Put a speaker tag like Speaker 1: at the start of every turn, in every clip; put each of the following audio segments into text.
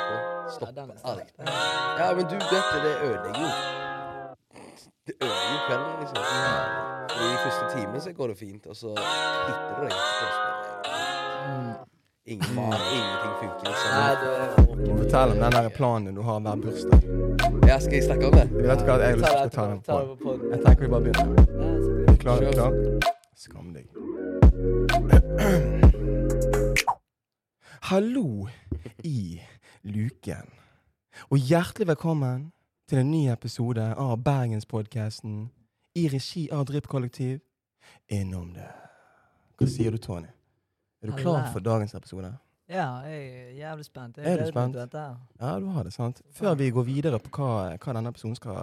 Speaker 1: Ja,
Speaker 2: stopper
Speaker 1: den er sterk.
Speaker 2: alt. Ja, men du vet det, det ødelegger jo Det ødelegger jo kvelden, liksom. Fordi I første time så går det fint, og så hitter du deg etterpå. så bare- Ingen mat, ingenting funker,
Speaker 1: Mm. Nei,
Speaker 2: liksom.
Speaker 1: du
Speaker 3: Fortell om den der planen du har hver bursdag.
Speaker 2: Ja, skal jeg snakke om det?
Speaker 3: Vet du hva jeg har
Speaker 1: Ta
Speaker 3: lyst til
Speaker 1: det
Speaker 3: å ta den
Speaker 1: etterpå. Ta det
Speaker 3: på?
Speaker 1: på podden.
Speaker 3: Jeg tenker vi bare begynner.
Speaker 1: Ja, så-
Speaker 3: Klar,
Speaker 2: Kjør.
Speaker 3: klar. Skam deg. Hallo i luken. Og hjertelig velkommen til en ny episode av Bergenspodkasten i regi av Drypp Kollektiv. Innom det. Hva sier du, Tony? Er du klar
Speaker 1: Hallo.
Speaker 3: for dagens episode?
Speaker 1: Ja, jeg er jævlig spent. Jeg
Speaker 3: Er du
Speaker 1: gleder meg
Speaker 3: spent?
Speaker 1: til dette her.
Speaker 3: Ja, du har det, sant? Før vi går videre på hva, hva denne episoden skal,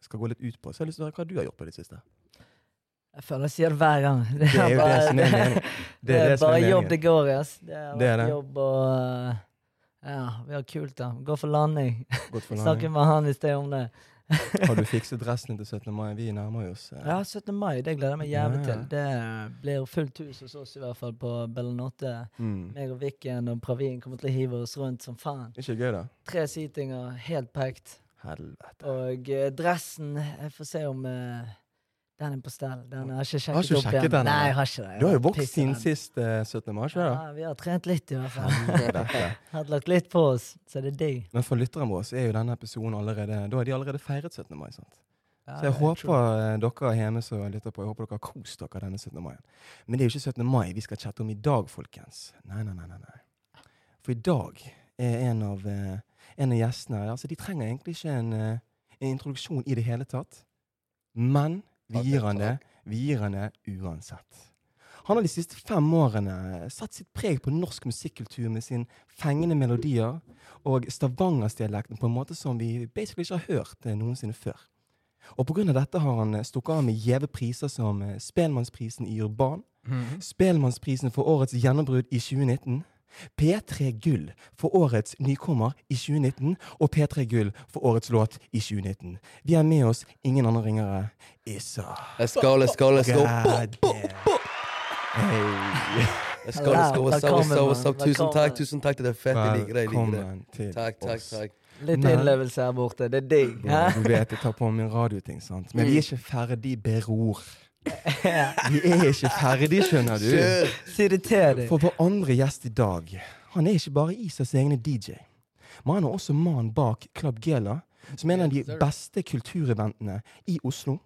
Speaker 3: skal gå litt ut på, så har jeg lyst til å høre hva du har gjort på det siste.
Speaker 1: Jeg føler jeg sier det hver gang. Det
Speaker 3: er jo det
Speaker 1: bare-
Speaker 3: som er meningen.
Speaker 1: Det er,
Speaker 3: som er
Speaker 1: bare jobb
Speaker 3: meningen.
Speaker 1: det går i, ass. Det er,
Speaker 3: Det er det.
Speaker 1: jobb og eh, Ja, vi har kult, da. Gå for landing.
Speaker 3: Godt for
Speaker 1: Snakket med han i sted om det.
Speaker 3: Har du fikset dressen til 17. mai? Vi nærmer oss. eh,
Speaker 1: Ja, 17. mai, det gleder jeg meg jævlig
Speaker 3: Ja, ja.
Speaker 1: til. Det blir fullt hus hos oss, i hvert fall, på Bellanotte.
Speaker 3: Mm.
Speaker 1: Meg og Viken og Pravin kommer til å hive oss rundt som faen.
Speaker 3: Ikke gøy, da?
Speaker 1: Tre seatinger, helt packed.
Speaker 3: Helvete.
Speaker 1: Og eh, dressen Jeg får se om eh, den er på stell. Den har jeg ikke
Speaker 3: Har ikke
Speaker 1: sjekket opp
Speaker 3: sjekket
Speaker 1: igjen.
Speaker 3: den,
Speaker 1: Nei,
Speaker 3: eller?
Speaker 1: jeg har ikke det. Jeg
Speaker 3: Du har jo
Speaker 1: var
Speaker 3: vokst
Speaker 1: piss i
Speaker 3: siden
Speaker 1: den.
Speaker 3: sist eh, 17. mai, ikke
Speaker 1: Ja, vi har trent litt, i hvert fall.
Speaker 3: det? da?
Speaker 1: Hatt lagt litt på oss, så det er digg.
Speaker 3: Men for lytterne våre så er jo denne episoden allerede Da har de allerede feiret 17. mai. sant?
Speaker 1: Ja,
Speaker 3: Så jeg
Speaker 1: det er
Speaker 3: håper
Speaker 1: true.
Speaker 3: eh, dere hjemme som lytter på, jeg håper dere har kost dere denne 17. mai. Men det er jo ikke 17. mai vi skal chatte om i dag, folkens. Nei, nei, nei. nei, nei. For i dag er en av, eh, en av gjestene her altså De trenger egentlig ikke en, eh, en introduksjon i det hele tatt. Men vi
Speaker 2: Takk,
Speaker 3: gir han det.
Speaker 2: takk.
Speaker 3: Vi gir han det uansett. Han har de siste fem årene eh, satt sitt preg på norsk musikkultur med sin fengende melodier og stavangersdialekten på en måte som vi basically ikke har hørt eh, noensinne før. Og pga. dette har han eh, stukket av med gjeve priser som eh, Spelmannsprisen i Urban, Spelmannsprisen for årets gjennombrudd i 2019, P3 Gull for årets nykommer i 2019 og P3 Gull for årets låt i 2019. Vi har med oss ingen andre ringere. Issa.
Speaker 2: Let's go, let's go, let's go.
Speaker 3: God damn. Hey.
Speaker 2: Let's go, let's go, what's up, what's up, what's up. Tusen
Speaker 1: Velkommen.
Speaker 2: takk, tusen takk. Det er fett. Jeg liker det. jeg liker det.
Speaker 3: Velkommen til
Speaker 2: Takk, takk,
Speaker 3: oss.
Speaker 2: takk.
Speaker 1: Litt
Speaker 3: Men-
Speaker 1: innlevelse her borte. Det er digg.
Speaker 3: Bro,
Speaker 1: hæ?
Speaker 3: Du vet jeg tar på min radioting, sant? Men vi er ikke ferdig, beror.
Speaker 1: Ja.
Speaker 3: Vi er ikke ferdig, skjønner du.
Speaker 2: Kjør!
Speaker 1: Si det til deg.
Speaker 3: For vår andre gjest i dag, han er ikke bare Isas egne DJ. Men han er også mannen bak Club Gela, som er en av de
Speaker 2: Yes, sir.
Speaker 3: beste kultureventene i Oslo.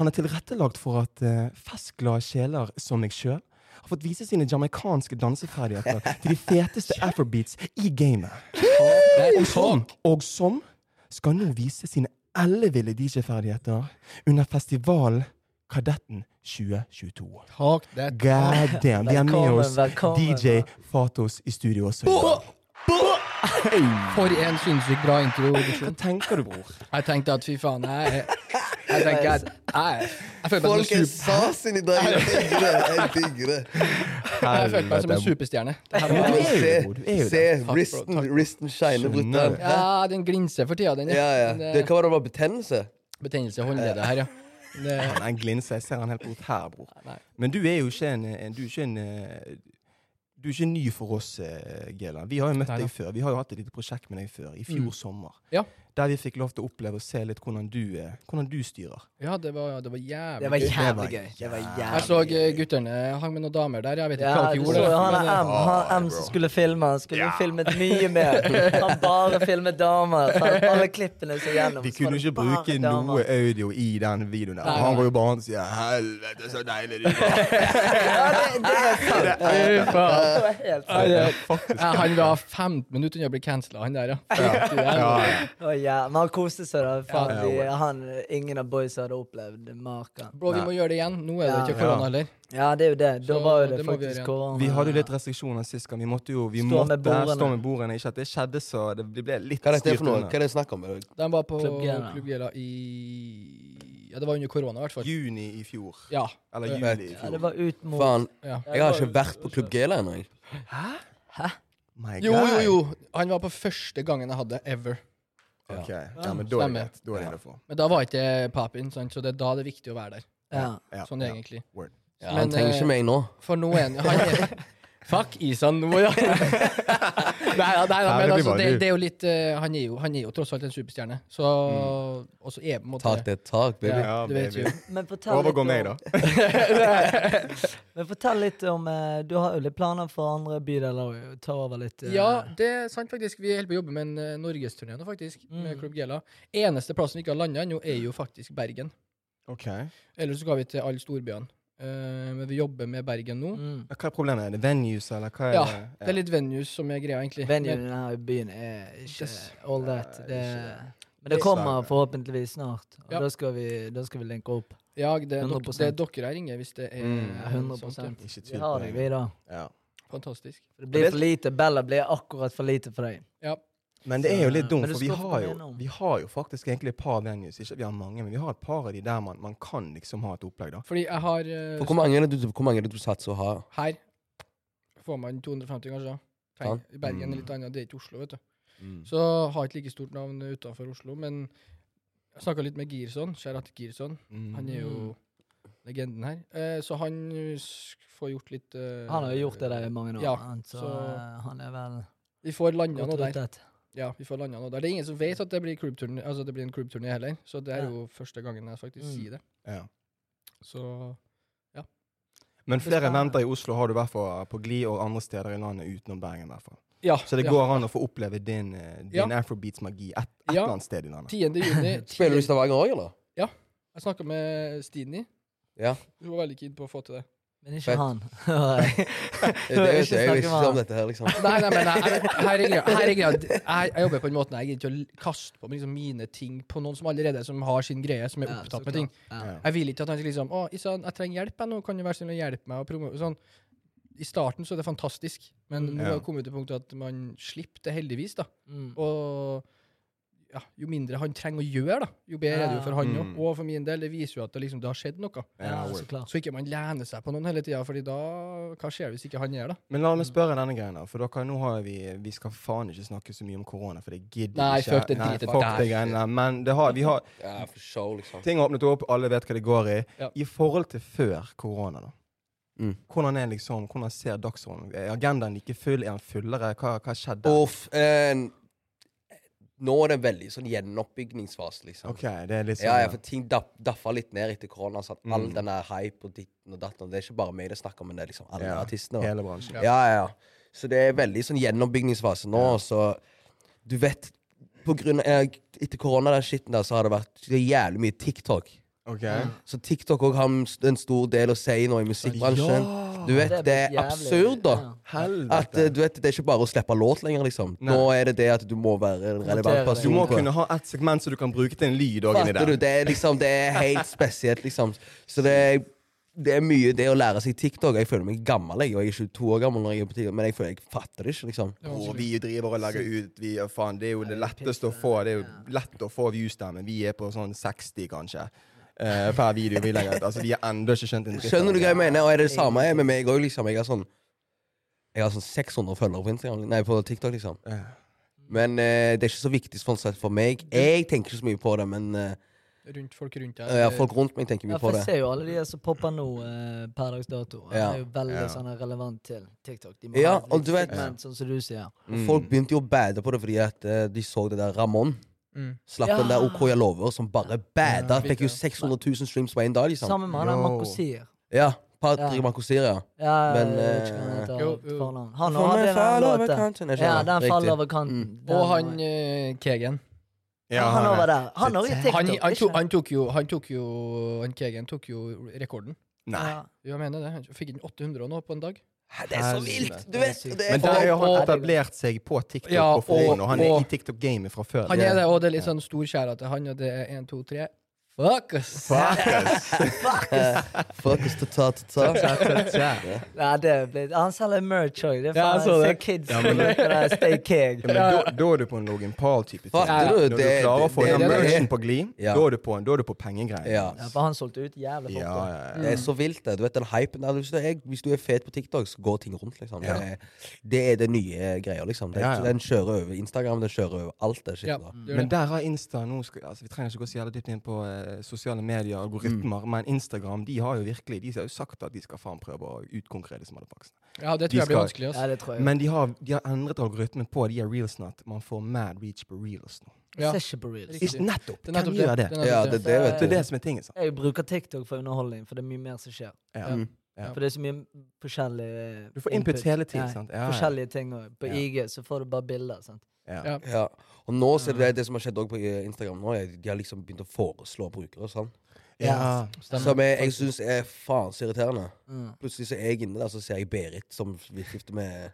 Speaker 3: Han er tilrettelagt for at eh, festglade sjeler som meg sjøl har fått vise sine jamaicanske danseferdigheter til de feteste afrobeats i gamet. Og som, og som skal nå vise sine elleville DJ-ferdigheter under festivalen Kadetten 2022.
Speaker 4: Talk that
Speaker 3: God damn. Vi har med
Speaker 1: Velkommen,
Speaker 3: oss
Speaker 1: velkommen.
Speaker 3: DJ Fatos i studio også. i dag.
Speaker 4: For en sinnssykt bra
Speaker 3: Hva
Speaker 4: introduksjon.
Speaker 3: tenker du, bror?
Speaker 4: Jeg tenkte at fy faen, jeg Jeg tenker at jeg, jeg føler meg
Speaker 2: Folk
Speaker 4: som
Speaker 2: er
Speaker 4: en super-
Speaker 2: sasin i dag. Jeg digger det. Jeg digger det.
Speaker 4: jeg følte meg som en superstjerne. Det her
Speaker 3: Ja,
Speaker 4: var-
Speaker 3: du er jo
Speaker 2: Se,
Speaker 3: det, bror. Du er jo
Speaker 2: se
Speaker 3: det.
Speaker 4: bro,
Speaker 2: wristen,
Speaker 4: takk, bro.
Speaker 2: wristen shiner,
Speaker 3: Skjønner
Speaker 2: brutter'n.
Speaker 3: det.
Speaker 4: Ja, den glinser for tida, den.
Speaker 2: Ja, ja.
Speaker 4: Den,
Speaker 2: Det,
Speaker 4: eh,
Speaker 2: hva var det, var betennelse?
Speaker 4: Betennelse i håndleddet her, ja. eh, Det,
Speaker 3: Han er en glinse. Jeg ser han helt bort her, bror.
Speaker 4: nei.
Speaker 3: Men du er jo ikke en, en, du er ikke en eh, du er ikke ny for oss, eh, Gela. Vi har jo møtt
Speaker 4: Neida.
Speaker 3: deg før. Vi har jo hatt et lite prosjekt med deg før, i fjor sommer.
Speaker 4: Ja.
Speaker 3: Der vi fikk lov til å oppleve og se litt hvordan du, eh, hvordan du styrer.
Speaker 4: ja, det var,
Speaker 1: Det
Speaker 4: det var
Speaker 1: var
Speaker 4: jævlig gøy.
Speaker 1: jævlig
Speaker 3: var
Speaker 1: gøy. Det var
Speaker 4: Jeg så
Speaker 1: jævlig gøy.
Speaker 4: eh, guttene hang med noen damer der. Jeg vet ikke
Speaker 1: Ja,
Speaker 4: hva dere
Speaker 1: du
Speaker 4: gjorde.
Speaker 1: så jo han er
Speaker 4: men,
Speaker 1: M, han M som skulle filme. Han skulle jo filmet mye mer. Han bare filmet damer. faen, Alle klippene så gjennom.
Speaker 3: Vi
Speaker 1: så var
Speaker 3: kunne
Speaker 1: det
Speaker 3: ikke
Speaker 1: bare
Speaker 3: bruke
Speaker 1: damer.
Speaker 3: noe audio i den videoen der.
Speaker 4: Nei,
Speaker 3: Han
Speaker 4: nei.
Speaker 3: går jo bare rundt og sier 'helvete, så deilig du var'.
Speaker 1: Ja, det, det er sant.
Speaker 4: eh, fy faen.
Speaker 1: Det var helt sant.
Speaker 4: Nei, det- Ja, han var 15 minutter unna å bli cancela, han der, ja. Fy faen.
Speaker 1: Å, ja. Men han koste seg, da. Faen,
Speaker 3: Ja,
Speaker 1: de, han, ingen av boysa hadde opplevd maken.
Speaker 4: Bro, vi må gjøre det igjen. Nå er det ikke
Speaker 3: Ja.
Speaker 4: korona heller.
Speaker 1: Ja, det er jo det. Da
Speaker 4: Så
Speaker 1: var jo det,
Speaker 4: det må vi gjøre
Speaker 1: faktisk
Speaker 4: igjen.
Speaker 1: korona.
Speaker 3: Vi hadde jo litt restriksjoner sist gang. Vi måtte jo vi
Speaker 1: Stå
Speaker 3: måtte,
Speaker 1: med bordene.
Speaker 3: stå med bordene. Ikke at det skjedde, så det det ble litt
Speaker 2: Hva er dette
Speaker 3: styrt
Speaker 2: for noe?
Speaker 3: unna.
Speaker 2: Hva er det jeg snakker om?
Speaker 4: De var på
Speaker 1: Club Gela.
Speaker 4: Club Gela i Ja, det var under korona, i hvert fall.
Speaker 3: Juni i fjor.
Speaker 4: Ja.
Speaker 3: Eller
Speaker 4: Ja.
Speaker 3: juli i
Speaker 1: Ja,
Speaker 3: fjor.
Speaker 1: det var ut mot
Speaker 2: Faen,
Speaker 4: ja.
Speaker 2: jeg har ikke vært på Klubb Gela ennå. jeg.
Speaker 3: My
Speaker 4: Jo,
Speaker 3: God.
Speaker 4: jo, jo. Han var på første gangen jeg hadde ever.
Speaker 3: Ok, ja, men da er det
Speaker 4: Stemmer.
Speaker 3: greit. Da er det å få.
Speaker 4: Men da var ikke papin, sant? så det er da det er viktig å være der.
Speaker 1: Ja.
Speaker 3: Ja,
Speaker 4: Sånn
Speaker 3: ja.
Speaker 4: egentlig.
Speaker 3: Word.
Speaker 2: Han
Speaker 4: Men,
Speaker 2: trenger
Speaker 4: eh,
Speaker 2: ikke meg nå.
Speaker 4: For nå er han, han er, Fuck Isan nå, ja! nei da, nei, da
Speaker 5: Nei,
Speaker 4: men
Speaker 5: det blir
Speaker 4: altså,
Speaker 5: bare
Speaker 4: det,
Speaker 5: du.
Speaker 4: det er jo litt eh, han, er jo, han er jo tross alt en superstjerne, så Og så er på en måte
Speaker 2: Tak det er tak, baby.
Speaker 4: Ja,
Speaker 5: Ja,
Speaker 4: du vet
Speaker 5: baby.
Speaker 4: jo.
Speaker 1: Men fortell
Speaker 5: Overgå meg,
Speaker 1: litt om,
Speaker 5: da.
Speaker 1: men fortell litt om eh, Du har jo litt planer for andre bydeler å ta over litt eh,
Speaker 4: Ja, det er sant, faktisk. Vi er helt på jobb med en eh, norgesturné nå, faktisk, med Klubb Gela. Eneste plassen vi ikke har landa ennå, er jo faktisk Bergen.
Speaker 3: Ok. Ja,
Speaker 4: Ellers så skal vi til alle storbyene. Eh, men vi jobber med Bergen nå.
Speaker 1: Mm.
Speaker 3: Hva er problemet? Er det venues, eller hva er
Speaker 4: Ja,
Speaker 3: det?
Speaker 4: Det er litt venues som er greia, egentlig.
Speaker 1: Venuen
Speaker 4: Men-
Speaker 1: her i byen er ikke
Speaker 4: Dess-
Speaker 1: all that.
Speaker 3: Nei,
Speaker 1: Det,
Speaker 3: ikke
Speaker 1: men det kommer forhåpentligvis snart, og
Speaker 4: Ja.
Speaker 1: da, skal vi, da skal vi linke opp.
Speaker 4: ja, det er, dok-
Speaker 1: 100%.
Speaker 4: det er dere jeg ringer hvis det er
Speaker 3: Mm.
Speaker 4: eh,
Speaker 1: 100
Speaker 4: sånt, ja.
Speaker 3: Ikke
Speaker 1: Vi
Speaker 3: tvil på
Speaker 1: har deg, vi,
Speaker 3: det.
Speaker 1: da.
Speaker 3: Ja.
Speaker 4: Fantastisk.
Speaker 1: Det
Speaker 3: Og
Speaker 1: blir
Speaker 3: det-
Speaker 1: for lite. Bella blir akkurat for lite for deg.
Speaker 4: Ja.
Speaker 3: Men det er jo litt dumt,
Speaker 1: Men det
Speaker 3: for vi
Speaker 1: står på
Speaker 3: har, jo,
Speaker 1: arenaen.
Speaker 3: vi har jo faktisk egentlig et par venues. Ikke at vi har mange, men vi har et par av de der man, man kan liksom ha et opplegg, da.
Speaker 4: Fordi jeg har eh,
Speaker 2: For hvor mange er det du, hvor mange er det du satser å ha?
Speaker 4: Her får man 250, kanskje. da.
Speaker 2: Ja.
Speaker 4: Tenk, Bergen
Speaker 2: Mm.
Speaker 4: er litt annet, det er ikke Oslo, vet du.
Speaker 2: Mm.
Speaker 4: Så har ikke like stort navn utenfor Oslo, men jeg snakka litt med Girson, Sherat Girson.
Speaker 3: Mm.
Speaker 4: Han er jo
Speaker 1: Mm.
Speaker 4: legenden her. Eh, så han eh, s- får gjort litt eh,
Speaker 1: Han har jo gjort det der i mange år,
Speaker 4: Ja,
Speaker 1: han, så,
Speaker 4: så-
Speaker 1: eh, han er vel
Speaker 4: Vi får landa
Speaker 1: godt
Speaker 4: noe der.
Speaker 1: rutet.
Speaker 4: Ja, vi får landa noe der. Det er ingen som vet at det blir, klubbturné- altså det blir en klubbturné heller, så det er
Speaker 1: Ja.
Speaker 4: jo første gangen jeg faktisk
Speaker 1: Mm.
Speaker 4: sier det.
Speaker 3: Ja.
Speaker 4: Så
Speaker 3: Men flere
Speaker 1: Spennende.
Speaker 3: eventer i Oslo har du i hvert fall på Gli og andre steder i landet utenom Bergen. i hvert fall.
Speaker 4: ja.
Speaker 3: Så det
Speaker 4: ja.
Speaker 3: går an å få oppleve din, eh, din afrobeats-magi et, et
Speaker 4: Ja.
Speaker 3: eller annet sted i landet.
Speaker 4: 10. juni.
Speaker 2: Spiller du i
Speaker 4: 10.
Speaker 2: Stavanger òg, eller?
Speaker 4: Jeg snakka med Stini.
Speaker 2: Ja.
Speaker 4: Hun var veldig keen på å få til det.
Speaker 1: Men ikke
Speaker 2: Fett.
Speaker 1: han.
Speaker 2: Det, det,
Speaker 1: Ikke
Speaker 2: det er jo
Speaker 1: snakke
Speaker 2: ikke
Speaker 1: med
Speaker 2: sånn
Speaker 1: han.
Speaker 2: dette her, liksom.
Speaker 4: Nei, nei, men jeg, jeg, her er greia- her er greia. Jeg, jeg jobber på den måten. Jeg gidder ikke å l- kaste på meg liksom mine ting på noen som allerede som har sin greie, som er
Speaker 1: Ja, så
Speaker 4: opptatt med
Speaker 1: klart.
Speaker 4: ting.
Speaker 1: Ja.
Speaker 4: Jeg vil ikke at han skal liksom Å, Isan, jeg trenger hjelp, jeg nå. Kan du være så snill å hjelpe meg? Og promo-» sånn. I starten så er det fantastisk, men
Speaker 1: Mm.
Speaker 4: nå har
Speaker 3: Ja.
Speaker 4: vi kommet til punktet at man slipper det, heldigvis. da.
Speaker 1: Mm.
Speaker 4: Og ja, jo mindre han trenger å gjøre, da, jo bedre er det jo for han òg.
Speaker 3: Mm.
Speaker 4: Og for min del, det viser jo at det, liksom, det har skjedd noe.
Speaker 1: Ja,
Speaker 3: word.
Speaker 1: så klart.
Speaker 4: Så ikke man lener seg på noen hele tida, Fordi da Hva skjer hvis ikke han gjør det?
Speaker 3: Men la meg spørre denne greia, da, for dere, nå har vi, vi skal faen ikke snakke så mye om korona, for det gidder vi
Speaker 4: Nei,
Speaker 3: ikke.
Speaker 4: fuck det dritet
Speaker 3: fuck
Speaker 4: der.
Speaker 3: det greiene der. Men det har, vi har,
Speaker 2: Ja, for show, liksom.
Speaker 3: ting har åpnet opp, alle vet hva det går i.
Speaker 4: Ja.
Speaker 3: I forhold til før korona, da.
Speaker 2: Mm.
Speaker 3: Hvordan er liksom, hvordan ser dagsordenen Er agendaen like full? Er den fullere? Hva, hva skjedde?
Speaker 2: Uff, eh, nå er det en veldig sånn gjenoppbyggingsfase, liksom.
Speaker 3: OK, det er litt sånn
Speaker 2: Ja, ja, for ting daff, daffa litt ned etter korona. Sånn. at All
Speaker 3: Mm.
Speaker 2: den der hype og ditten og datten. Det er ikke bare meg det er snakk om, men det er liksom alle
Speaker 3: Ja.
Speaker 2: artistene. da.
Speaker 3: hele bransjen.
Speaker 4: Ja.
Speaker 2: Ja, ja, ja. Så det er veldig sånn gjenoppbyggingsfase nå, så du vet på grunn av, eh, Etter korona den skitten der, så har det vært det er jævlig mye TikTok.
Speaker 3: OK?
Speaker 2: Så TikTok òg har en s- en stor del å si nå i musikkbransjen. Du vet, det er
Speaker 1: jævlig-
Speaker 2: absurd, da.
Speaker 1: Ja.
Speaker 2: At
Speaker 3: Helvete.
Speaker 2: eh, du vet, Det er ikke bare å slippe låt lenger, liksom.
Speaker 3: Nei.
Speaker 2: Nå er det det at du må være en relevant
Speaker 1: Notere det.
Speaker 2: person.
Speaker 3: Du må
Speaker 2: på-
Speaker 3: kunne ha ett segment som du kan bruke til en lyd òg inni
Speaker 2: Fatter du?
Speaker 3: der.
Speaker 2: Det er liksom, det er helt spesielt, liksom. Så det er, det er mye det å lære seg TikTok. Jeg føler meg gammel, jeg. Og jeg er 22 år gammel når jeg er på TikTok, men jeg føler jeg fatter det ikke, liksom.
Speaker 4: Det er
Speaker 3: Bror,
Speaker 4: vanskelig.
Speaker 3: vi driver og legger ut vi, ja, faen, Det er jo det letteste å få. Det er jo lett å få views der, men vi er på sånn 60, kanskje, eh, per video vi legger ut. Altså, vi har ennå ikke skjønt en dritt. av
Speaker 2: Skjønner du
Speaker 3: det.
Speaker 2: hva jeg mener? Og er det det samme med meg òg, liksom. Jeg har sånn jeg har sånn 600 følgere på Instagram Nei, på TikTok, liksom.
Speaker 3: Ja.
Speaker 1: Mm.
Speaker 2: Men eh, det er ikke så viktig sånn sett for meg. Jeg tenker ikke så mye på det, men eh,
Speaker 4: Rundt folk rundt deg.
Speaker 2: ja, folk rundt meg tenker
Speaker 1: eh, Ja,
Speaker 2: mye på
Speaker 1: for
Speaker 2: det.
Speaker 1: jeg ser jo alle de der som popper nå eh, per dags dato. Det
Speaker 2: Ja.
Speaker 1: er jo veldig
Speaker 3: Ja.
Speaker 1: sånn relevant til TikTok. De må
Speaker 2: Ja,
Speaker 1: ha et
Speaker 2: og
Speaker 1: litt
Speaker 2: du vet-
Speaker 1: segment, sånn som du sier.
Speaker 2: Og Mm. folk begynte jo å bade på det fordi at eh, de så det der Ramón.
Speaker 4: Mm.
Speaker 2: Slapp den der OK, jeg lover, som bare bada. Fikk jo 600 000 streams på én dag, liksom.
Speaker 1: Sammen med han der
Speaker 3: Yo.
Speaker 1: Makosir.
Speaker 2: Ja. Patrick
Speaker 1: Ja.
Speaker 2: Marcosir, ja.
Speaker 1: Ja,
Speaker 2: Men,
Speaker 1: jeg vet ikke hva han
Speaker 2: eh,
Speaker 1: heter,
Speaker 4: Jo,
Speaker 1: alt
Speaker 4: jo.
Speaker 1: fornavn. Han
Speaker 2: For
Speaker 1: hadde
Speaker 2: meg
Speaker 1: den her
Speaker 2: faller over
Speaker 1: låten.
Speaker 2: kanten. Jeg
Speaker 1: Ja,
Speaker 2: skjønner.
Speaker 1: den
Speaker 2: Riktig. Mm.
Speaker 1: faller over kanten. Den
Speaker 4: Og han
Speaker 1: var-
Speaker 4: eh, Kegen.
Speaker 3: Ja,
Speaker 1: han
Speaker 3: han
Speaker 1: over
Speaker 3: er-
Speaker 1: der. Han har jo TikTok.
Speaker 4: Han, han, to,
Speaker 1: ikke?
Speaker 4: han tok jo Han tok jo Han Kegen tok jo rekorden.
Speaker 3: Nei.
Speaker 1: Ja.
Speaker 4: Jo, Jeg mener det. Han fikk inn 800 nå på en dag.
Speaker 2: Hæ, Det er så vilt! Du vet! Det
Speaker 3: Men
Speaker 2: er
Speaker 3: der har han
Speaker 4: og-
Speaker 3: etablert seg på TikTok
Speaker 4: Ja,
Speaker 3: på forhånd,
Speaker 4: og-
Speaker 3: og han er i
Speaker 4: og-
Speaker 3: TikTok-gamet fra før.
Speaker 4: Han er det, og det er litt sånn stor skjæra til han, og det er 1, 2, 3 Fuck, ass!
Speaker 2: Fuckings ta-ta-ta.
Speaker 3: Ja,
Speaker 1: Nei, det er blitt Han selger merch òg. Det er
Speaker 4: Ja,
Speaker 1: faen
Speaker 4: jeg så
Speaker 1: jeg ser
Speaker 4: det.
Speaker 1: kids som liker det der Stay Keg.
Speaker 3: men da, da er du på en Logan Paul-type ting.
Speaker 2: Fatter du?
Speaker 3: Når du
Speaker 2: Det-
Speaker 3: klarer å få
Speaker 2: det-
Speaker 3: den
Speaker 4: det- det-
Speaker 3: merchen på glid,
Speaker 2: Ja.
Speaker 3: da er du på, da er du på pengegreier.
Speaker 2: Ja.
Speaker 1: Ja, for han solgte ut jævlig fort.
Speaker 3: Ja,
Speaker 1: da.
Speaker 3: ja, ja.
Speaker 2: Det er så vilt, det. Du vet den hypen der. Hvis du er, hvis du er fet på TikTok, så går ting rundt, liksom.
Speaker 3: Ja.
Speaker 2: Det, er- det er det nye greia, liksom. Den,
Speaker 3: Ja, ja.
Speaker 2: den kjører over Instagram, den kjører over alt det shit
Speaker 4: Ja,
Speaker 2: der.
Speaker 4: gjør
Speaker 3: Men
Speaker 4: det.
Speaker 3: der har Insta nå skal, altså, Vi trenger ikke gå så jævlig dypt inn på eh, eh, sosiale medier, algoritmer, men Instagram de har jo virkelig, de har jo sagt at de skal faen prøve å utkonkurrere disse motherfuckers.
Speaker 4: Ja, det
Speaker 3: De
Speaker 4: tror jeg blir
Speaker 3: skal-
Speaker 4: vanskelig. ass.
Speaker 1: Ja, det tror jeg.
Speaker 3: Men de har, de har endret algoritmen på de her reelsene at man får mad reach på reels nå.
Speaker 4: Ja.
Speaker 1: Ser ikke på reels.
Speaker 4: Riktig.
Speaker 3: Is- Nettopp!
Speaker 4: Det er
Speaker 3: Hvem
Speaker 4: nettopp
Speaker 3: gjør det?
Speaker 4: det. er
Speaker 2: Ja,
Speaker 4: nettopp
Speaker 2: det
Speaker 4: det.
Speaker 2: er det,
Speaker 3: Det
Speaker 2: vet
Speaker 3: er
Speaker 2: du.
Speaker 3: det som er tingen. sant?
Speaker 1: Jeg bruker TikTok for underholdning, for det er mye mer som skjer.
Speaker 3: Ja. Mm.
Speaker 4: Ja.
Speaker 3: Ja.
Speaker 1: For det er så mye forskjellig eh,
Speaker 3: Du får input hele tiden.
Speaker 1: Ja,
Speaker 3: sant? Ja, ja.
Speaker 1: Forskjellige ting. Og på
Speaker 3: Ja.
Speaker 1: IG så får du bare bilder. sant?
Speaker 3: Ja.
Speaker 4: Ja.
Speaker 2: Ja. Og nå ser du
Speaker 4: Mm.
Speaker 2: det, det som har skjedd også på eh, Instagram nå, er de har liksom begynt å foreslå brukere. og sånn.
Speaker 3: Ja.
Speaker 4: Stemmer.
Speaker 2: Som jeg, jeg syns er faen så irriterende.
Speaker 1: Mm.
Speaker 2: Plutselig så er jeg inne der, så ser jeg Berit som vi skifter med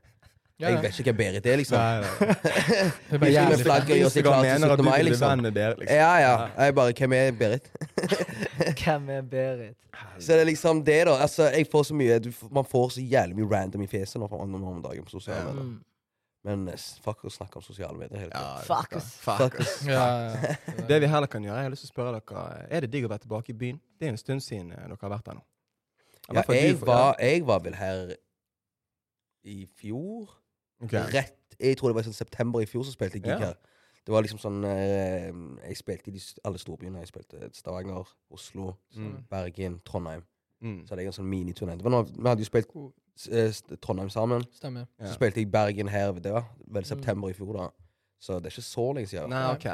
Speaker 4: Ja,
Speaker 2: Jeg
Speaker 4: ja.
Speaker 2: vet ikke hvem Berit er, liksom.
Speaker 3: Nei, nei.
Speaker 4: Det er bare
Speaker 2: Vi
Speaker 4: jævlig.
Speaker 2: med flagget og gjør seg
Speaker 3: Instagram
Speaker 2: klar til
Speaker 3: mener
Speaker 2: 17.
Speaker 3: at du
Speaker 2: mai,
Speaker 3: vil bli
Speaker 2: liksom.
Speaker 3: venn med dere. liksom.
Speaker 2: Ja, ja. Jeg bare Hvem er Berit?
Speaker 1: Hvem er Berit?
Speaker 2: Så det er liksom det, da. Altså, jeg får så mye du, f- Man får så jævlig mye random i fjeset nå fra andre om dagen på sosiale medier.
Speaker 1: Mm.
Speaker 2: Men eh, s- fuck å snakke om sosiale medier hele tiden.
Speaker 1: Fuck us.
Speaker 2: Fuck us.
Speaker 4: Ja, ja, ja.
Speaker 3: Det vi heller kan gjøre, jeg har lyst til å spørre dere Er det digg å være tilbake i byen? Det er en stund siden eh, dere har vært der nå. I
Speaker 2: Ja,
Speaker 3: hvert fall du
Speaker 2: jeg
Speaker 3: får-
Speaker 2: var, jeg var vel her i fjor.
Speaker 3: ja. Ok.
Speaker 2: Rett Jeg tror det var i sånn september i fjor så spilte jeg gig
Speaker 3: Ja.
Speaker 2: her. Det var liksom sånn eh, Jeg spilte i de, s- alle storbyene. Jeg spilte Stavanger, Oslo,
Speaker 3: Mm.
Speaker 2: Bergen, Trondheim.
Speaker 3: Mm.
Speaker 2: Så hadde jeg en sånn miniturné. Det var nå- Vi hadde jo spilt eh, s- Trondheim sammen.
Speaker 4: Stemmer.
Speaker 3: Ja.
Speaker 2: Så spilte jeg Bergen her. Det var vel september i fjor, da. Så det er ikke så lenge siden.
Speaker 3: Nei, OK.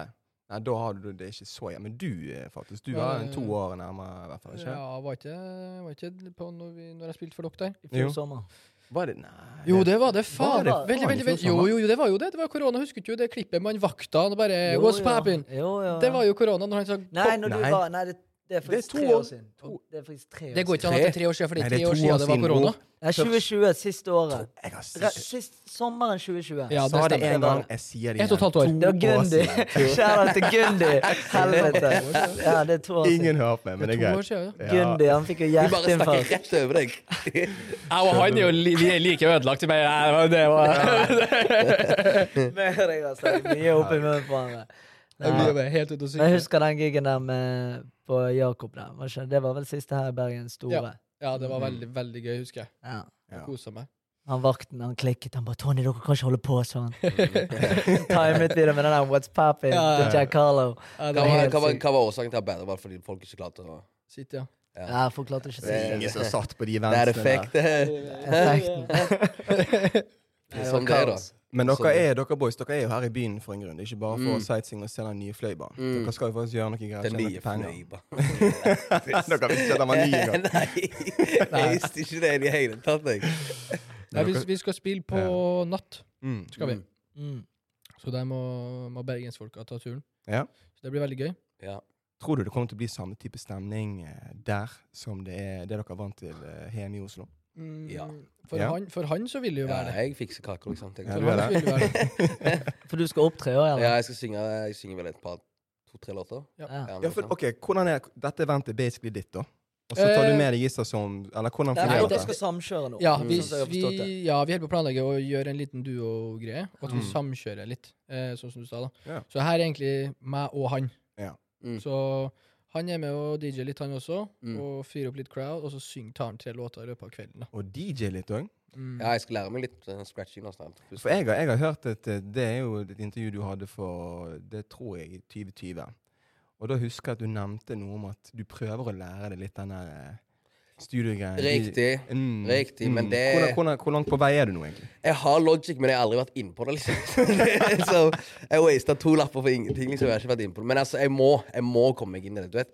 Speaker 3: Nei, da har du det ikke så jævlig. Men du, eh, faktisk. Du
Speaker 4: Ja,
Speaker 3: var
Speaker 4: ja, ja.
Speaker 3: to år nærmere, i hvert fall.
Speaker 4: Ja,
Speaker 3: ikke?
Speaker 4: var ikke, var ikke på når, vi, når jeg spilte for dere der?
Speaker 1: I fjor
Speaker 3: Jo.
Speaker 1: sommer.
Speaker 3: Var det Nei.
Speaker 4: Jo, det var det.
Speaker 1: Var
Speaker 4: Faen.
Speaker 1: det?
Speaker 3: Faen,
Speaker 4: Veldig, veldig,
Speaker 3: i fjor
Speaker 4: veldig. Jo,
Speaker 3: sommer.
Speaker 4: jo, jo, det var jo det. Det var korona. Husker ikke du det klippet med han vakta? Han bare
Speaker 1: Jo,
Speaker 4: Eh, What's
Speaker 1: ja.
Speaker 4: poppin'?
Speaker 1: Jo, ja.
Speaker 4: Det var jo korona når han sa
Speaker 1: Nei, når du
Speaker 3: Nei.
Speaker 1: var Nei, det, det er
Speaker 3: Det er
Speaker 1: faktisk
Speaker 3: to
Speaker 1: tre
Speaker 3: år-
Speaker 1: år siden.
Speaker 3: to-
Speaker 1: Det er faktisk tre år
Speaker 4: Det går ikke an at det er tre år siden, for
Speaker 3: Nei,
Speaker 4: det er tre år siden det var
Speaker 3: siden,
Speaker 4: korona.
Speaker 3: bror.
Speaker 1: Ja, 2020, siste året.
Speaker 3: Jeg har
Speaker 1: Re
Speaker 3: s-
Speaker 1: sist, sommeren 2020.
Speaker 4: Ja,
Speaker 3: sa det
Speaker 4: stemmer.
Speaker 3: en
Speaker 1: var
Speaker 3: gang,
Speaker 1: det.
Speaker 3: jeg sier det
Speaker 4: Ett og et halvt år.
Speaker 3: igjen.
Speaker 1: Det var
Speaker 3: To år
Speaker 1: Gundi.
Speaker 3: siden.
Speaker 1: Kjære til Gundi. Helvete. Ja, det er to år siden.
Speaker 3: Ingen hører på meg, men det
Speaker 4: Det
Speaker 3: er
Speaker 4: er to år
Speaker 3: greit.
Speaker 4: siden, ja.
Speaker 3: Ja.
Speaker 1: Gundi, han fikk jo
Speaker 2: Vi bare snakker
Speaker 1: hjerteinfarkt.
Speaker 2: rett over deg.
Speaker 4: Jeg og han er jo li- vi er like ødelagt. Men nei, det var- det var
Speaker 1: Med deg, altså. Mye oppi munnen på han.
Speaker 4: Vi
Speaker 1: Nei.
Speaker 4: er bare helt ute
Speaker 1: Men
Speaker 4: og
Speaker 1: jeg
Speaker 4: sykle.
Speaker 1: husker den gigen der med, på Jakob der. Var ikke, det var vel siste her i Bergen Store.
Speaker 4: Ja, det var veldig, veldig gøy, husker jeg.
Speaker 1: Ja.
Speaker 3: Mm. Ja.
Speaker 4: Kosa meg.
Speaker 1: Han vakten han klikket. Han bare 'Tony, dere kan ikke holde på sånn'. Timet videre med den der 'What's Poppin'
Speaker 4: Ja, ja.
Speaker 1: til Jack Carlo.
Speaker 4: Ja,
Speaker 2: Hva
Speaker 4: det var
Speaker 2: var,
Speaker 1: helt
Speaker 2: hva var,
Speaker 1: sykt.
Speaker 2: hva var årsaken til at bandet var fordi folk ikke klarte å
Speaker 4: Sitt, ja.
Speaker 1: Ja, folk klarte ikke å
Speaker 3: Det
Speaker 1: si
Speaker 3: er
Speaker 1: det.
Speaker 3: ingen som satt på de
Speaker 2: Det er
Speaker 3: vensene der.
Speaker 2: effekt. Det
Speaker 1: Effekten.
Speaker 2: er sånn det er, da.
Speaker 3: Men dere
Speaker 2: Sånn.
Speaker 3: er, dere boys, dere er jo her i byen for en grunn. Det er ikke bare for
Speaker 2: Mm.
Speaker 3: sightseeing og se den nye fløibanen.
Speaker 2: Mm.
Speaker 3: Dere skal jo faktisk gjøre noe greier.
Speaker 2: Den
Speaker 3: tjene
Speaker 2: nye
Speaker 3: litt penger.
Speaker 2: fløyba.
Speaker 3: dere visste ikke at den var ny engang.
Speaker 2: Nei, jeg visste ikke det i det hele tatt, jeg.
Speaker 4: Nei, vi, vi skal spille på natt,
Speaker 3: Mm.
Speaker 4: skal vi.
Speaker 1: Mm.
Speaker 4: Så der må, må bergensfolka ta turen.
Speaker 3: Ja.
Speaker 4: Så det blir veldig gøy.
Speaker 2: Ja.
Speaker 3: Tror du det kommer til å bli samme type stemning eh, der som det er det dere er vant til eh, hjemme i Oslo?
Speaker 4: Mm,
Speaker 2: Ja.
Speaker 4: For,
Speaker 3: Ja.
Speaker 4: Han, for han så vil det jo
Speaker 2: ja,
Speaker 4: være det.
Speaker 2: jeg fikser kaker, liksom. tenker
Speaker 3: Ja,
Speaker 2: jeg.
Speaker 4: For
Speaker 3: du er
Speaker 4: han
Speaker 3: det.
Speaker 4: vil jo være det.
Speaker 1: For du skal opptre òg,
Speaker 2: Ja,
Speaker 1: eller?
Speaker 2: jeg skal synge Jeg synger vel et par to-tre låter.
Speaker 1: Ja.
Speaker 2: Ja,
Speaker 3: Ja,
Speaker 2: noe
Speaker 3: for,
Speaker 2: sånt.
Speaker 3: ok, hvordan er, Dette eventet er basically ditt, da. Og så tar du med deg gisler som Eller hvordan
Speaker 1: Nei,
Speaker 3: fungerer
Speaker 1: dere
Speaker 3: Eh, det?
Speaker 1: skal samkjøre nå.
Speaker 4: Ja,
Speaker 1: sånn
Speaker 4: vi,
Speaker 1: som jeg har
Speaker 4: vi,
Speaker 1: forstått det.
Speaker 4: ja, vi holder på å planlegge å gjøre en liten duo-greie, og at vi
Speaker 3: Mm.
Speaker 4: samkjører litt, eh, sånn som du sa da.
Speaker 3: Ja.
Speaker 4: Så her er egentlig meg og han.
Speaker 3: Ja.
Speaker 2: Mm.
Speaker 4: Så han er med og DJ litt, han også,
Speaker 2: Mm.
Speaker 4: og fyrer opp litt crowd, og så syng, tar han tre låter i løpet av kvelden. da.
Speaker 3: Og DJ litt òg?
Speaker 4: Mm.
Speaker 2: Ja, jeg skal lære meg litt uh, scratching og sånt.
Speaker 3: For jeg har, jeg har hørt et eh, Det er jo et intervju du hadde for Det tror jeg i 2020. Og da husker jeg at du nevnte noe om at du prøver å lære deg litt den der eh, studiogreien.
Speaker 2: Riktig.
Speaker 3: Mm,
Speaker 2: Riktig, men det-
Speaker 3: hvordan, hvordan, Hvor langt på vei er du nå, egentlig?
Speaker 2: Jeg har logic, men jeg har aldri vært innpå det, liksom. så jeg wasta to lapper for ingenting. liksom, jeg har ikke vært innpå det. Men altså, jeg må jeg må komme meg inn i det. du vet.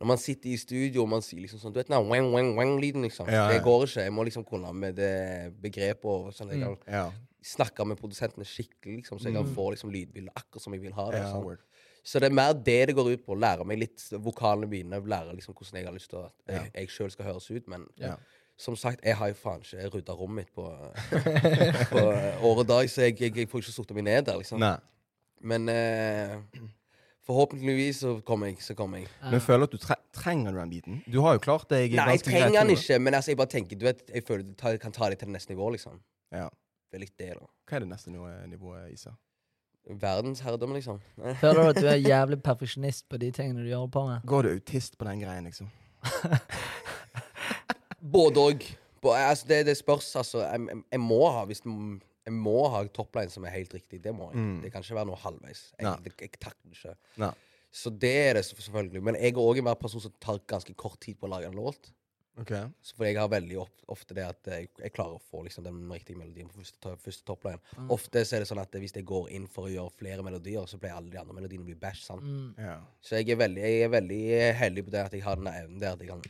Speaker 2: Når man sitter i studio og man sier liksom sånn Du vet den wang, wang, wang-lyden, liksom.
Speaker 3: Ja, ja.
Speaker 2: Det går ikke. Jeg må liksom kunne med det begrepet og sånn. Jeg kan
Speaker 3: Mm. Ja.
Speaker 2: snakke med produsentene skikkelig, liksom, så jeg kan få liksom lydbildet akkurat som jeg vil ha det.
Speaker 3: Mm. ja
Speaker 2: sånn.
Speaker 3: word.
Speaker 2: Så det er mer det det går ut på. Lære meg litt vokalene mine. Lære liksom hvordan jeg har lyst til at jeg, jeg sjøl skal høres ut. Men
Speaker 3: Ja.
Speaker 2: som sagt, jeg har jo faen ikke rydda rommet mitt på, på året dag, så jeg, jeg, jeg får ikke sittet meg ned der, liksom.
Speaker 3: Nei.
Speaker 2: Men eh, forhåpentligvis så kommer jeg. Så kommer jeg.
Speaker 3: Men føler du at du tre trenger du den biten? Du har jo klart
Speaker 2: Nei,
Speaker 3: deg
Speaker 2: jeg
Speaker 3: ganske greit
Speaker 2: trenger den
Speaker 3: nå.
Speaker 2: ikke, men altså, jeg bare tenker, du vet, jeg føler det tar- kan ta det til det neste nivå, liksom.
Speaker 3: Ja.
Speaker 2: Det er litt det, da.
Speaker 3: Hva er det neste nivå- nivået, Isa?
Speaker 2: Verdensherredømme, liksom.
Speaker 1: Føler du at du er jævlig perfeksjonist på de tingene du gjør på med?
Speaker 3: Går du autist på den greien, liksom?
Speaker 2: Både òg. Altså, det, det spørs, altså. Jeg, jeg- jeg må ha hvis m- jeg må ha topline som er helt riktig. Det må jeg.
Speaker 3: Mm.
Speaker 2: Det kan ikke være noe halvveis. Jeg,
Speaker 3: Nei.
Speaker 2: det, jeg takler det ikke.
Speaker 3: Nei.
Speaker 2: Så det er det selvfølgelig. Men jeg er òg en mer person som tar ganske kort tid på å lage en låt.
Speaker 3: Okay.
Speaker 2: Så for jeg har veldig opp- ofte det at eh, jeg, jeg klarer å få liksom, den riktige melodien på første, to- første toppline.
Speaker 3: Mm.
Speaker 2: Ofte så er det sånn at hvis jeg går inn for å gjøre flere melodier, så pleier alle de andre melodiene å bli bæsj. sant?
Speaker 1: Mm.
Speaker 3: Ja.
Speaker 2: Så jeg er veldig, jeg er veldig heldig på det at jeg har den evnen der at jeg kan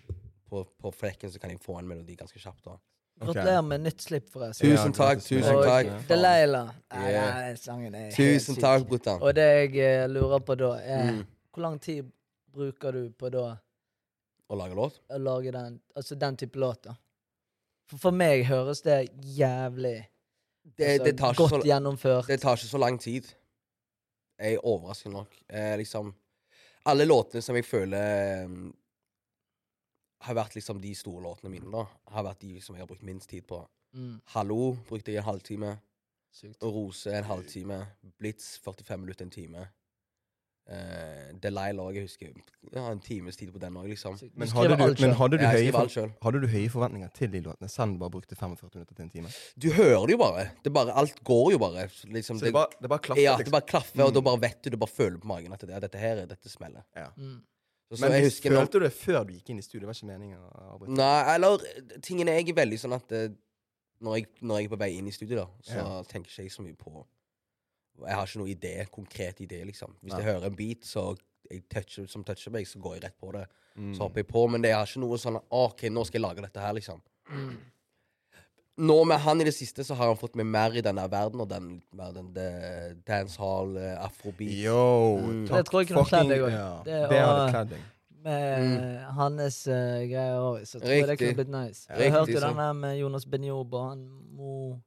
Speaker 2: på, på flekken så kan jeg få en melodi ganske kjapt. da.
Speaker 3: Ok.
Speaker 1: Gratulerer med nytt slipp, forresten.
Speaker 2: Tusen takk, tusen
Speaker 1: Og
Speaker 2: takk.
Speaker 1: Delilah. Nei,
Speaker 2: Yeah.
Speaker 1: nei, sangen er helt
Speaker 2: Tusen
Speaker 1: syk.
Speaker 2: takk, brutter'n.
Speaker 1: Og det jeg eh, lurer på da, er
Speaker 2: Mm.
Speaker 1: hvor lang tid bruker du på da
Speaker 2: Å lage låt?
Speaker 1: å lage den, altså den type låt? da? For, for meg høres det jævlig
Speaker 2: Det,
Speaker 1: altså,
Speaker 2: det, tar ikke
Speaker 1: godt
Speaker 2: så,
Speaker 1: gjennomført.
Speaker 2: det tar ikke så lang tid. Jeg er overrasket nok. Eh, liksom, alle låtene som jeg føler mm, har vært liksom de store låtene mine, da, har vært de som jeg har brukt minst tid på.
Speaker 1: Mm.
Speaker 2: Hallo brukte jeg en halvtime.
Speaker 1: Sykt.
Speaker 2: Rose en halvtime. Blitz 45 minutter, en time. Uh, Delilah òg, jeg husker ja, en times tid på den òg, liksom.
Speaker 1: Sykt.
Speaker 3: Men
Speaker 1: Du
Speaker 3: hadde
Speaker 1: skriver
Speaker 3: du,
Speaker 1: alt
Speaker 3: men
Speaker 1: selv.
Speaker 3: hadde du,
Speaker 2: Jeg
Speaker 3: høye,
Speaker 2: skriver alt
Speaker 3: for,
Speaker 2: sjøl.
Speaker 3: hadde du høye forventninger til de låtene, selv om du bare brukte 45 minutter til en time?
Speaker 2: Du hører det jo bare. Det er bare. Alt går jo bare. Liksom,
Speaker 3: Så det bare, det bare klaffer,
Speaker 2: ja, det
Speaker 3: liksom.
Speaker 2: bare klaffer, og da bare vet du, du bare føler på magen at det, ja, dette her er dette smeller.
Speaker 3: Ja.
Speaker 1: Mm.
Speaker 2: Så, så
Speaker 3: Men
Speaker 2: jeg
Speaker 3: hvis-
Speaker 2: husker Mm. nå-
Speaker 3: følte du det før du gikk inn i studio? Det var ikke meningen å avbryte.
Speaker 2: Nei, eller eh, tingen er jeg er veldig sånn at eh, når, jeg, når jeg er på vei inn i studio, da, så
Speaker 3: Ja.
Speaker 2: tenker ikke jeg så mye på Jeg har ikke noen idé, konkret idé, liksom. Hvis
Speaker 3: Nei.
Speaker 2: jeg hører en beat så jeg toucher, som toucher meg, så går jeg rett på det.
Speaker 3: Mm.
Speaker 2: Så hopper jeg på, men det er ikke noe sånn OK, nå skal jeg lage dette her, liksom. Nå med han i det siste, så har han fått meg mer i denne verden, og den, mer den det- dancehall, eh, afrobeat.
Speaker 3: Yo,
Speaker 2: Mm.
Speaker 3: takk
Speaker 1: Det tror jeg kunne kledd deg
Speaker 3: fucking-
Speaker 1: også.
Speaker 3: ja,
Speaker 1: Det
Speaker 3: Det
Speaker 1: å-
Speaker 3: hadde kledd deg.
Speaker 1: Med hans eh, greier òg, så tror jeg det
Speaker 2: Mm. Riktig.
Speaker 1: kunne blitt nice.
Speaker 2: Ja.
Speaker 1: Jeg hørte
Speaker 2: Riktig, sånn.
Speaker 1: jo
Speaker 2: sant.
Speaker 1: den der med Jonas Benjob og han Mo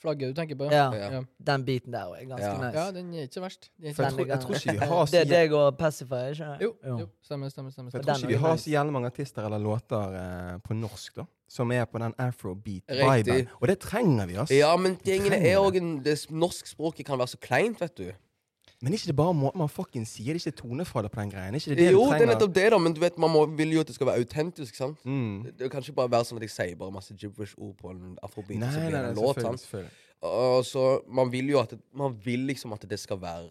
Speaker 4: Flagget du tenker på,
Speaker 1: Ja,
Speaker 2: Ja.
Speaker 4: Ja,
Speaker 1: den biten der òg er ganske
Speaker 2: Ja.
Speaker 1: nice.
Speaker 4: Ja, den er ikke så verst. Den er
Speaker 3: For
Speaker 4: ikke
Speaker 1: Den
Speaker 3: jeg tror,
Speaker 1: er
Speaker 3: jeg tror ikke vi
Speaker 1: gang.
Speaker 3: har så,
Speaker 1: Det er deg og Pacify, ikke
Speaker 4: Jo,
Speaker 1: Jo.
Speaker 4: jo. Stemmer, stemmer. stemmer.
Speaker 3: for jeg
Speaker 1: den
Speaker 3: tror
Speaker 1: er
Speaker 3: ikke vi
Speaker 1: jo
Speaker 3: har
Speaker 1: nice.
Speaker 3: så jævlig mange artister eller låter eh, på norsk da som er på den afrobeat-viben.
Speaker 2: Riktig.
Speaker 3: Og det trenger vi, ass.
Speaker 2: Ja, men tingene
Speaker 3: trenger
Speaker 2: er òg en- det- Norskspråket kan være så kleint, vet du.
Speaker 3: Men er ikke det bare måten man fucking sier det? Er ikke det tonefallet på den greien? Er ikke det det
Speaker 2: Jo, det
Speaker 3: du
Speaker 2: er
Speaker 3: trenger?
Speaker 2: nettopp det, da, men du vet, man må, vil jo at det skal være autentisk. sant?
Speaker 3: mm.
Speaker 2: Det det kan ikke bare være sånn at jeg sier bare masse gibberish-ord på en afrobeat.
Speaker 3: Nei,
Speaker 2: og så
Speaker 3: nei,
Speaker 2: blir det
Speaker 3: nei,
Speaker 2: en låt,
Speaker 3: selvfølgelig.
Speaker 2: sant?
Speaker 3: selvfølgelig.
Speaker 2: Og så, Man vil jo at det, man vil liksom at det skal være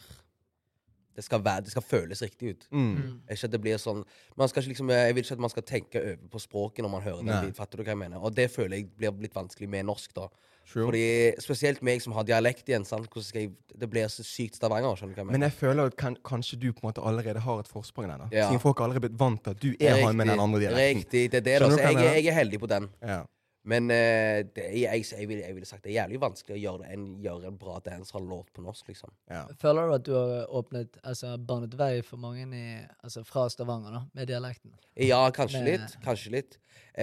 Speaker 2: det skal, være, det skal føles riktig ut.
Speaker 3: Mm.
Speaker 2: Ikke at det blir sånn man skal ikke liksom, Jeg vil ikke at man skal tenke over på språket når man hører
Speaker 3: Nei.
Speaker 2: den. beat, Fatter du hva jeg mener? Og det føler jeg blir litt vanskelig med norsk, da.
Speaker 3: True.
Speaker 2: Fordi, Spesielt meg som har dialekt igjen. sant? Hvordan skal jeg, Det blir så sykt Stavanger. skjønner du hva jeg
Speaker 3: Men
Speaker 2: mener?
Speaker 3: jeg føler at kan, kanskje du på en måte allerede har et forsprang der. da
Speaker 2: Ja.
Speaker 3: Siden folk har allerede blitt vant til at du er han med den andre dialekten.
Speaker 2: Riktig. Det er det, da.
Speaker 3: Skjønner
Speaker 2: Så
Speaker 3: du hva jeg
Speaker 2: jeg,
Speaker 3: mener?
Speaker 2: jeg er heldig på den.
Speaker 3: Ja.
Speaker 2: Men eh, det, er- jeg, jeg, vil, jeg ville sagt det er jævlig vanskelig å gjøre, det, en, gjøre en bra dancehall-låt på norsk, liksom.
Speaker 3: Ja.
Speaker 1: Føler du at du har åpnet, altså banet vei for mange i, altså, fra Stavanger, da, med dialekten?
Speaker 2: Ja, kanskje
Speaker 1: Men-
Speaker 2: litt. Kanskje litt.
Speaker 1: Du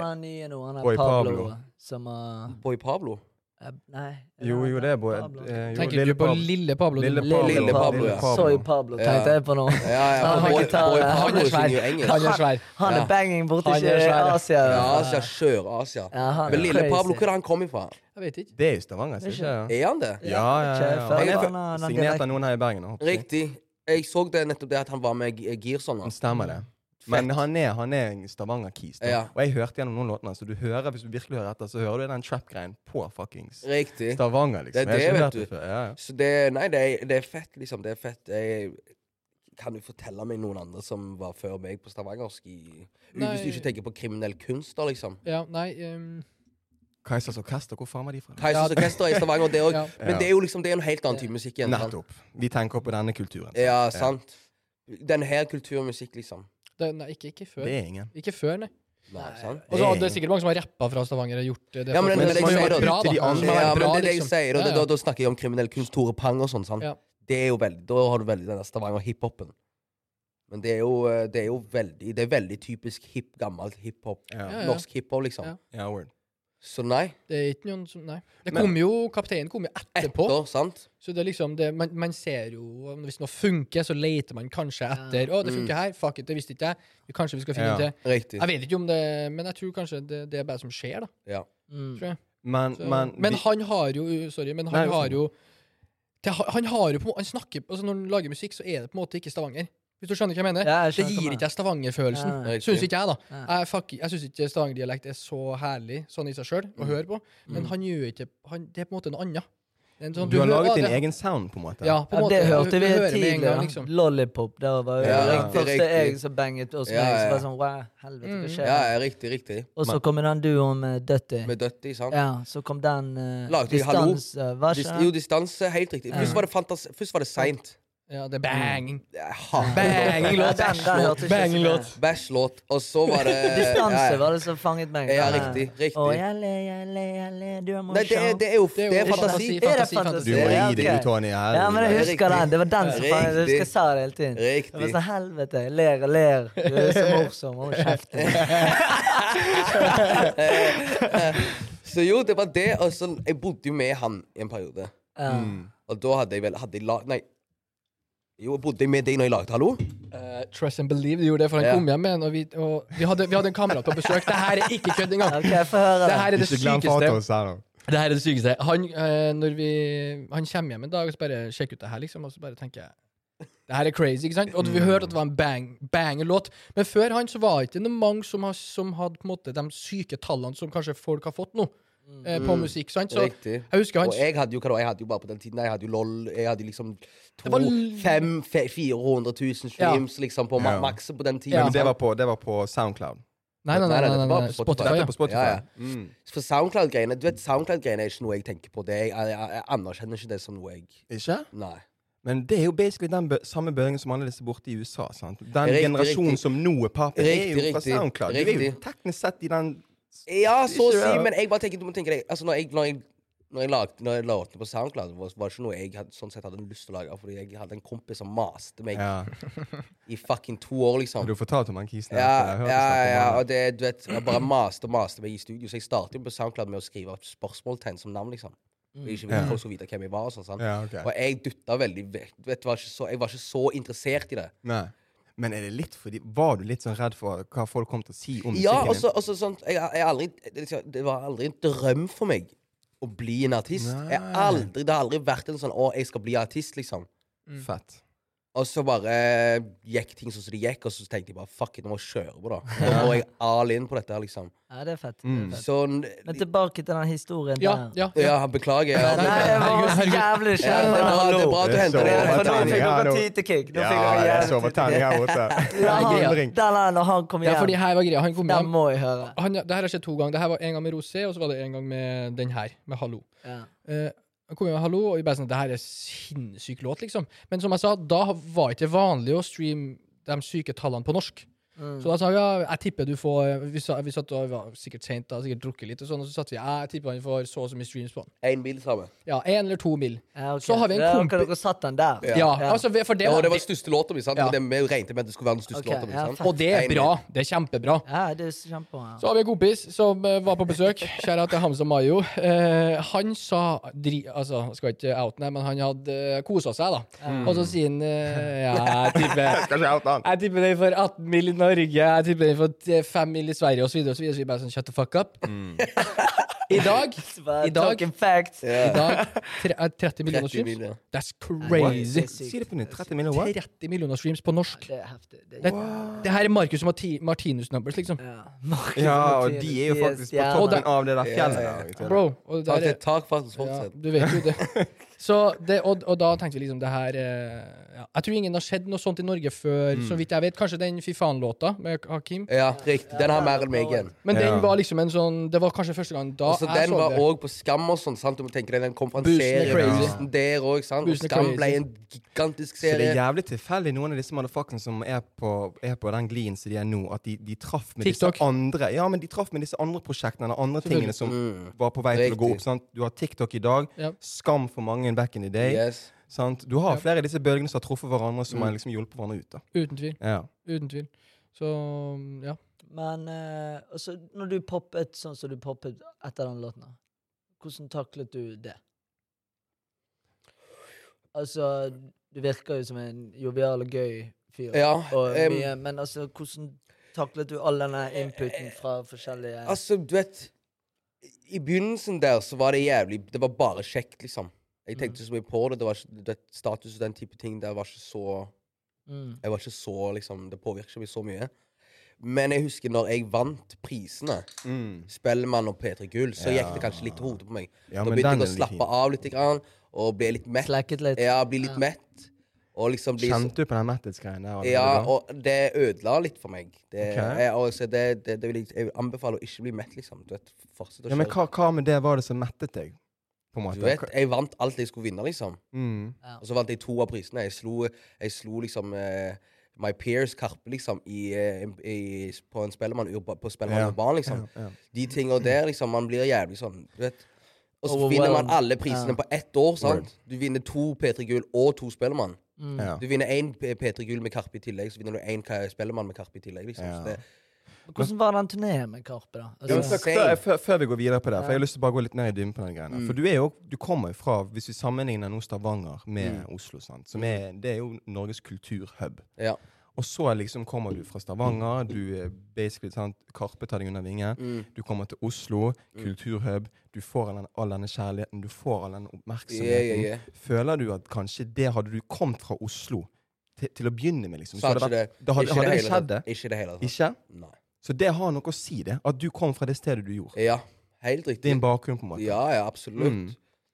Speaker 2: Eh,
Speaker 1: den nye nå, han er
Speaker 3: Boy
Speaker 1: Pablo,
Speaker 3: Pablo.
Speaker 1: som har
Speaker 2: Boy Pablo.
Speaker 1: eh, Nei. er
Speaker 3: Jo,
Speaker 1: han der?
Speaker 3: jo, det er både
Speaker 1: Pablo.
Speaker 3: eh, jo,
Speaker 4: Tenker du på Lille Pablo?
Speaker 3: Lille
Speaker 4: du?
Speaker 3: Pablo.
Speaker 2: Lille Pablo, ja.
Speaker 1: Soy Pablo, tenkte
Speaker 2: Ja.
Speaker 1: jeg på nå.
Speaker 2: Ja, ja,
Speaker 1: Han har
Speaker 2: Boy,
Speaker 1: gitar,
Speaker 2: Boy
Speaker 1: han er
Speaker 2: Pablo
Speaker 1: svær.
Speaker 2: synger jo engelsk.
Speaker 4: Han er svær.
Speaker 1: Han er
Speaker 2: Ja.
Speaker 1: banging borti
Speaker 4: Han er svær.
Speaker 1: Asia.
Speaker 2: Ja, Asia. Sør-Asia.
Speaker 1: Ja, han er
Speaker 2: Men lille
Speaker 1: crazy.
Speaker 2: Pablo, hvor er det han kom ifra?
Speaker 4: Jeg vet ikke.
Speaker 3: Det er jo Stavanger, så
Speaker 1: Det er
Speaker 3: ikke det?
Speaker 2: Er han det?
Speaker 3: Ja, ja, ja.
Speaker 1: Ikke, for
Speaker 2: Han er
Speaker 1: han
Speaker 2: fra-
Speaker 1: har den
Speaker 3: Signert av
Speaker 1: dialekten.
Speaker 3: noen her i Bergen. håper jeg.
Speaker 2: Riktig. Jeg så det nettopp det at han var med G- Girson. da.
Speaker 3: Han stemmer det. Men han er, han er en Stavanger-kis. da.
Speaker 2: Ja.
Speaker 3: Og jeg hørte gjennom noen låter, så du hører, hvis du virkelig hører etter, så hører du den trap-greien på fuckings
Speaker 2: Riktig.
Speaker 3: Stavanger, liksom.
Speaker 2: Det er
Speaker 3: Jeg
Speaker 2: det,
Speaker 3: har ikke
Speaker 2: vet
Speaker 3: hørt det
Speaker 2: du.
Speaker 3: før. Ja, ja.
Speaker 2: Så det, nei, det er, det er fett, liksom. Det er fett. Jeg, kan du fortelle meg noen andre som var før meg på stavangersk? i- Hvis du
Speaker 4: Nei.
Speaker 2: ikke tenker på kriminell kunst, da, liksom.
Speaker 4: Ja, nei ehm,
Speaker 3: Kaisers Orkester, hvor faen var de fra?
Speaker 2: Kaisers
Speaker 4: Ja.
Speaker 2: Orkester i Stavanger, det òg.
Speaker 4: Ja.
Speaker 2: Men det er jo liksom, det er en helt annen type musikk igjen. sant?
Speaker 3: Nettopp. Vi tenker på denne kulturen. sant?
Speaker 2: Ja, sant. Den her kulturmusikk, liksom.
Speaker 4: det, Nei, ikke, ikke før.
Speaker 3: Det er ingen.
Speaker 4: Ikke før, nei.
Speaker 2: Nei, sant?
Speaker 4: Og så det er sikkert mange som har rappa fra Stavanger og gjort eh, det.
Speaker 2: Ja, men
Speaker 4: for-
Speaker 2: det- det- det-
Speaker 4: som har
Speaker 2: det-
Speaker 4: vært bra,
Speaker 3: det-
Speaker 4: da.
Speaker 3: de andre-
Speaker 4: Som
Speaker 2: Ja,
Speaker 4: har vært
Speaker 2: men det
Speaker 4: bra,
Speaker 2: er det jeg
Speaker 4: liksom.
Speaker 2: sier, og det,
Speaker 4: Ja,
Speaker 2: da,
Speaker 4: ja.
Speaker 2: da snakker jeg om kriminell kunst, Tore Pang og sånn. sant?
Speaker 4: Ja.
Speaker 2: Det er jo veldig, Da har du veldig den der Stavanger-hiphopen. Men det er jo, eh, det er jo veldig det er veldig typisk hip, gammelt hiphop.
Speaker 3: Ja.
Speaker 4: Ja, ja.
Speaker 2: Norsk hiphop, liksom.
Speaker 4: Ja.
Speaker 3: Ja, word.
Speaker 2: Så nei.
Speaker 4: Det er ikke noen som Nei. Det
Speaker 3: Men-
Speaker 4: kom jo, Kapteinen kom jo etterpå.
Speaker 2: Etter, sant?
Speaker 4: Så det er liksom det, man, man ser jo om- Hvis noe funker, så leter man kanskje etter. 'Å, det funker her. Fuck it, det visste ikke jeg. Kanskje vi skal finne
Speaker 3: Ja.
Speaker 4: en til.'
Speaker 2: Riktig.
Speaker 4: Jeg vet ikke om det Men jeg tror kanskje det, det er bare som skjer, da.
Speaker 2: Ja.
Speaker 1: Mm.
Speaker 4: Tror jeg.
Speaker 3: Men,
Speaker 4: Så,
Speaker 3: men,
Speaker 4: men, han har jo Sorry, men han
Speaker 3: Nei,
Speaker 4: har
Speaker 3: sånn.
Speaker 4: jo det, har- Han har jo på, han snakker, altså Når han lager musikk, så er det på en måte ikke Stavanger. Hvis du skjønner hva jeg mener?
Speaker 1: Ja, jeg
Speaker 4: det
Speaker 1: skjønner hva
Speaker 4: gir
Speaker 1: du
Speaker 4: ikke deg Stavanger-følelsen.
Speaker 1: Ja.
Speaker 2: Riktig.
Speaker 4: Syns ikke jeg, da.
Speaker 1: Ja.
Speaker 4: Jeg, fuck, jeg syns ikke Stavanger-dialekt er så herlig sånn i seg sjøl å høre på, men han gjør ikke han, Det er på en måte noe annet. Det er en sånn-
Speaker 3: Du har
Speaker 4: hører-
Speaker 3: laget
Speaker 4: ah,
Speaker 3: din
Speaker 4: det-
Speaker 3: egen sound, på en måte.
Speaker 4: Ja, på en
Speaker 1: Ja,
Speaker 4: måte.
Speaker 1: det hørte
Speaker 4: Du-
Speaker 1: vi
Speaker 4: du hører med en
Speaker 1: tidligere.
Speaker 4: gang, liksom.
Speaker 1: Lollipop, der var jo
Speaker 2: Ja,
Speaker 1: den første
Speaker 2: riktig.
Speaker 1: jeg som banget, og som
Speaker 2: Ja, ja.
Speaker 1: liksom var sånn wow, helvete,
Speaker 4: Mm.
Speaker 1: hva skjer?
Speaker 2: Ja, ja, riktig, riktig.
Speaker 1: Og så kom den duoen med Dutty.
Speaker 2: Med dødt i, sant?
Speaker 1: Ja, så kom den eh,
Speaker 2: Lagde de Hallo?
Speaker 1: distanse. Hva
Speaker 2: Dis
Speaker 1: skjer?
Speaker 2: jo, distanse. Helt riktig. Først var det, fantas først var det seint.
Speaker 4: Ja, det er banging.
Speaker 2: Jeg hater
Speaker 1: Bang, låt. Bang, låt.
Speaker 2: Bæsj-låt. Og så var det
Speaker 1: Distanse
Speaker 2: ja,
Speaker 1: var det som fanget meg.
Speaker 2: Ja, riktig. riktig.
Speaker 1: Å, jeg ler, jeg ler, jeg ler, du er
Speaker 2: Nei, det er,
Speaker 1: morsom.
Speaker 2: det er jo
Speaker 4: Det er jo
Speaker 2: det er fantasi.
Speaker 4: fantasi.
Speaker 1: Er det fantasi?
Speaker 3: Du må
Speaker 1: Ja,
Speaker 3: gi deg,
Speaker 1: ok.
Speaker 3: du, Tony. her.
Speaker 1: Ja, men jeg
Speaker 2: Det er
Speaker 1: husker
Speaker 2: riktig.
Speaker 1: den. Det var den som
Speaker 2: Riktig.
Speaker 1: fanget Jeg husker jeg sa det hele tiden. Jeg var
Speaker 2: Riktig.
Speaker 1: sånn helvete, jeg ler og ler. Du er så morsom. Hold kjeft.
Speaker 2: Så jo, det var det. Og så, jeg bodde jo med han i en periode.
Speaker 1: Ja.
Speaker 4: Mm.
Speaker 2: Og da hadde jeg vel hadde jeg lag, Nei. Jo, jeg bodde med deg når jeg lagde 'Hallo'?
Speaker 4: Eh, trust and believe du gjorde det, for han
Speaker 2: Ja.
Speaker 4: kom hjem med en, og vi, og vi, hadde, vi hadde en kamerat på besøk. Det her er ikke kødd engang!
Speaker 1: Ok, få høre.
Speaker 4: Det her er det
Speaker 3: Ikke glem
Speaker 4: sykeste.
Speaker 3: Fatos her, da.
Speaker 4: Det her er det sykeste. Han, eh, når vi, han kommer hjem en dag og så bare sjekker ut det her, liksom, og så bare tenker jeg det her er crazy, ikke sant? Og
Speaker 2: Mm.
Speaker 4: vi hørte at det var en bang, banger-låt. Men før han så var det ikke noe mange som, har, som hadde på en måte de syke tallene som kanskje folk har fått nå, eh, på musikk. sant? Så
Speaker 2: Mm. Riktig.
Speaker 4: jeg husker
Speaker 2: Og
Speaker 4: han
Speaker 2: jeg hadde jo hva da, jeg hadde jo bare på den tiden Jeg hadde jo LOL. Jeg hadde liksom to,
Speaker 4: var l-
Speaker 2: fem, fe, 400 000 streams liksom på ma
Speaker 3: Ja.
Speaker 2: makset på den tiden.
Speaker 4: Ja.
Speaker 3: Men det var på, det var på SoundCloud.
Speaker 4: Nei, nei, nei, nei, nei,
Speaker 2: dette
Speaker 4: nei,
Speaker 2: var
Speaker 4: nei.
Speaker 2: på
Speaker 4: Spotify.
Speaker 3: Dette
Speaker 4: ja.
Speaker 3: er på Spotify.
Speaker 2: Ja, ja.
Speaker 3: Mm.
Speaker 2: For Soundcloud-greiene Du vet, Soundcloud-greiene er ikke noe jeg tenker på. Det, jeg, jeg, jeg anerkjenner ikke det som noe jeg
Speaker 3: Ikke?
Speaker 2: Nei.
Speaker 3: Men det er jo basically den bø samme børingen som alle disse borte i USA. sant? Den
Speaker 2: Riktig,
Speaker 3: generasjonen
Speaker 2: riktig.
Speaker 3: som nå er pappa, er jo
Speaker 2: Riktig,
Speaker 3: fra
Speaker 2: riktig,
Speaker 3: SoundCloud. Du er jo
Speaker 2: riktig.
Speaker 3: teknisk sett i den
Speaker 2: Ja, så å
Speaker 3: Ikke
Speaker 2: si,
Speaker 3: det.
Speaker 2: men jeg bare tenker, du må tenke deg Altså, når jeg, når jeg når jeg lagde når jeg lagde på SoundCloud, var var det ikke noe jeg hadde, sånn sett hadde lyst til å lage. Fordi jeg hadde en kompis som maste meg
Speaker 3: Ja.
Speaker 2: i fucking to år, liksom.
Speaker 3: Du fortalte om han kisen.
Speaker 2: Ja,
Speaker 3: jeg hørte
Speaker 2: ja,
Speaker 3: snakk om
Speaker 2: ja.
Speaker 3: han.
Speaker 2: Og det, du vet, jeg bare maste og maste meg i studio. Så jeg startet jo på SoundCloud med å skrive opp spørsmålstegn som navn, liksom. Og ikke ville
Speaker 3: Ja.
Speaker 2: at folk skulle vite hvem jeg var og sånn. sant?
Speaker 3: Ja, ok.
Speaker 2: Og jeg dutta veldig vekk. Du vet, var ikke så, jeg var ikke så interessert i det.
Speaker 3: Nei. Men er det litt fordi, var du litt sånn redd for hva folk kom til å si om
Speaker 2: Ja,
Speaker 3: musikken
Speaker 2: og så og så sånn jeg, jeg har aldri, det liksom- Det var aldri en drøm for meg å bli en artist.
Speaker 3: Nei.
Speaker 2: Jeg har aldri, det har aldri vært en sånn 'Å, jeg skal bli artist', liksom.
Speaker 3: din? Fett.
Speaker 2: Og så bare gikk ting sånn som det gikk, og så tenkte jeg bare 'fuck it, nå må jeg kjøre på', da. Nå må jeg all in på dette, her, liksom.
Speaker 1: Ja, det er fett. Det er
Speaker 3: Mm.
Speaker 1: fett.
Speaker 2: Sånn
Speaker 1: Men tilbake til den historien
Speaker 4: Ja,
Speaker 1: der.
Speaker 4: ja, ja.
Speaker 2: Ja, beklager. Ja,
Speaker 1: Nei, jeg var så
Speaker 4: Herregud.
Speaker 1: jævlig
Speaker 2: Ja, det,
Speaker 1: kjent.
Speaker 2: er bra, det er bra at du
Speaker 3: Det er
Speaker 2: henter
Speaker 3: så
Speaker 2: det.
Speaker 1: For
Speaker 2: det. er
Speaker 1: nå
Speaker 3: overtenning.
Speaker 1: fikk
Speaker 3: Ja,
Speaker 1: dere
Speaker 3: nå-
Speaker 1: tidekick. Nå
Speaker 3: Ja,
Speaker 1: fikk dere
Speaker 3: det er
Speaker 1: jævlig
Speaker 3: sovertenning her borte.
Speaker 1: Ja, han,
Speaker 3: Endring.
Speaker 1: der la når han kom
Speaker 4: ja, fordi
Speaker 1: hjem.
Speaker 4: her var greia. Han kom
Speaker 1: Den
Speaker 4: hjem.
Speaker 1: må jeg høre.
Speaker 4: Han, det her har skjedd to ganger. Det her var en gang med Rosé, og så var det en gang med den her, med Hallo.
Speaker 1: Ja.
Speaker 4: Eh, Jeg kom hjem med Hallo, og vi bare sånn Det her er sinnssyk låt, liksom. Men som jeg sa, da var ikke det vanlig å streame de syke tallene på norsk.
Speaker 1: Mm.
Speaker 4: Så da sa vi ja, jeg tipper du får Vi, sa, vi satt og var sikkert sent da, sikkert drukket litt og sånn, og så satt vi ja, jeg tipper han får så og så mye streams på han.
Speaker 2: En bil sammen.
Speaker 4: Ja, én eller to mil.
Speaker 1: Ja, ok.
Speaker 4: Så har vi en
Speaker 1: Ja,
Speaker 4: kompi-
Speaker 1: dere- Dere satt den der.
Speaker 4: Ja, altså, for det,
Speaker 2: Ja, og det var den største låta mi. sant?
Speaker 4: Ja.
Speaker 2: Det Vi regnet med at det skulle være den største
Speaker 1: Ok,
Speaker 2: låta mi.
Speaker 1: ja,
Speaker 2: sant?
Speaker 1: fair.
Speaker 4: og det er bra. Det er kjempebra.
Speaker 1: Ja, det er kjempebra.
Speaker 4: Så har vi en kompis som eh, var på besøk. Kjære til Hamza Mayo. Eh, han sa dri, Altså, jeg skal ikke outen her, men han hadde uh, kosa seg, da. Og så sier han eh, Ja, jeg tipper
Speaker 3: Skal ikke oute han.
Speaker 4: jeg tipper den for 18 mil i Norge, jeg tipper den for t- 5 mil i Sverige osv. Så, videre, og så, videre, så vi bare sånn shut the fuck up. I dag I dag,
Speaker 1: Talking facts.
Speaker 4: i dag tre, eh, 30 millioner
Speaker 2: 30 mil, ja.
Speaker 4: streams. That's crazy.
Speaker 1: What?
Speaker 3: Si det på nytt. 30 millioner what?
Speaker 4: 30 millioner streams på norsk.
Speaker 1: Det er heftig. Det
Speaker 4: Det,
Speaker 1: er,
Speaker 4: det her er Marcus og Marti- Martinus numbers, liksom.
Speaker 1: ja. Marcus
Speaker 3: Ja, og
Speaker 1: Martinus,
Speaker 3: de er jo faktisk på
Speaker 1: stjerner.
Speaker 3: toppen av det der fjellet der. ikke sant?
Speaker 4: Bro. Og det
Speaker 2: Takk,
Speaker 4: der er,
Speaker 2: takk for at du
Speaker 4: Ja,
Speaker 2: fortsatte.
Speaker 4: du vet jo det. Så det og, og da tenkte vi liksom det her eh, ja. Jeg tror ingen har skjedd noe sånt i Norge før,
Speaker 2: Mm.
Speaker 4: så vidt jeg vet. Kanskje den Fy faen-låta med Hakim.
Speaker 2: Ja, riktig. Den har mer enn meg igjen.
Speaker 4: Men
Speaker 3: Ja.
Speaker 4: den var liksom en sånn Det var kanskje første gang da
Speaker 2: Og så den
Speaker 4: så
Speaker 2: var
Speaker 4: det.
Speaker 2: òg på Skam og sånn. sant? Du må tenke deg, Den kom fra en
Speaker 4: Boosten er
Speaker 2: serie.
Speaker 4: crazy.
Speaker 2: Boosten der òg, sant? Og
Speaker 4: Boosten er
Speaker 2: Skam
Speaker 4: crazy.
Speaker 2: ble en gigantisk
Speaker 3: Så det er
Speaker 2: serie.
Speaker 3: jævlig tilfeldig, noen av disse motherfuckerne som er på, er på den glien som de er nå, at de, de traff med
Speaker 4: TikTok.
Speaker 3: disse andre Ja, men de traff med disse andre prosjektene eller andre tingene som var på vei til å gå
Speaker 2: Riktig.
Speaker 3: opp. sant? Du har TikTok i dag.
Speaker 4: Ja.
Speaker 3: Skam for mange back in the day.
Speaker 2: Yes.
Speaker 3: sant? Du har flere av disse bølgene som har truffet hverandre, som har liksom hjulpet hverandre ut. da.
Speaker 4: Uten tvil.
Speaker 3: Ja.
Speaker 4: Uten tvil. Så ja.
Speaker 1: Men eh, altså, når du poppet sånn som du poppet etter den låten, da, hvordan taklet du det? Altså, du virker jo som en jovial og gøy fyr,
Speaker 2: Ja,
Speaker 1: og
Speaker 2: em,
Speaker 1: mye, men altså, hvordan taklet du all denne inputen fra forskjellige
Speaker 2: Altså, du vet I begynnelsen der så var det jævlig Det var bare kjekt, liksom. Jeg tenkte
Speaker 3: Mhm.
Speaker 2: ikke så mye på det. det var ikke, du vet, status og den type ting der var ikke så
Speaker 1: mm.
Speaker 2: Jeg var ikke så, liksom, Det påvirket ikke meg så mye. Men jeg husker når jeg vant prisene, Spellemann og P3 Gull, så gikk det kanskje litt til hodet på meg.
Speaker 3: Ja,
Speaker 2: Mm. da
Speaker 3: men
Speaker 2: begynte
Speaker 3: den
Speaker 2: jeg å
Speaker 3: er litt
Speaker 2: slappe
Speaker 3: fin.
Speaker 2: av litt. Grann, og blir litt mett.
Speaker 1: Slacket litt.
Speaker 2: Ja, blir litt mett. Og liksom blir så-
Speaker 3: Kjente du på den mettidsgreien der? allerede
Speaker 2: Ja,
Speaker 3: da?
Speaker 2: og det ødela litt for meg. Det,
Speaker 3: Ok.
Speaker 2: jeg, og så det, det, det vil jeg, jeg vil anbefale å ikke bli mett, liksom. Du vet, fortsett å
Speaker 3: ja men hva, hva med det var det som mettet deg? På en måte.
Speaker 2: Du vet, jeg vant alt jeg skulle vinne, liksom.
Speaker 3: Mm.
Speaker 2: Og så vant jeg to av prisene. Jeg slo, jeg slo liksom eh, My Peers Karpe, liksom, i, eh, i, på en spellemann urba- på Spellemann
Speaker 3: Ja.
Speaker 2: Urban, liksom.
Speaker 3: Ja, ja.
Speaker 2: De tinga der, liksom. Man blir jævlig sånn, du vet. Og så
Speaker 1: Overwhelmed.
Speaker 2: vinner man alle prisene
Speaker 1: Ja.
Speaker 2: på ett år, sant.
Speaker 3: Word.
Speaker 2: Du vinner to P3-gull og to Spellemann.
Speaker 1: Mm.
Speaker 3: Ja.
Speaker 2: Du vinner én P3-gull med Karpe i tillegg, så vinner du én Ka- Spellemann med Karpe i tillegg, liksom.
Speaker 3: Ja.
Speaker 2: Så det,
Speaker 1: Hvordan var den turneen med Karpe, da?
Speaker 3: Ja, men
Speaker 2: Det
Speaker 1: Altså,
Speaker 2: var
Speaker 3: før, før, før- før vi går videre på det, for jeg har lyst til å bare gå litt ned i dybden på den greia.
Speaker 2: Mm.
Speaker 3: For du er jo, du kommer jo fra, hvis vi sammenligner nå Stavanger med
Speaker 2: Mm.
Speaker 3: Oslo, sant? som er, det er jo Norges kulturhub.
Speaker 2: ja.
Speaker 3: Og så liksom kommer du fra Stavanger, du er basically sant, Karpe tar deg under vingen.
Speaker 2: Mm.
Speaker 3: Du kommer til Oslo, kulturhub, du får all, den, all denne kjærligheten, du får all den oppmerksomheten.
Speaker 2: Yeah, yeah, yeah.
Speaker 3: Føler du at kanskje det hadde du kommet fra Oslo til, til å begynne med, liksom?
Speaker 2: Så hadde
Speaker 3: hadde
Speaker 2: det,
Speaker 3: vært- da hadde,
Speaker 2: ikke
Speaker 3: hadde det
Speaker 2: hele
Speaker 3: skjedd det?
Speaker 2: tatt. Ikke i det hele tatt.
Speaker 3: Ikke?
Speaker 2: Nei.
Speaker 3: Så det har noe å si, det. At du kom fra det stedet du gjorde.
Speaker 2: Ja, helt riktig.
Speaker 3: Din bakgrunn, på en måte.
Speaker 2: Eh, Ja, ja, absolutt.
Speaker 3: Mm.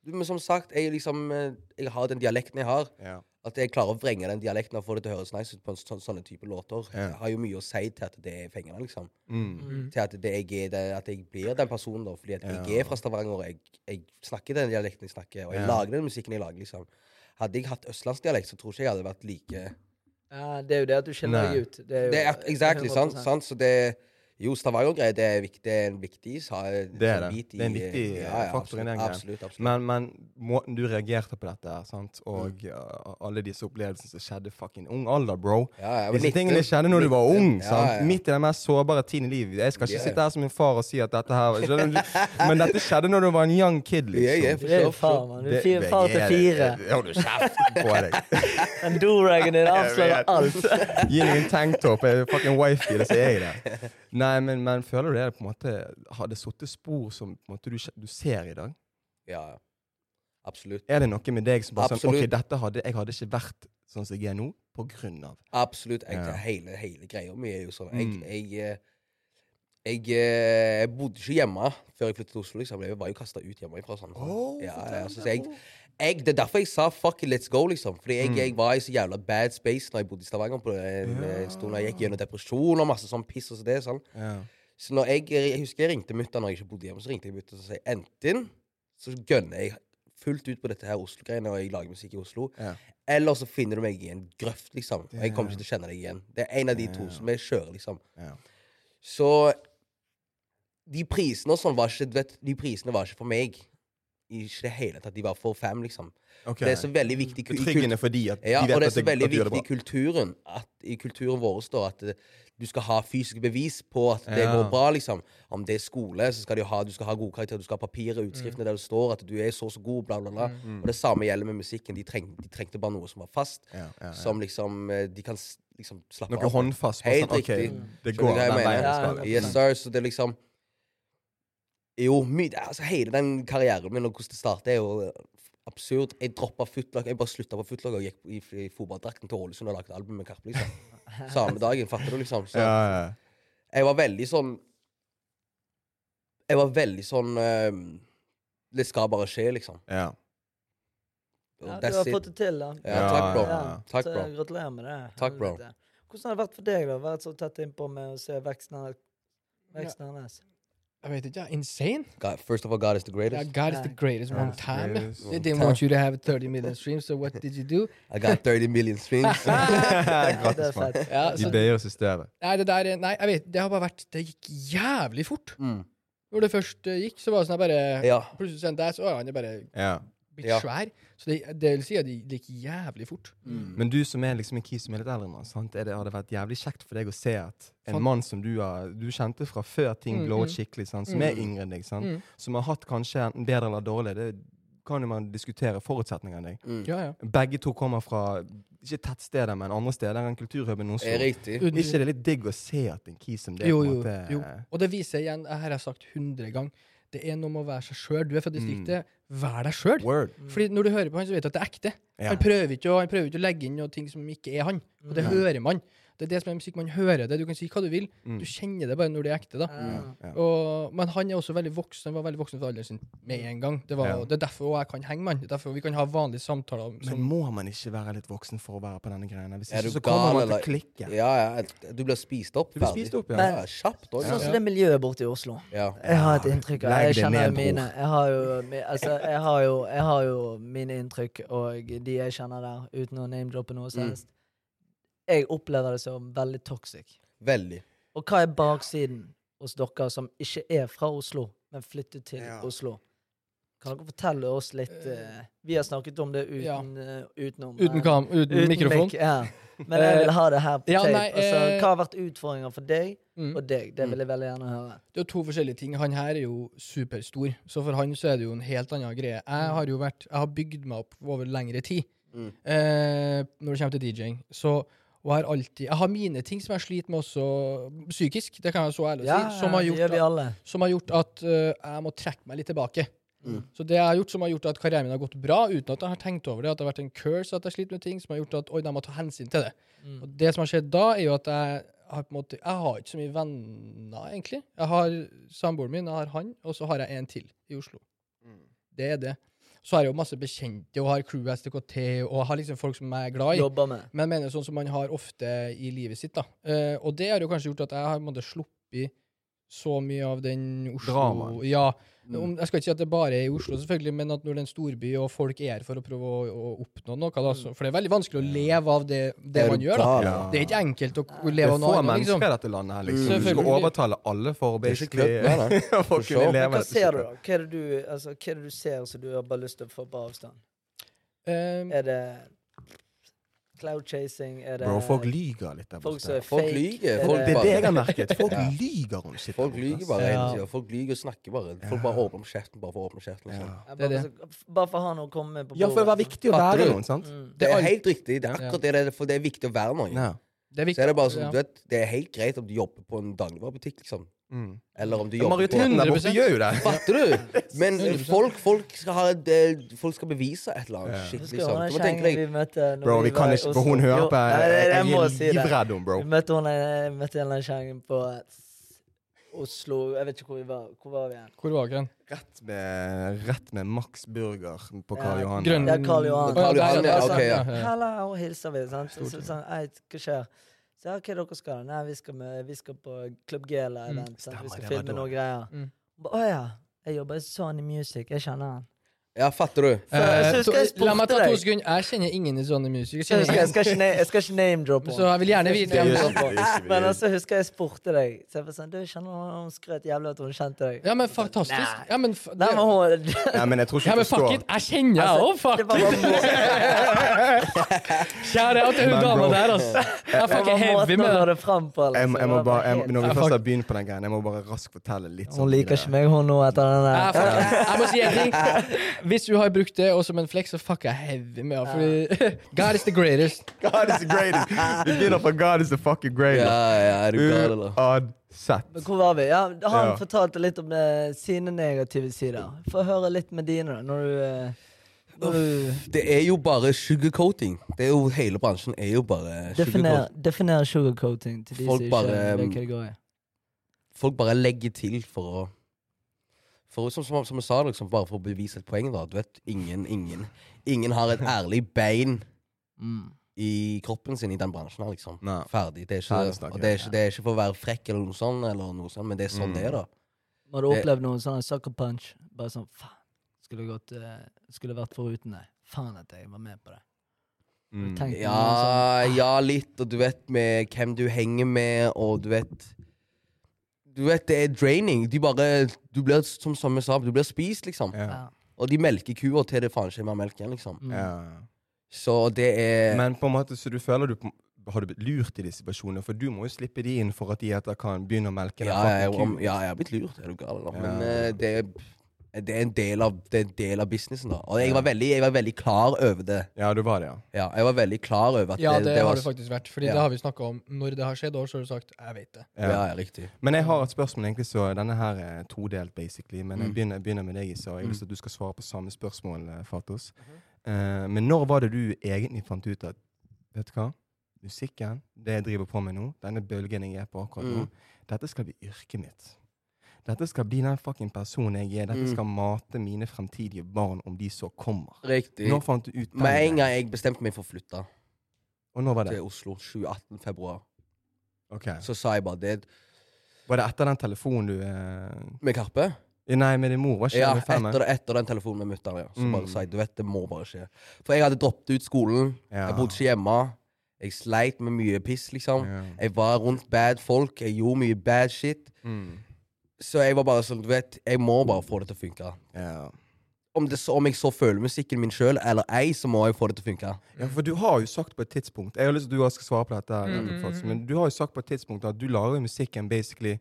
Speaker 2: Du, Men som sagt, jeg liksom eh, Jeg har den dialekten jeg har.
Speaker 3: Ja.
Speaker 2: At jeg klarer å vrenge den dialekten og få det til å høres nice ut på en sånn, sånne type låter.
Speaker 3: Ja.
Speaker 2: Jeg har jo mye å si til at det er fengende, liksom.
Speaker 3: Mm.
Speaker 2: Til at, det, jeg er, det, at jeg blir den personen, da. Fordi at jeg
Speaker 3: Ja.
Speaker 2: er fra Stavanger, og jeg, jeg snakker den dialekten jeg snakker, og jeg
Speaker 3: Ja.
Speaker 2: lager den musikken jeg lager, liksom. Hadde jeg hatt østlandsdialekt, så tror ikke jeg hadde vært like
Speaker 1: ja, det er jo det at du skiller
Speaker 3: Nei.
Speaker 1: deg ut. Det er jo
Speaker 2: Det er exactly, sant?
Speaker 1: 100%.
Speaker 2: sant? Så det Jo, Stavanger-greier, det er viktig, det er en viktig sa,
Speaker 3: Det er
Speaker 2: sånn
Speaker 3: det.
Speaker 2: bit
Speaker 3: Det er en viktig, eh, faktor i
Speaker 2: absolutt,
Speaker 3: den greien.
Speaker 2: Absolutt, absolutt.
Speaker 3: Men, men måten du reagerte på dette, her, sant?
Speaker 2: Mm.
Speaker 3: og uh, alle disse opplevelsene som skjedde fucking ung alder, bro
Speaker 2: Ja, jeg var
Speaker 3: Disse
Speaker 2: 19.
Speaker 3: tingene skjedde når du var ung.
Speaker 2: 19. Ja,
Speaker 3: sant?
Speaker 2: ja, ja.
Speaker 3: Midt i den mest sårbare tiden i livet. Jeg skal ikke
Speaker 2: Ja, ja.
Speaker 3: sitte her som min far og si at dette her skjønner du? Men dette skjedde når du var en young kid,
Speaker 2: Ja, ja,
Speaker 3: liksom.
Speaker 2: for
Speaker 1: Du er
Speaker 2: sure,
Speaker 1: jo
Speaker 2: for
Speaker 1: far,
Speaker 2: sure.
Speaker 1: mann. Du er fire, far til fire.
Speaker 3: Hold nå kjeften på deg.
Speaker 1: Den do-ragen din avslører
Speaker 3: vet.
Speaker 1: alt.
Speaker 3: Gi meg en tanktop. Jeg er fucking wifey, det sier jeg det. Nei, men, men føler du det på en måte hadde satt spor som på en måte, du, kje- du ser i dag?
Speaker 2: Ja, ja. absolutt.
Speaker 3: Er det noe med deg som bare sånn,
Speaker 2: Absolutt.
Speaker 3: ok, dette hadde, jeg hadde ikke vært sånn som jeg er nå, på grunn av.
Speaker 2: Absolutt. Jeg,
Speaker 3: Ja.
Speaker 2: hele, hele greia mi er jo sånn. Jeg,
Speaker 3: Mm.
Speaker 2: jeg, eh, jeg, eh, jeg bodde ikke hjemme før jeg flyttet til Oslo. Liksom. Jeg var jo kasta ut hjemmefra. Sånn.
Speaker 3: Åh,
Speaker 2: ja,
Speaker 3: fortell
Speaker 2: ja,
Speaker 3: det.
Speaker 2: så, så jeg, jeg, det er derfor jeg sa 'fuck it, let's go'. liksom. Fordi jeg,
Speaker 3: Mm.
Speaker 2: jeg var i så jævla bad space når jeg bodde i Stavanger. på en, en stund. Jeg gikk gjennom depresjon og masse sånn piss. og så det, sånn.
Speaker 3: Ja.
Speaker 2: Så når jeg, jeg husker jeg ringte mutter'n når jeg ikke bodde hjemme. Så ringte jeg mutter'n og sa enten så gønner jeg fullt ut på dette her Oslo-greiene, og jeg lager musikk i Oslo,
Speaker 3: Ja.
Speaker 2: eller så finner du meg i en grøft, liksom. Og jeg kommer ikke til å kjenne deg igjen. Det er en av de to som jeg kjører, liksom.
Speaker 3: Ja.
Speaker 2: Så de prisene og sånn var ikke du vet, De prisene var ikke for meg. Ikke i det hele tatt. De var for fam, liksom.
Speaker 3: Ok.
Speaker 2: Det er så veldig viktig ku- i kult-
Speaker 3: Betryggende fordi at
Speaker 2: ja,
Speaker 3: de vet
Speaker 2: og det er
Speaker 3: at,
Speaker 2: så
Speaker 3: jeg,
Speaker 2: veldig
Speaker 3: at du gjør
Speaker 2: viktig
Speaker 3: det
Speaker 2: i kulturen at, i kulturen vår står at eh, du skal ha fysiske bevis på at det
Speaker 3: Ja.
Speaker 2: går bra. liksom. Om det er skole, så skal du ha, du skal ha gode karakterer, du skal ha papirer,
Speaker 3: Mm.
Speaker 2: utskriftene der det står at du er så og så god, bla, bla, bla. Og det samme gjelder med musikken. De, treng, de trengte bare noe som var fast,
Speaker 3: Ja, ja, ja.
Speaker 2: som liksom eh, de kan s- liksom slappe
Speaker 3: bra. Noe
Speaker 2: av. med.
Speaker 3: håndfast. bare
Speaker 2: Helt
Speaker 3: sånn, ok,
Speaker 2: riktig.
Speaker 3: det
Speaker 2: Skjønner
Speaker 3: går
Speaker 2: du hva
Speaker 3: den
Speaker 2: jeg
Speaker 3: veien
Speaker 2: mener?
Speaker 3: det
Speaker 1: Ja,
Speaker 3: skal.
Speaker 1: ja,
Speaker 2: Yes, sir. Så det er liksom Jo, my, altså, hele den karrieren min og hvordan det startet, er jo eh, absurd. Jeg droppa footlock. Jeg bare slutta på footlock og gikk i, i fotballdrakten til Ålesund og lagde album med Karpe. Liksom. Samme dagen, fatter du, liksom. Så
Speaker 3: Ja, ja, ja.
Speaker 2: jeg var veldig sånn Jeg var veldig sånn eh, Det skal bare skje, liksom.
Speaker 3: ja.
Speaker 2: Og
Speaker 1: Ja, du
Speaker 2: That's
Speaker 1: har
Speaker 2: it.
Speaker 1: fått det til, da.
Speaker 2: Ja, takk, bro.
Speaker 3: Ja,
Speaker 2: Takk,
Speaker 1: så
Speaker 2: bro.
Speaker 1: Gratulerer med det.
Speaker 2: Takk, bro.
Speaker 1: Helvete. Hvordan har det vært for deg da? å være så tett innpå med å se veksten hennes? Veksten hennes?
Speaker 4: Jeg vet ikke. jeg. Insane?
Speaker 2: God, first of all, God is the
Speaker 4: Yeah,
Speaker 2: greatest.
Speaker 4: God is the
Speaker 1: Yeah.
Speaker 4: greatest
Speaker 3: God
Speaker 4: one
Speaker 3: is the
Speaker 4: time.
Speaker 3: greatest
Speaker 4: They didn't want you to have 30 million streams, so what did you do?
Speaker 2: I got 30 million streams.
Speaker 1: Ja, det er
Speaker 3: Grattis, mann.
Speaker 1: fett.
Speaker 4: Ja,
Speaker 3: De
Speaker 4: så,
Speaker 3: bøyer oss i støvet.
Speaker 4: nei, det der er- Nei, jeg vet Det har bare vært Det gikk jævlig fort.
Speaker 2: Mm.
Speaker 4: Når det først eh, gikk, så var det sånn jeg bare
Speaker 2: Ja.
Speaker 4: Plutselig sånn der, så er han jo bare
Speaker 3: Ja.
Speaker 4: blitt
Speaker 2: Ja.
Speaker 4: svær. Så det, det vil si at det gikk jævlig fort.
Speaker 3: Men du som er liksom en kis som er litt eldre nå, sant? Er det hadde vært jævlig kjekt for deg å se at en
Speaker 4: Fan-
Speaker 3: mann som du, har, du kjente fra før ting
Speaker 4: Mm,
Speaker 3: glowet
Speaker 4: mm.
Speaker 3: skikkelig, sant? som er yngre enn deg, sant?
Speaker 4: Mm.
Speaker 3: som har hatt kanskje enten bedre eller dårlig, det kan jo man diskutere forutsetningene enn deg.
Speaker 2: Mm.
Speaker 4: Ja, ja.
Speaker 3: Begge to kommer fra ikke tettsteder, men andre steder enn kulturhuben
Speaker 2: Er
Speaker 3: Oslo.
Speaker 2: riktig.
Speaker 3: Er ikke det litt digg å se at en kis som det
Speaker 4: jo,
Speaker 3: på en
Speaker 4: jo,
Speaker 3: måte eh,
Speaker 4: jo. Og det viser igjen, her har jeg sagt 100 ganger, det er noe med å være seg sjøl. Du er fra distriktet, vær deg sjøl.
Speaker 3: Mm. Word.
Speaker 4: Fordi når du hører på han, så vet du at det er ekte.
Speaker 3: Ja. Mm.
Speaker 4: Han, prøver ikke å, han prøver ikke å legge inn noe ting som ikke er han. Og det hører man. Det er det som er musikk. Man hører det. Du kan si hva du vil. Du kjenner det bare når det er ekte. da.
Speaker 1: Ah.
Speaker 3: Mm. Ja.
Speaker 4: Og, men han er også veldig voksen. Han var veldig voksen for alderen sin med en gang. Det, var,
Speaker 3: Ja.
Speaker 4: det er derfor jeg kan henge med han. Det er derfor vi kan ha vanlige samtaler. om-
Speaker 3: Men
Speaker 4: Som,
Speaker 3: må man ikke være litt voksen for å være på denne greiene? Hvis
Speaker 2: Er
Speaker 3: ikke,
Speaker 2: du
Speaker 3: så kommer
Speaker 2: gal,
Speaker 3: man til
Speaker 2: eller?
Speaker 3: å klikke.
Speaker 2: Ja, ja, du blir spist opp.
Speaker 3: Du blir
Speaker 2: ferdig.
Speaker 3: spist opp, ja.
Speaker 2: ja. Kjapt òg.
Speaker 1: Sånn som det miljøet borte i Oslo.
Speaker 2: Ja.
Speaker 1: Jeg har et inntrykk. og
Speaker 3: Legg
Speaker 1: Jeg
Speaker 3: det
Speaker 1: kjenner jo
Speaker 3: ned, bror.
Speaker 1: mine. Jeg har jo, mi- altså, jeg har jo, jeg har jo mine inntrykk, og de jeg kjenner der, uten å name-droppe noe
Speaker 2: Mm.
Speaker 1: som helst. Jeg opplever det som veldig toxic.
Speaker 2: Veldig.
Speaker 1: Og hva er baksiden hos dere som ikke er fra Oslo, men flyttet til
Speaker 3: Ja.
Speaker 1: Oslo? Kan dere fortelle oss litt eh, Vi har snakket om det
Speaker 4: ja.
Speaker 1: uten, eh, utenom eh,
Speaker 4: uten kam, uten,
Speaker 1: uten
Speaker 4: mikrofon. Eh,
Speaker 1: mikk, ja. Men jeg vil ha det her på
Speaker 4: Ja,
Speaker 1: tape.
Speaker 4: nei,
Speaker 1: altså,
Speaker 4: eh,
Speaker 1: hva har vært utfordringer for deg
Speaker 4: Mm.
Speaker 1: og deg? Det vil jeg veldig gjerne høre.
Speaker 4: Det er jo to forskjellige ting. Han her er jo superstor, så for han så er det jo en helt annen greie. Jeg har jo vært, jeg har bygd meg opp over lengre tid
Speaker 2: Mm.
Speaker 4: eh, når det kommer til DJ-ing. Så og jeg har alltid, jeg har mine ting som jeg sliter med også psykisk, det kan jeg så ærlig
Speaker 1: Ja,
Speaker 4: si, som har
Speaker 1: det
Speaker 4: gjort
Speaker 1: gjør vi alle.
Speaker 4: som har gjort at eh, jeg må trekke meg litt tilbake.
Speaker 2: Mm.
Speaker 4: Så det jeg har gjort som har gjort at karrieren min har gått bra, uten at jeg har tenkt over det, at det har vært en curse at jeg sliter med ting, som har gjort at oi, jeg må ta hensyn til det.
Speaker 1: Mm.
Speaker 4: Og det som har skjedd da, er jo at jeg har på en måte, jeg har ikke så mye venner, egentlig. Jeg har samboeren min, jeg har han, og så har jeg en til i Oslo. Det er det. Så har jeg jo masse bekjente, og har crew STKT, og har liksom folk som jeg er glad i.
Speaker 1: Jobber med.
Speaker 4: Men jeg mener sånn som man har ofte i livet sitt, da. Eh, og det har jo kanskje gjort at jeg har på en måte sluppet så mye av den Oslo...
Speaker 3: Dramaen.
Speaker 4: Ja. Om, jeg skal ikke si at det bare er i Oslo, selvfølgelig, men at når det er en storby, og folk er her for å prøve å, å oppnå noe, da, så, for det er veldig vanskelig å leve av det, det man gjør, da.
Speaker 2: Ja.
Speaker 4: Det er ikke enkelt å k-
Speaker 3: Det
Speaker 4: leve
Speaker 3: er
Speaker 4: av
Speaker 3: få
Speaker 4: noe annet,
Speaker 3: mennesker
Speaker 4: liksom.
Speaker 3: i dette landet her, liksom. Du skal
Speaker 4: Selvfølgelig.
Speaker 3: overtale alle for å
Speaker 2: Det er ikke
Speaker 3: basically
Speaker 2: kødd, nei, nei.
Speaker 3: for å
Speaker 2: For
Speaker 3: kunne
Speaker 2: sure.
Speaker 3: leve
Speaker 1: Men hva
Speaker 3: dette
Speaker 1: ser du,
Speaker 3: skittet.
Speaker 1: da? Hva er det du, altså, hva er det du ser som du har bare lyst til å få på avstand?
Speaker 4: Eh,
Speaker 1: Er det cloud chasing? Er det
Speaker 3: Bro, folk lyger litt der
Speaker 1: folk som er
Speaker 3: borte.
Speaker 2: Folk
Speaker 1: fake?
Speaker 2: lyger,
Speaker 1: Er
Speaker 2: folk
Speaker 3: Det er det jeg har merket. Folk
Speaker 2: Ja.
Speaker 3: lyger om shit.
Speaker 2: Folk lyger bare
Speaker 4: Ja.
Speaker 2: hele tiden. Folk lyger og snakker bare. Folk bare åpner opp kjeften bare for å åpne kjeften. og sånn.
Speaker 1: Ja,
Speaker 4: Det er
Speaker 1: bare, så- bare for å ha noe å komme med på
Speaker 3: Ja, for det var viktig å
Speaker 2: Fatter
Speaker 3: være
Speaker 2: du?
Speaker 3: noen, sant?
Speaker 1: Mm.
Speaker 2: Det
Speaker 4: Det er
Speaker 2: er
Speaker 4: alt-
Speaker 2: helt riktig. Det er akkurat det det er, for det er viktig å være noen.
Speaker 3: Ja.
Speaker 4: det er
Speaker 2: Så
Speaker 4: viktig.
Speaker 2: er det bare sånn,
Speaker 4: ja.
Speaker 2: du vet, det er helt greit om du jobber på en dagligvarebutikk, liksom.
Speaker 3: Mm.
Speaker 2: Eller om du jobber på
Speaker 3: Maritim der borte
Speaker 4: 100%.
Speaker 3: gjør jo det.
Speaker 2: Fatter du? Men folk, folk, skal ha, det- folk skal bevise et eller
Speaker 3: Ja.
Speaker 2: annet shit,
Speaker 1: Husker du
Speaker 2: liksom.
Speaker 1: hun
Speaker 2: Du må
Speaker 1: der
Speaker 2: tenke
Speaker 1: kjerringen
Speaker 2: deg
Speaker 1: vi møtte når
Speaker 3: Bro, vi
Speaker 1: var
Speaker 3: kan
Speaker 1: i
Speaker 3: ikke For
Speaker 1: Oslo?
Speaker 3: hun hører
Speaker 1: Jo,
Speaker 3: på eh,
Speaker 1: nei,
Speaker 3: Jeg
Speaker 1: det-
Speaker 3: jeg
Speaker 1: jeg må si
Speaker 3: er
Speaker 1: det.
Speaker 3: livredd om, bro.
Speaker 1: Vi møtte hun jeg møtte en eller annen kjerring på Oslo Jeg vet ikke hvor vi var. Hvor var vi igjen?
Speaker 4: Hvor var ikke den?
Speaker 3: Rett med, rett med Max Burger på
Speaker 1: Ja.
Speaker 3: Karl Johan.
Speaker 4: Grønn...
Speaker 1: Ja, Karl Johan.
Speaker 4: Å, ja,
Speaker 2: Karl Johan,
Speaker 4: der,
Speaker 2: ja,
Speaker 4: der,
Speaker 2: ok, ja.
Speaker 4: der, ja.
Speaker 1: Hallo, og hilser vi. sant? Så,
Speaker 4: Stort, ja.
Speaker 1: sånn, Ei, hva skjer? Så ja, hva dere skal? Nei, vi skal, med, vi skal på Club Gela
Speaker 4: Mm.
Speaker 1: event. sant?
Speaker 3: Stemmer,
Speaker 1: Vi skal
Speaker 3: det var
Speaker 1: filme
Speaker 3: da.
Speaker 1: noe greier.
Speaker 4: Mm.
Speaker 1: Ba, Å ja. Jeg jobber i Sony Music. Jeg kjenner han.
Speaker 2: Ja, fatter du?
Speaker 1: Så jeg
Speaker 4: Eh,
Speaker 1: husker jeg
Speaker 4: to- La meg
Speaker 1: spurte
Speaker 4: ta to
Speaker 1: deg.
Speaker 4: sekunder. Jeg kjenner ingen i Sony Music.
Speaker 1: Jeg,
Speaker 4: Jeg kjenner
Speaker 1: husker, jeg
Speaker 4: ingen.
Speaker 1: skal ikke, na- jeg skal ikke name-droppe
Speaker 4: Så jeg vil gjerne
Speaker 1: Jeg
Speaker 4: vite
Speaker 1: skal
Speaker 3: Det sånn.
Speaker 1: ikke
Speaker 3: gjør
Speaker 1: name-droppe
Speaker 3: ikke vi, det gjør ikke vi.
Speaker 1: Men altså, husker jeg spurte deg. Så jeg var sånn, du kjenner hun, hun skrøt jævlig at hun kjente deg.
Speaker 4: Ja, men fantastisk.
Speaker 1: Nei.
Speaker 4: Ja, men, f-
Speaker 1: Nei,
Speaker 4: det,
Speaker 1: men hun
Speaker 3: Ja, men jeg tror
Speaker 4: ja,
Speaker 3: ikke du
Speaker 4: men fuck
Speaker 3: forstår.
Speaker 4: it, jeg kjenner deg òg,
Speaker 1: Altså, det
Speaker 4: fuck!
Speaker 1: var bare må-
Speaker 4: Kjære at det er hun
Speaker 3: Men
Speaker 4: dama
Speaker 3: bro.
Speaker 4: der, altså. Jeg
Speaker 1: det
Speaker 4: fucker
Speaker 1: var
Speaker 4: heavy
Speaker 1: måten
Speaker 4: med
Speaker 1: hun la
Speaker 4: det.
Speaker 1: det fram på.
Speaker 3: Jeg, må-
Speaker 1: liksom.
Speaker 3: jeg må
Speaker 1: Det var
Speaker 3: bare,
Speaker 1: helt-
Speaker 3: jeg, når vi
Speaker 4: Ja,
Speaker 3: først
Speaker 4: fuck.
Speaker 3: har begynt på den greien, jeg må bare raskt fortelle litt sånn
Speaker 1: Hun liker ikke meg, hun nå, etter den
Speaker 4: Jeg,
Speaker 1: der.
Speaker 4: fucker, jeg må si en ting. Hvis du har brukt det også som en flex, så fucker jeg heavy med det. Fordi God is the greatest.
Speaker 3: God is the greatest. Vi begynner på God is the fucking
Speaker 2: Ja,
Speaker 3: greatest.
Speaker 2: ja, er du gal, eller?
Speaker 3: Uansett.
Speaker 1: Men hvor var vi? Ja, han
Speaker 3: Ja.
Speaker 1: fortalte litt om eh, sine negative sider. Få høre litt med dine, da. Når du eh, når du-
Speaker 2: Uh, Det er jo bare sugarcoating. Det er jo, hele bransjen er jo bare
Speaker 1: Definer,
Speaker 2: sugarcoating.
Speaker 1: definer sugarcoating til de
Speaker 2: Folk
Speaker 1: som ikke
Speaker 2: bare,
Speaker 3: mm.
Speaker 1: er i
Speaker 2: um,
Speaker 1: den kategorien.
Speaker 2: Folk bare legger til for å for, som, som, som jeg sa, liksom, bare for å bevise et poeng, da. Du vet, ingen, ingen Ingen har et ærlig bein
Speaker 1: Mm.
Speaker 2: i kroppen sin i den bransjen her, liksom.
Speaker 3: Nei.
Speaker 2: Ferdig. Det er ikke,
Speaker 3: Ferdig snakket.
Speaker 2: og det er, ikke, det er ikke for å være frekk eller noe sånt, eller noe sånt men det er sånn
Speaker 3: Mm.
Speaker 2: det er, da.
Speaker 1: Har du
Speaker 2: det-
Speaker 1: opplevd noen sånne sucker punch? Bare sånn faen, skulle, gått, eh, skulle vært foruten deg. Faen at jeg var med på det. Har du
Speaker 3: Mm.
Speaker 1: tenkt
Speaker 2: Ja,
Speaker 1: noe sånn?
Speaker 2: ja, litt, og du vet med hvem du henger med, og du vet Du vet, det er draining. De bare Du blir, som som jeg sa, du blir spist, liksom.
Speaker 3: Ja.
Speaker 1: Ja.
Speaker 2: Og de melker kua til det faen ikke er mer melk igjen, liksom.
Speaker 1: Mm.
Speaker 3: Ja.
Speaker 2: Så det er
Speaker 3: Men på en måte, så du føler du på- har du blitt lurt i disse personene, for du må jo slippe de inn for at de etter kan begynne å melke den
Speaker 2: ja, jeg,
Speaker 3: fucking
Speaker 2: om,
Speaker 3: ku.
Speaker 2: ja, jeg har blitt lurt, er du gal, eller? Men
Speaker 3: Ja.
Speaker 2: eh, det, er- det, er en del av, det er en del av businessen, da. Og jeg var veldig, jeg var veldig klar over det.
Speaker 3: Ja, du var det, ja.
Speaker 2: Ja, jeg var veldig klar over at
Speaker 4: Ja, det har
Speaker 2: var
Speaker 4: det faktisk vært. Fordi
Speaker 2: Ja.
Speaker 4: det har vi snakka om når det har skjedd, og så har du sagt 'jeg vet det'.
Speaker 2: Ja, ja, riktig.
Speaker 3: Men jeg har et spørsmål, egentlig, så denne her er todelt, basically. Men jeg
Speaker 2: Mm.
Speaker 3: begynner, begynner med deg, Isa. Jeg har lyst til at du skal svare på samme
Speaker 2: Mhm.
Speaker 3: spørsmål, eh, Fatos. Eh, men når var det du egentlig fant ut at Vet du hva? musikken, det jeg driver på med nå, denne bølgen jeg er på akkurat nå,
Speaker 2: Mm.
Speaker 3: dette skal bli yrket mitt. Dette skal bli den fucking personen jeg er. Dette
Speaker 2: Mm.
Speaker 3: skal mate mine fremtidige barn, om de så kommer.
Speaker 2: Riktig.
Speaker 3: Nå fant du ut den
Speaker 2: Med en
Speaker 3: greien.
Speaker 2: gang jeg bestemte meg for å flytte
Speaker 3: Og nå var det.
Speaker 2: til Oslo 2018 februar,
Speaker 3: Ok.
Speaker 2: så sa jeg bare det
Speaker 3: Var det etter den telefonen du eh...
Speaker 2: med Karpe.
Speaker 3: Nei, med din mor, var ikke
Speaker 2: Ja,
Speaker 3: det med fem, eh?
Speaker 2: etter, etter den telefonen med mutter'n, ja. Så
Speaker 3: Mm.
Speaker 2: bare sa jeg du vet, det må bare skje. For jeg hadde droppet ut skolen.
Speaker 3: Ja.
Speaker 2: Jeg bodde ikke hjemme. Jeg sleit med mye piss, liksom.
Speaker 3: Ja.
Speaker 2: Jeg var rundt bad folk. Jeg gjorde mye bad shit.
Speaker 3: Mm.
Speaker 2: Så jeg var bare sånn, du vet, jeg må bare få det til å funke.
Speaker 3: Ja.
Speaker 2: Om, det, så- om jeg så føler musikken min sjøl eller ei, så må jeg få det til å funke.
Speaker 3: Ja, for du har jo sagt på et tidspunkt Jeg har lyst til at du også skal svare på dette, her,
Speaker 4: Mm,
Speaker 3: Fats,
Speaker 4: mm, mm.
Speaker 3: men du har jo sagt på et tidspunkt at du lager jo musikken basically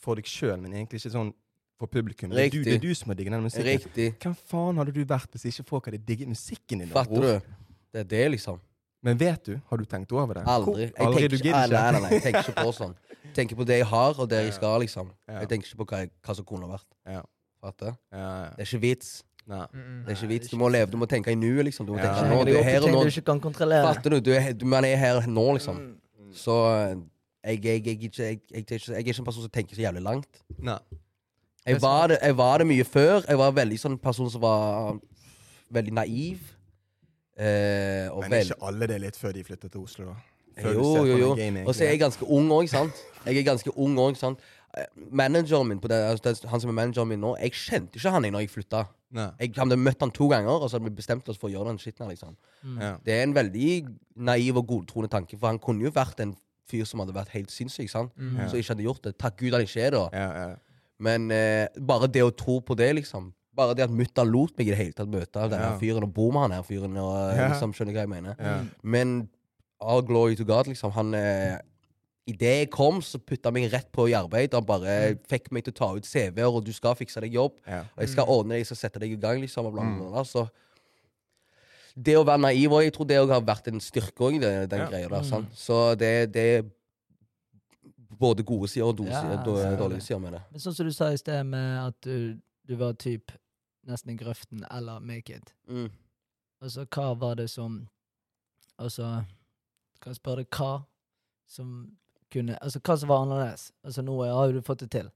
Speaker 3: for deg sjøl, men egentlig ikke sånn for publikum. Det er, du,
Speaker 2: Riktig.
Speaker 3: det er du som har digget den musikken.
Speaker 2: Riktig.
Speaker 3: Hvem faen hadde du vært hvis ikke folk hadde digget musikken din? da,
Speaker 2: Fatter
Speaker 3: bror?
Speaker 2: du? Det er det, liksom.
Speaker 3: Men vet du? Har du tenkt over det?
Speaker 2: Aldri. Jeg
Speaker 3: Hvor- Aldri,
Speaker 2: tenker,
Speaker 3: du
Speaker 2: ikke,
Speaker 3: gidder
Speaker 2: nei,
Speaker 3: ikke?
Speaker 2: nei, nei, jeg tenker ikke på sånn. Jeg tenker på det jeg har, og der jeg skal, liksom.
Speaker 3: Ja.
Speaker 2: Jeg tenker ikke på hva, jeg, hva som kunne vært.
Speaker 3: Ja.
Speaker 2: Fatter?
Speaker 3: Ja, ja.
Speaker 2: Det er ikke vits.
Speaker 3: Nei.
Speaker 4: Mm,
Speaker 2: Det er ikke vits. Du må leve, du må tenke i nuet, liksom. Du må
Speaker 3: Ja.
Speaker 2: tenke
Speaker 1: Henger
Speaker 2: nå. Du
Speaker 1: deg
Speaker 2: er
Speaker 1: opp i
Speaker 2: her og
Speaker 1: ting
Speaker 2: nå.
Speaker 1: du ikke kan kontrollere.
Speaker 2: Fatter du? du er, du man er her nå, liksom. Så eh, jeg, jeg, jeg, jeg, jeg, jeg, jeg, jeg er ikke en person som tenker så jævlig langt.
Speaker 3: Nei.
Speaker 2: Jeg var, det, jeg var det mye før. Jeg var veldig sånn person som var veldig naiv. Eh, og
Speaker 3: Men er
Speaker 2: vel,
Speaker 3: ikke alle det litt før de flytter til Oslo, da? Før
Speaker 2: jo,
Speaker 3: du ser
Speaker 2: jo, jo.
Speaker 3: hvordan gamet
Speaker 2: Og så er jeg
Speaker 3: egentlig
Speaker 2: ganske ung òg, sant? Jeg er ganske ung også, sant? Eh, Manageren min, på den, altså, den- han som er manageren min nå, jeg kjente ikke han jeg når jeg flytta.
Speaker 3: er. Nei.
Speaker 2: Jeg hadde møtt han to ganger, og så hadde vi bestemt oss for å gjøre den skitten her, liksom.
Speaker 3: Ja.
Speaker 2: Det er en veldig naiv og godtroende tanke, for han kunne jo vært en fyr som hadde vært helt sinnssyk, sant?
Speaker 3: Ja.
Speaker 2: Så ikke hadde gjort det. Takk Gud han ikke er det, da.
Speaker 3: Ja, ja.
Speaker 2: Men eh, bare det å tro på det, liksom. Bare det at mutta lot meg i det hele tatt møte den her
Speaker 3: Ja.
Speaker 2: fyren og bo med han her fyren. og eh,
Speaker 3: Ja.
Speaker 2: liksom skjønner hva jeg mener.
Speaker 3: Ja.
Speaker 2: Men all glory to God, liksom. Han eh, Idet jeg kom, så putta han meg rett på i arbeid. Han bare fikk meg til å ta ut CV-er, og du skal fikse deg jobb.
Speaker 3: Ja.
Speaker 2: Og jeg skal ordne deg, jeg skal sette deg i gang, liksom. Og bla, bla, bla, så det å være naiv òg, jeg tror det også har vært en styrke òg, den
Speaker 3: Ja.
Speaker 2: greia der. sant? Så det, det er både gode sider og dårlige
Speaker 1: Ja,
Speaker 2: sider-
Speaker 1: selvfølgelig.
Speaker 2: dårlige sider med det.
Speaker 1: Men sånn som du sa i sted, med at du, du var typ nesten i grøften eller make it.
Speaker 2: Mm.
Speaker 1: Altså, hva var det som Altså, kan jeg spørre deg hva som kunne Altså, hva som var annerledes? Altså, nå har jo du fått det til.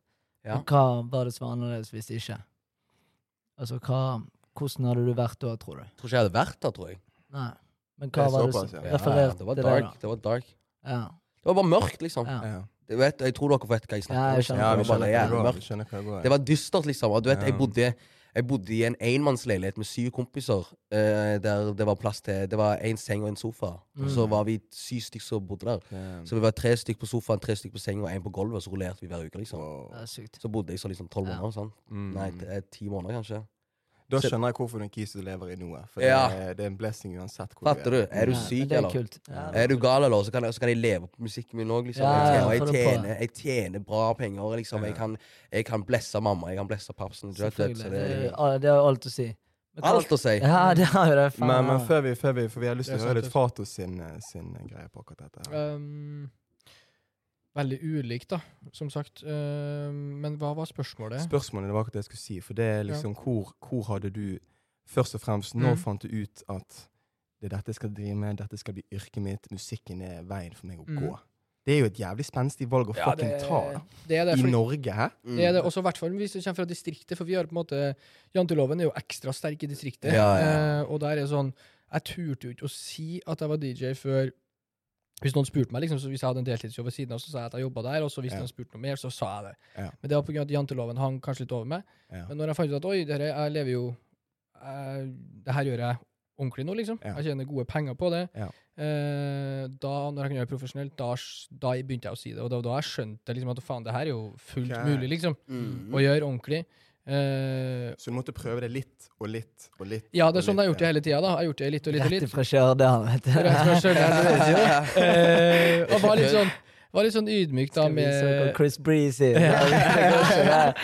Speaker 2: Ja.
Speaker 1: Men hva var det som var annerledes hvis ikke? Altså, hva Hvordan hadde du vært da, tror du?
Speaker 2: tror ikke jeg hadde vært der, tror jeg.
Speaker 1: Nei. Men
Speaker 3: Det
Speaker 1: hva
Speaker 3: er
Speaker 1: var det
Speaker 3: såpass,
Speaker 1: som
Speaker 3: ja.
Speaker 2: Ja,
Speaker 1: refererte
Speaker 2: det var
Speaker 1: til
Speaker 2: dark.
Speaker 1: det,
Speaker 2: Det var dark.
Speaker 1: da? Ja.
Speaker 2: Det var bare mørkt, liksom.
Speaker 1: ja.
Speaker 3: Ja.
Speaker 2: Du vet, jeg tror dere vet hva jeg
Speaker 1: Ja,
Speaker 2: snakker
Speaker 1: jeg
Speaker 2: liksom.
Speaker 3: ja, vi
Speaker 2: det, var bare
Speaker 3: skjønner hva det
Speaker 2: jævlig
Speaker 3: går. Vi
Speaker 2: mørkt.
Speaker 3: skjønner hva det går.
Speaker 2: det var dystert, liksom. Og du vet, jeg
Speaker 3: Ja.
Speaker 2: bodde, jeg bodde i en enmannsleilighet med syv kompiser, eh, der det var plass til Det var én seng og en sofa. Og
Speaker 1: Mm.
Speaker 2: så var vi syv stykker som bodde der.
Speaker 3: Ja.
Speaker 2: Så vi var tre stykker på sofaen, tre stykker på sengen og én på gulvet, og så rullerte vi hver uke, liksom.
Speaker 3: Wow.
Speaker 1: Det er sykt.
Speaker 2: Så bodde jeg så liksom tolv
Speaker 1: Ja.
Speaker 2: måneder, sant?
Speaker 3: Mm.
Speaker 2: Nei, t- eh, ti måneder, kanskje.
Speaker 3: Da
Speaker 2: Så-
Speaker 3: skjønner jeg hvorfor du er en kis du lever i noe. For
Speaker 2: Ja.
Speaker 3: det, er, det er en blessing uansett hvor
Speaker 2: Fatter du? Er du
Speaker 1: Ja, men
Speaker 2: syk,
Speaker 1: det er
Speaker 2: eller?
Speaker 1: kult. Ja.
Speaker 2: Er du gal, eller? Så kan, jeg- så kan jeg leve på musikken min òg, liksom.
Speaker 1: Ja,
Speaker 2: jeg,
Speaker 1: ja,
Speaker 2: tjener,
Speaker 1: få
Speaker 2: jeg,
Speaker 1: det på.
Speaker 2: tjener, jeg tjener bra penger, liksom. Jeg kan, jeg kan blesse mamma, jeg kan blesse papsen. du vet,
Speaker 1: Selvfølgelig.
Speaker 2: Så
Speaker 1: Det,
Speaker 2: det er
Speaker 1: er- det har alt å si. Men hva-
Speaker 2: alt å si.
Speaker 1: Ja, det har jo det. Faen.
Speaker 3: Men, men før vi, før vi, for vi har lyst
Speaker 4: Det
Speaker 3: til
Speaker 4: er
Speaker 3: å høre
Speaker 4: sant,
Speaker 3: litt Fatos sin, eh, sin greie på akkurat dette. her.
Speaker 4: Um, veldig ulikt, da, som sagt. Um, men hva var spørsmålet?
Speaker 3: Spørsmålet var akkurat det jeg skulle si, for det er liksom hvor, hvor hadde du Først og fremst, når
Speaker 4: Mm.
Speaker 3: fant du ut at det er dette jeg skal drive med, dette skal bli yrket mitt, musikken er veien for meg å
Speaker 4: Mm.
Speaker 3: gå? Det er jo et jævlig spenstig valg å
Speaker 4: Ja,
Speaker 3: fucking
Speaker 4: det-
Speaker 3: ta da.
Speaker 4: Det er det,
Speaker 3: i
Speaker 4: fordi,
Speaker 3: Norge, hæ?
Speaker 2: Mm.
Speaker 4: det er det også i hvert fall hvis du kommer fra distriktet, for vi har på en måte Janteloven er jo ekstra sterk i distriktet.
Speaker 2: Ja, ja.
Speaker 4: Eh, og der er sånn Jeg turte jo ikke å si at jeg var DJ før Hvis noen spurte meg, liksom, så hvis jeg hadde en deltidsjobb ved siden av, så sa jeg at jeg jobba der, og så hvis
Speaker 3: Ja.
Speaker 4: noen spurte noe mer, så sa jeg det.
Speaker 3: Ja.
Speaker 4: Men det var på grunn av at janteloven hang kanskje litt over meg.
Speaker 3: Ja.
Speaker 4: Men når jeg fant ut at oi, det her, jeg lever jo jeg, Det her gjør jeg ordentlig nå, liksom.
Speaker 3: Ja.
Speaker 4: Jeg tjener gode penger på det.
Speaker 3: Ja.
Speaker 4: Eh, da, når jeg kan gjøre det profesjonelt, da, s- da begynte jeg å si det. Og da, da jeg skjønte liksom at faen, det her er jo fullt
Speaker 3: Ok.
Speaker 4: mulig, liksom.
Speaker 2: Mm.
Speaker 4: Å gjøre ordentlig. Eh,
Speaker 3: Så du måtte prøve det litt og litt og litt?
Speaker 4: ja, det
Speaker 3: og
Speaker 4: er sånn jeg har gjort det
Speaker 3: litt,
Speaker 4: hele tida, da. Jeg har gjort det litt og litt og
Speaker 1: Rett
Speaker 4: litt.
Speaker 1: ifra Stjørdal, vet du.
Speaker 4: Rett fra Stjørdal. Eh, og var litt sånn, var litt sånn ydmyk, da,
Speaker 1: Skal vi se hvor
Speaker 4: med
Speaker 1: Chris Breeze er. Det går ikke, det.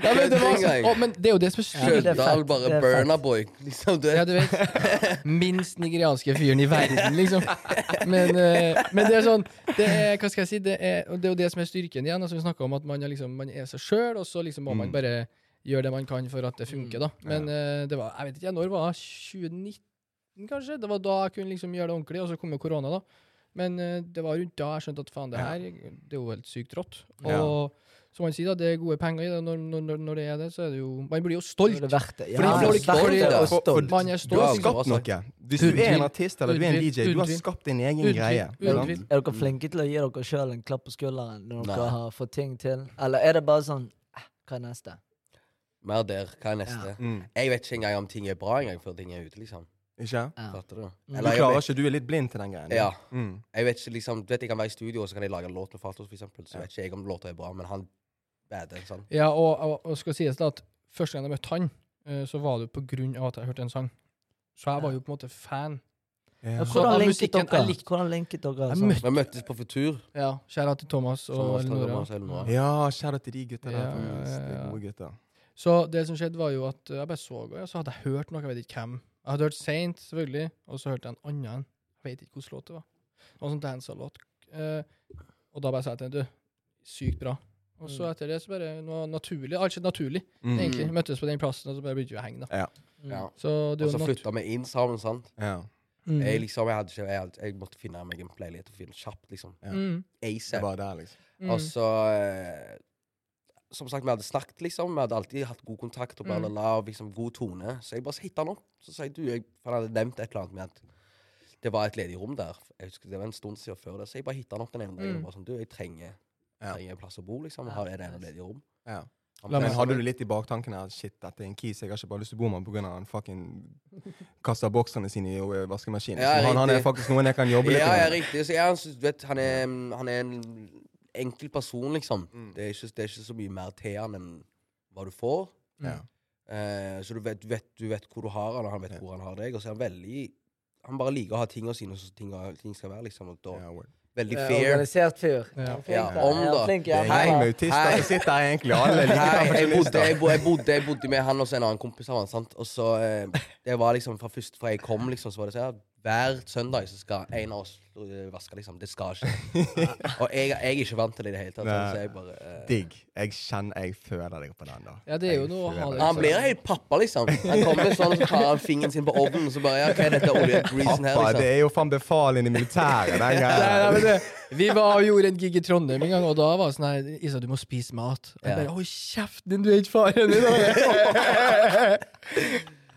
Speaker 2: Det er ikke
Speaker 4: ja, men,
Speaker 2: kødd
Speaker 4: det var,
Speaker 2: engang.
Speaker 4: å, men det er jo det som er
Speaker 1: Ja, men det er
Speaker 2: Stjørdal,
Speaker 1: fett,
Speaker 2: bare
Speaker 1: det er
Speaker 2: burna
Speaker 1: fett.
Speaker 2: boy. Liksom, du
Speaker 4: Ja,
Speaker 2: vet.
Speaker 4: du vet. Minst nigerianske fyren i verden, liksom. Men, eh, men det er sånn det er, Hva skal jeg si? Det er, og det er jo det som er styrken igjen. Altså, vi snakka om at man er, liksom, man er seg sjøl, og så liksom må
Speaker 1: Mm.
Speaker 4: man bare gjøre det man kan for at det funker, da. Men eh, det var Jeg vet ikke, når var det? 2019, kanskje? Det var da jeg kunne liksom gjøre det ordentlig, og så kom jo korona, da. Men eh, det var rundt da jeg skjønte at faen, det
Speaker 3: Ja.
Speaker 4: her det er jo helt sykt rått. Og
Speaker 3: Ja.
Speaker 4: som han sier, da, det er gode penger i det. Når, når- når, når det er det, så er det jo Man blir jo
Speaker 1: Så er
Speaker 4: stolt.
Speaker 1: det verdt det. Ja,
Speaker 4: Fordi
Speaker 1: det er
Speaker 4: folk-
Speaker 1: verdt
Speaker 4: fordi-
Speaker 1: det og
Speaker 3: for- for-
Speaker 1: stolt.
Speaker 4: Man er
Speaker 3: Du har
Speaker 4: stolt.
Speaker 2: Ja,
Speaker 3: skapt noe. Hvis du er en artist eller du er en
Speaker 4: Uten tvil.
Speaker 3: DJ, du har
Speaker 4: Uten tvil.
Speaker 3: skapt din egen
Speaker 4: Uten tvil.
Speaker 3: greie.
Speaker 4: Uten
Speaker 3: sant?
Speaker 4: tvil.
Speaker 1: Er dere flinke til å gi dere sjøl en klapp på skulderen når dere
Speaker 2: Nei.
Speaker 1: har fått ting til? Eller er det bare sånn eh, Hva er neste?
Speaker 2: Mer der. Hva er neste?
Speaker 1: Ja.
Speaker 3: Mm.
Speaker 2: Jeg vet ikke engang om ting er bra engang før ting er ute, liksom.
Speaker 3: Ikke?
Speaker 1: Ja.
Speaker 2: Fatter du?
Speaker 1: Du
Speaker 4: Mm.
Speaker 3: Du
Speaker 2: jeg
Speaker 3: klarer
Speaker 2: vet-
Speaker 3: ikke, du er litt blind til den greien.
Speaker 2: Ja.
Speaker 3: Mm.
Speaker 2: Jeg vet ikke, liksom, du vet, jeg kan være i studio, og så kan jeg lage en låt med Fatos, for eksempel. Så vet ikke jeg om låta er bra, men han bader sånn.
Speaker 4: Ja, og, og, og skal sies da at første gang jeg møtte han, eh, så var det jo på grunn av at jeg hørte en sang. Så jeg var jo på en måte fan.
Speaker 3: Ja.
Speaker 1: Ja,
Speaker 4: Så
Speaker 1: hvordan,
Speaker 4: av
Speaker 1: linket
Speaker 4: musikken,
Speaker 1: dere?
Speaker 4: jeg likte-
Speaker 1: hvordan linket dere?
Speaker 4: Jeg
Speaker 1: sånn?
Speaker 4: møtte
Speaker 2: Vi møttes på Futur.
Speaker 4: Ja, kjære til Thomas og
Speaker 2: Thomas,
Speaker 4: Elinora.
Speaker 2: Thomas, Elinora.
Speaker 3: Ja, kjære til de gutta der.
Speaker 4: Ja,
Speaker 3: faktisk.
Speaker 4: ja,
Speaker 3: De
Speaker 4: ja.
Speaker 3: gode gutta.
Speaker 4: Så det som skjedde, var jo at eh, jeg bare så henne, og så hadde jeg hørt noe, jeg vet ikke hvem. Jeg hadde hørt Saint, selvfølgelig, og så hørte jeg en annen. Jeg vet ikke hvordan låt det var. Noen sånn dansa-låt. Eh, og da bare sa jeg til henne, du, sykt bra. Og så etter det så bare noe naturlig. Alt skjedde naturlig,
Speaker 3: Mm.
Speaker 4: egentlig. Møttes på den plassen, og så bare begynte vi å henge, da.
Speaker 1: Mm.
Speaker 2: Ja.
Speaker 4: Så det
Speaker 2: Og
Speaker 4: er
Speaker 2: så
Speaker 4: jo natt...
Speaker 2: flytta vi inn sammen, sant.
Speaker 3: Ja.
Speaker 4: Mm.
Speaker 2: Jeg liksom, jeg hadde ikke, jeg, hadde, jeg måtte finne meg en leilighet og finne kjapt, liksom.
Speaker 3: ja.
Speaker 4: Mm.
Speaker 3: Det
Speaker 2: ASAP.
Speaker 3: var der, liksom.
Speaker 4: Mm.
Speaker 2: Og så eh, Som sagt, vi hadde snakket, liksom. Vi hadde alltid hatt god kontakt og bla,
Speaker 4: Mm.
Speaker 2: bla, bla, og liksom god tone. Så jeg bare hitta han opp. Så sa jeg du, jeg for han hadde nevnt et eller annet med at det var et ledig rom der. Jeg husker Det var en stund siden før det, så jeg bare hitta han opp den ene dagen.
Speaker 4: Mm.
Speaker 2: og Bare sånn, du, jeg trenger,
Speaker 3: Ja.
Speaker 2: trenger en plass å bo, liksom.
Speaker 1: Ja,
Speaker 2: Her er det ene
Speaker 1: nice.
Speaker 2: ledige rom.
Speaker 3: Ja.
Speaker 2: Han sånn,
Speaker 4: La
Speaker 2: bare,
Speaker 3: Men
Speaker 4: meg-
Speaker 3: hadde du litt i baktanken her Shit, dette er en kis, jeg har ikke bare lyst til å bo med han på grunn av han fucking kaster bokserne sine i eh, vaskemaskinen.
Speaker 2: Ja,
Speaker 3: så han, han er
Speaker 2: riktig.
Speaker 3: faktisk noen jeg kan jobbe litt
Speaker 2: Ja, ja,
Speaker 3: med.
Speaker 2: riktig. Så ja, han, synes- du vet, han, er, mm, han er en enkel person, liksom.
Speaker 3: Mm.
Speaker 2: Det, er ikke, det er ikke så mye mer til han enn hva du får.
Speaker 3: Ja.
Speaker 2: Eh, så du vet, du vet, du vet hvor du har han, og han vet
Speaker 3: Ja.
Speaker 2: hvor han har deg. Og så er han veldig Han bare liker å ha tingene sine som ting, ting skal være, liksom. Og da,
Speaker 3: Ja, word.
Speaker 2: Veldig
Speaker 1: Eh,
Speaker 2: fair.
Speaker 1: Organisert fyr.
Speaker 4: Ja.
Speaker 1: Flink,
Speaker 2: Ja,
Speaker 1: da.
Speaker 2: om
Speaker 1: Ja,
Speaker 2: da.
Speaker 1: flink,
Speaker 3: Det
Speaker 1: ja.
Speaker 3: er en gjeng med
Speaker 1: Bra.
Speaker 3: autister som sitter her, egentlig. Alle er like
Speaker 2: Nei, jeg bodde,
Speaker 3: perfeksjonister.
Speaker 2: jeg, bo- jeg, bodde, jeg bodde med han og så en annen kompis av han, sant? Og så eh, Det var liksom fra først fra jeg kom, liksom, så var det sånn ja, Hver søndag så skal en av oss eh, vaske, liksom. Det skal ikke. Og jeg, jeg er ikke vant til det i det hele tatt.
Speaker 3: Nei.
Speaker 2: Så jeg bare eh,
Speaker 3: Digg. Jeg kjenner jeg føler deg på den, da.
Speaker 4: Ja, det er jo
Speaker 3: Jeg
Speaker 4: noe å ha
Speaker 3: føler
Speaker 4: det.
Speaker 2: Ja, Han blir helt pappa, liksom. Han kommer sånn, så tar han fingeren sin på ovnen, og så bare Ja, hva er dette oljegrisen her,
Speaker 3: Pappa, det
Speaker 2: liksom?
Speaker 3: er jo faen befaling i militæret, den
Speaker 4: Nei,
Speaker 3: greia.
Speaker 4: nei, men det, vi var og gjorde en gig i Trondheim en gang, og da var det sånn her Isa, du må spise mat. Og jeg
Speaker 2: Ja.
Speaker 4: bare Hold kjeften din, du er ikke faren din!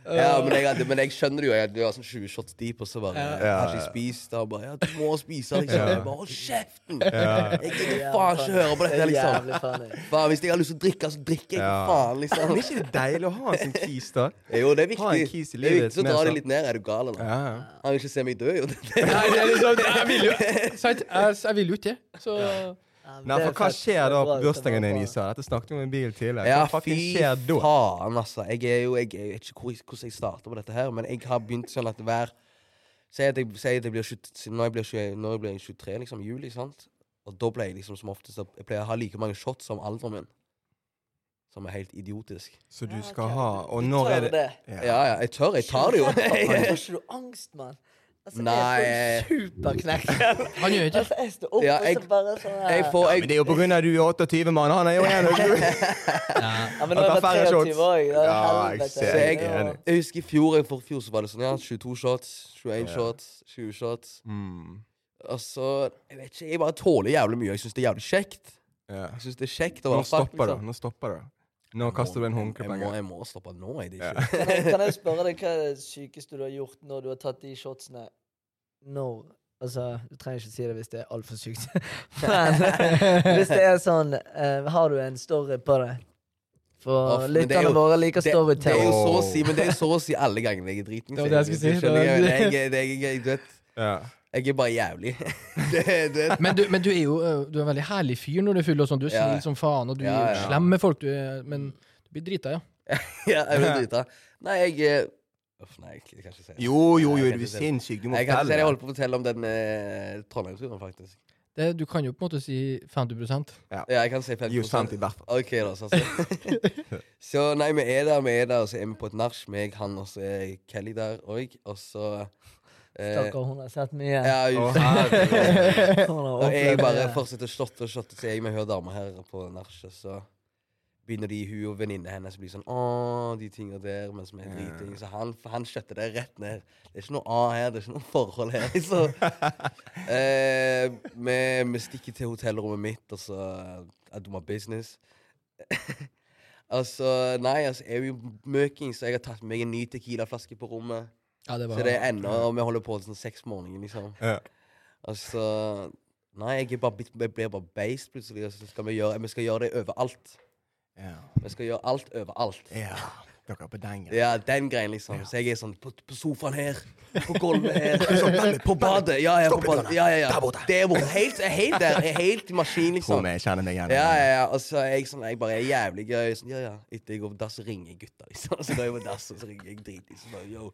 Speaker 2: Ja,
Speaker 1: Eh.
Speaker 2: men jeg, hadde- men jeg skjønner det jo. Jeg hadde sånn 20 shots deep, og så bare
Speaker 4: Ja.
Speaker 2: Har ikke jeg spist? Og bare Ja, du må spise, liksom. Jeg bare Hold kjeften! Jeg gidder faen ikke høre på dette,
Speaker 1: Det er
Speaker 2: liksom.
Speaker 1: jævlig funny.
Speaker 2: Faen, hvis jeg har lyst til å drikke, så drikker jeg.
Speaker 3: Ja.
Speaker 2: for Faen, liksom.
Speaker 3: Men er ikke det deilig å ha en sånn kis, da?
Speaker 2: Jo, det er
Speaker 3: Ha en
Speaker 2: viktig.
Speaker 3: kis
Speaker 2: Det er
Speaker 3: i livet
Speaker 2: viktig, Så
Speaker 3: med
Speaker 2: drar de
Speaker 3: sånn-
Speaker 2: litt ned. Er du gal, eller?
Speaker 3: Ja.
Speaker 2: Han vil ikke se meg dø, jo.
Speaker 4: Nei, det er liksom, jeg vil jo sant? Jeg, jeg vil jo ikke det. Så
Speaker 1: Ja, men
Speaker 3: Nei,
Speaker 1: det er
Speaker 3: for hva
Speaker 1: fett.
Speaker 3: skjer da
Speaker 1: Det er bra at det
Speaker 3: på
Speaker 1: var
Speaker 3: bursdagen din,
Speaker 1: bra.
Speaker 3: Isa? Dette snakket vi om i bilen tidligere.
Speaker 2: Ja,
Speaker 3: Hva fucking
Speaker 2: fy
Speaker 3: skjer da?
Speaker 2: faen, altså. Jeg er jo, jeg, jeg vet ikke hvor, hvordan jeg starter på dette her, men jeg har begynt sånn at hver Si at jeg, si at jeg blir 20, når, jeg blir 20, når jeg blir 23, liksom, i juli, sant? Og da ble jeg liksom som oftest Jeg pleier å ha like mange shots som alderen min. Som er helt idiotisk.
Speaker 3: Så du
Speaker 1: Ja,
Speaker 3: skal
Speaker 1: ok.
Speaker 3: ha Og
Speaker 1: Du
Speaker 3: når
Speaker 1: tør
Speaker 3: er det
Speaker 2: Ja, ja, jeg tør. Jeg tar det jo.
Speaker 1: Får ikke du angst, mann? Altså,
Speaker 2: Nei.
Speaker 1: Jeg får superknekken.
Speaker 4: han gjør ikke det.
Speaker 1: Altså, jeg står opp,
Speaker 2: Ja,
Speaker 1: og
Speaker 2: jeg-
Speaker 1: så bare sånn her
Speaker 2: Jeg får
Speaker 3: Men det
Speaker 2: jeg,
Speaker 3: er jo på grunn av at du er 28, mann. Han er jo 21.
Speaker 1: Ja, men nå er
Speaker 3: Han
Speaker 1: jeg
Speaker 3: tar
Speaker 1: bare
Speaker 3: færre
Speaker 1: 23
Speaker 3: shots.
Speaker 1: år. jeg. Det er
Speaker 3: Ja, jeg
Speaker 1: helvete.
Speaker 3: ser
Speaker 2: det. Jeg
Speaker 1: Det er
Speaker 3: er
Speaker 1: jo-
Speaker 3: enig.
Speaker 2: jeg husker i fjor, jeg, for i fjor så var det sånn ja, 22 shots, 21
Speaker 3: Ja.
Speaker 2: shots, 20 shots.
Speaker 3: Mm.
Speaker 2: Og så Jeg vet ikke, jeg bare tåler jævlig mye. Jeg syns det er jævlig kjekt.
Speaker 3: Ja.
Speaker 2: Jeg synes det er kjekt å
Speaker 3: Nå
Speaker 2: være fuck,
Speaker 3: stopper det.
Speaker 2: liksom.
Speaker 3: Nå stopper det. Nå kaster du en håndkle
Speaker 2: Jeg
Speaker 3: på en
Speaker 2: må,
Speaker 3: gang.
Speaker 2: jeg må stoppe nå, jeg. Det er
Speaker 3: Ja.
Speaker 2: ikke.
Speaker 1: Kan jeg, kan jeg spørre deg hva er det sykeste du har gjort når du har tatt de shotsene? Når Altså, du trenger ikke si det hvis det er altfor sykt. Men eh, hvis det er sånn eh, Har du en story på det?
Speaker 2: Uff,
Speaker 1: For
Speaker 2: men det er
Speaker 1: lytterne
Speaker 2: jo-
Speaker 1: våre liker
Speaker 2: Det, det er
Speaker 1: storytelling.
Speaker 2: jo så å si, men det er så å si alle gangene jeg er driten.
Speaker 4: Det var det jeg skulle si.
Speaker 2: skjønner
Speaker 4: Det var-
Speaker 2: Jeg, jeg, jeg, jeg, jeg, du vet,
Speaker 3: Ja.
Speaker 2: jeg er bare jævlig. det, det,
Speaker 4: Men du, men du er jo øh, Du er en veldig herlig fyr når du er full, og sånn. Du er
Speaker 2: Ja.
Speaker 4: snill som faen, og du
Speaker 2: Ja,
Speaker 4: er
Speaker 2: ja.
Speaker 4: slem med folk, du er, men du blir drita, ja.
Speaker 2: ja, jeg blir drita. Nei, jeg eh, Uff, nei, jeg kan ikke si det.
Speaker 3: Jo,
Speaker 2: Jeg
Speaker 3: jo, jo,
Speaker 2: kan
Speaker 3: du
Speaker 2: ikke
Speaker 3: er
Speaker 2: si det.
Speaker 3: sinnssyk. Du må
Speaker 2: Jeg kan ikke si det. Jeg
Speaker 3: fortelle.
Speaker 2: holdt på å fortelle om den eh, Trondheimsturen, faktisk.
Speaker 4: Det, du kan jo på en måte si 50
Speaker 2: Ja, jeg kan si 50
Speaker 3: Gi oss sant i hvert fall.
Speaker 2: OK, da. Så, altså. så nei, vi er der, vi er der, og så er vi på et nach. Meg, han og så er Kelly der òg. Og så eh,
Speaker 1: Stakkar, hun har sett mye.
Speaker 2: ja,
Speaker 3: Å,
Speaker 2: jo.
Speaker 3: herregud.
Speaker 1: Hun har
Speaker 2: Og jeg
Speaker 1: opplevd
Speaker 2: bare
Speaker 1: mye.
Speaker 2: fortsetter å shotte og shotte, så er jeg med hun dama her på nachet, så begynner de, hun og venninnene hennes blir sånn Åh, de tinga der, mens vi er
Speaker 3: Ja.
Speaker 2: driting. Så han, han skjøtter det rett ned. Det er ikke noe A her, det er ikke noe forhold her. Så, eh, vi, vi stikker til hotellrommet mitt, og så I do my business. altså, nei, altså, jeg er jo møking, så jeg har tatt med meg en ny tequilaflaske på rommet.
Speaker 4: Ja, det var
Speaker 2: Så det er ennå, og vi holder på til sånn seks om morgenen, liksom.
Speaker 3: Ja.
Speaker 2: Altså Nei, jeg, er bare, blitt- jeg blir bare beist plutselig. Og så skal vi, gjøre, vi skal gjøre det overalt.
Speaker 3: Ja.
Speaker 2: Vi skal gjøre alt overalt.
Speaker 3: ja. Dere er på den greia.
Speaker 2: Ja, den greien, liksom. Så jeg er sånn på, på sofaen her, på gulvet her, på badet. Ja, ja, på badet. Ja, ja, ja.
Speaker 3: Der borte.
Speaker 2: Der borte. Helt, jeg er helt der. Jeg er helt i maskin,
Speaker 3: Tror
Speaker 2: liksom.
Speaker 3: vi kjenner meg igjen.
Speaker 2: Ja, ja, ja. Og så er jeg sånn, jeg bare er jævlig gøy. Sånn, ja, ja. Etter jeg går på dass, så ringer jeg gutta, liksom. Så går jeg på dass, og så ringer jeg dritings. Så bare, yo,